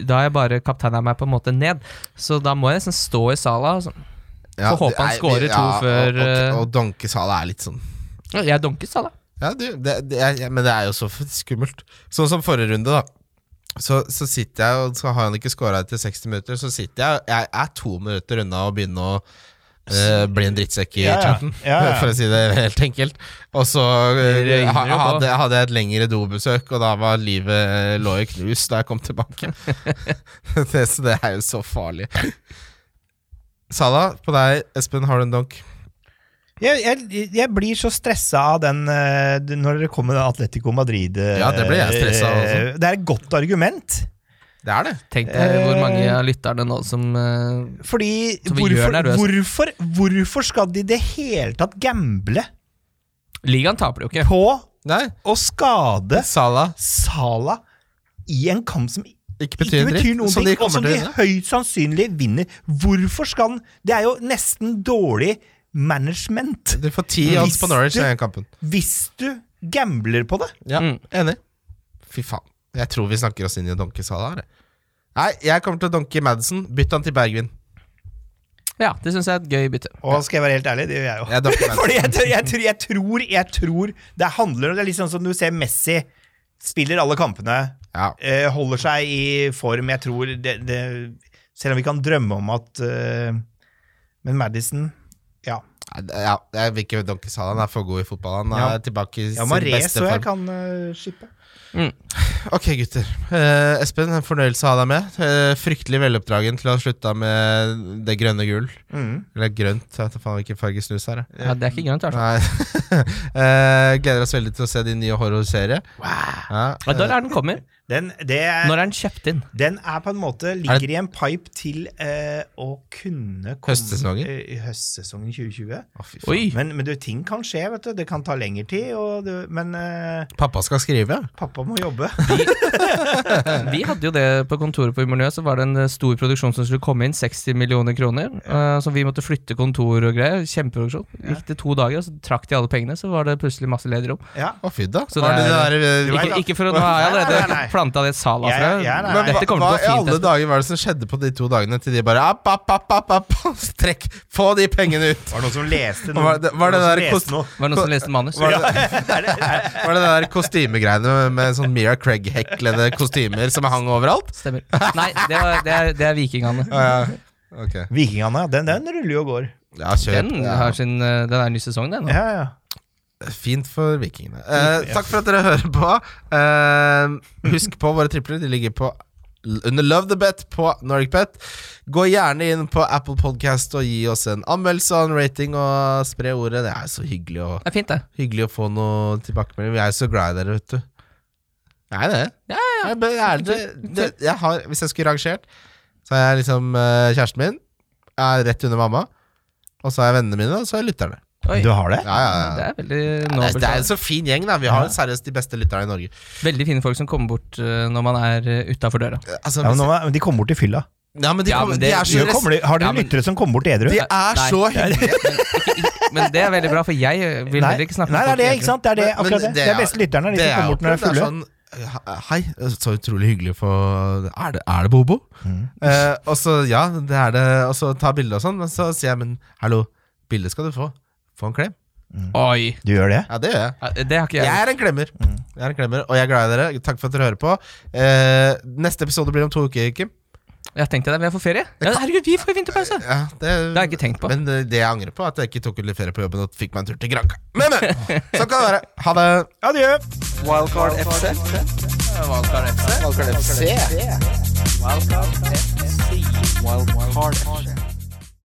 D: da har jeg bare kapteina meg på en måte ned, så da må jeg nesten stå i sala. og sånn.
C: Ja,
D: Får håpe han
C: det er-
D: scorer to før,
C: og-
D: eh,
C: og, og donke Sala er litt sånn
D: Jeg dunker sala.
C: Ja, du, det, det er, ja, men det er jo så f- skummelt. Sånn som forrige runde, da. Så, så sitter jeg og så har han ikke scora etter 60 minutter. Så sitter jeg Jeg er to minutter unna å begynne å eh, bli en drittsekk i
E: Ja, ja.
C: chatten,
E: Ja, ja.
C: for å si det helt enkelt. Og så eh,
D: Det regner
C: ha-
D: jo på.
C: hadde, hadde jeg et lengre dobesøk, og da var livet eh, lå i knus da jeg kom tilbake. det, så det er jo så farlig. Salah, på deg, Espen, har du en donk?
E: Jeg, jeg, jeg blir så stressa av den eh, når dere kommer med Atletico Madrid. eh,
C: Ja, det blir jeg stresset av også.
E: eh, Det er et godt argument.
C: Det er det.
D: Tenk deg hvor mange
E: Eh.
D: av lytterne nå som eh,
E: Fordi
D: Så vi gjør
E: hvorfor,
D: nervøs.
E: hvorfor, hvorfor skal de i det hele tatt gamble
D: Ligaen taper det jo ikke.
E: på
C: Nei,
E: å skade
C: Salah
E: Sala i en kamp som
C: ikke
E: ikke
C: betyr en
E: betyr
C: dritt.
E: noen
C: så
E: ting,
C: de
E: og som
C: kommer
E: de
C: til å vinne.
E: høyt sannsynlig vinner? Hvorfor skal den Det er jo nesten dårlig management
C: Du får ti odds på
E: Visste-
C: Norwich i den kampen.
E: hvis du gambler på det.
C: Ja,
D: Mm.
C: Enig. Fy faen. Jeg tror vi snakker oss inn i å donke Salah her. jeg. Nei, jeg kommer til å donke Madison. Bytt han til Bergvin.
D: Ja, det syns jeg er et gøy bytte.
E: Og skal jeg være helt ærlig, det gjør jeg jo.
C: Jeg dunker Madison.
E: Fordi jeg, tror- jeg, tror- jeg tror Jeg tror det handler om Det er litt sånn som du ser Messi spiller alle kampene,
C: Ja.
E: eh, holder seg i form. Jeg tror det, det Selv om vi kan drømme om at eh, Men Madison Ja.
C: Nei, det- ja, jeg vil ikke donke Salah. Han er for god i fotball. Han er
E: Ja.
C: tilbake i
E: ja
C: sin
E: Maré
C: beste
E: så jeg
C: form.
E: kan eh, shippe.
C: Ok, gutter. Eh, Espen, en fornøyelse å ha deg med. Eh, fryktelig veloppdragen til å ha slutta med det grønne gull.
E: Mm.
C: Eller grønt, jeg vet da faen hvilken farge snus her. jeg.
D: Ja, det er ikke grønt, i hvert fall.
C: Nei. Eh, gleder oss veldig til å se din nye horrorserie. Ja,
D: Ja, Når er den kommer?
E: Den, det er,
D: Når er den kjøpt inn?
E: den er på en måte
C: Er
E: ligger
C: det-
E: i en pipe til eh, å kunne komme
C: Høstsesongen?
E: eh, i høstsesongen 2020.
C: Å, fy faen.
D: Oi!
E: Men, men du, ting kan skje, vet du. Det kan ta lengre tid. Og du, men eh,
C: Pappa skal skrive?
E: pappa må jobbe.
D: Vi hadde jo det på kontoret på Humornø, så var det en eh, stor produksjon som skulle komme inn, 60 millioner kroner. eh, Så vi måtte flytte kontor og greier. Kjempeproduksjon. Gikk det to dager, og så trakk de alle pengene, så var det plutselig masse ledigrom.
E: Ja.
C: Å, fy da.
D: Så
C: Var
D: det
C: det
D: er-
C: det der, eh,
D: Ikke, ikke for å Nå har jeg
E: Nei, nei, nei,
D: allerede
E: nei.
D: planta det salafrø.
E: Jeg- jeg- nei, nei.
D: Dette kommer
C: hva i
D: til å gå
C: alle
D: fint.
C: dager var det som skjedde på de to dagene til de bare app, app, app, app, app, Trekk! Få de pengene ut!
E: Var det noen som leste noe?
C: Var det- var det
E: Noen som
C: der
E: leste
C: kost-
E: noe?
D: Var det noen som leste manus?
C: Var det, var det der kostymegreiene med, med sånn Mira Craig-heklede kostymer som hang overalt?
D: Stemmer. Nei, det, var, det, er, det er vikingene.
C: Ja, ok.
E: Vikingene, ja. Den, den ruller jo og går.
C: Ja, kjør.
D: Den,
C: Ja.
D: har sin, eh, den er en ny sesong, den. nå.
E: Ja, ja.
C: Fint for vikingene. Eh, takk for at dere hører på. Eh, husk på våre tripler. De ligger på under Love the Bet på NordicBet. Gå gjerne inn på Apple Podcast og gi oss en anmeldelse og en rating, og spre ordet. Det er så hyggelig å,
D: Det er fint, det.
C: hyggelig å få noe tilbakemelding. Vi er jo så glad i dere, vet du. Jeg er det.
D: Ja,
C: Jeg, men er det, det jeg har, hvis jeg skulle rangert, så er jeg liksom eh, kjæresten min, jeg er rett under mamma, og så har jeg vennene mine, og så har jeg lytterne.
D: Oi,
E: Du har det?
C: Ja, ja, ja.
D: det er veldig
C: Det
D: nobelt.
C: er, det er en så fin gjeng, da. Vi har seriøst de beste lytterne i Norge.
D: Veldig fine folk som kommer bort eh, når man er utafor døra.
C: Altså,
E: Ja, men nå, var- de kommer bort i fylla.
C: ja, men de,
D: Ja,
C: kommer-
D: men
C: de
D: det-
C: er så
E: Jo, kommer de, har dere
D: Ja, men-
E: lyttere som kommer bort edru?
C: De er
D: Nei.
C: så hyggelige!
D: Men, ikke, ikke, men det er veldig bra, for jeg vil
E: Nei,
D: heller ikke snakke
E: nei, det er det, ikke sant? Det er det,
C: Men-
E: akkurat det.
C: men
E: Det er beste lytterne,
C: det
E: de som kommer bort når de er
C: akkurat- det er
E: fulle.
C: sånn, Hei, så utrolig hyggelig å få Er det, er det Bobo?
E: Mm.
C: Eh, og så ja, det er det. Og så ta bilde og sånn. Men så sier jeg men hallo, bilde skal du få. Få en klem.
D: Oi!
C: sånn.
E: Du gjør det?
C: Ja, det gjør jeg.
D: Ja, Det har ikke jeg.
C: Jeg er en klemmer,
E: Mm.
C: Jeg er en klemmer og jeg er glad i dere. Takk for at dere hører på. Eh, neste episode blir om to uker, Kim.
D: Jeg tenkte det, vi er på ferie. Ja, herregud, vi får vinterpause!
C: Ja, det,
D: Det har jeg ikke tenkt på.
C: Men eh, det, det jeg angrer på, er at jeg ikke tok litt ferie på jobben og fikk meg en tur til Granca. Men, men! Sånn kan det være. Ha det.
E: Adjø!
A: Wildcard FC.
B: Wildcard FC.
A: Wildcard FC. Wildcard FC.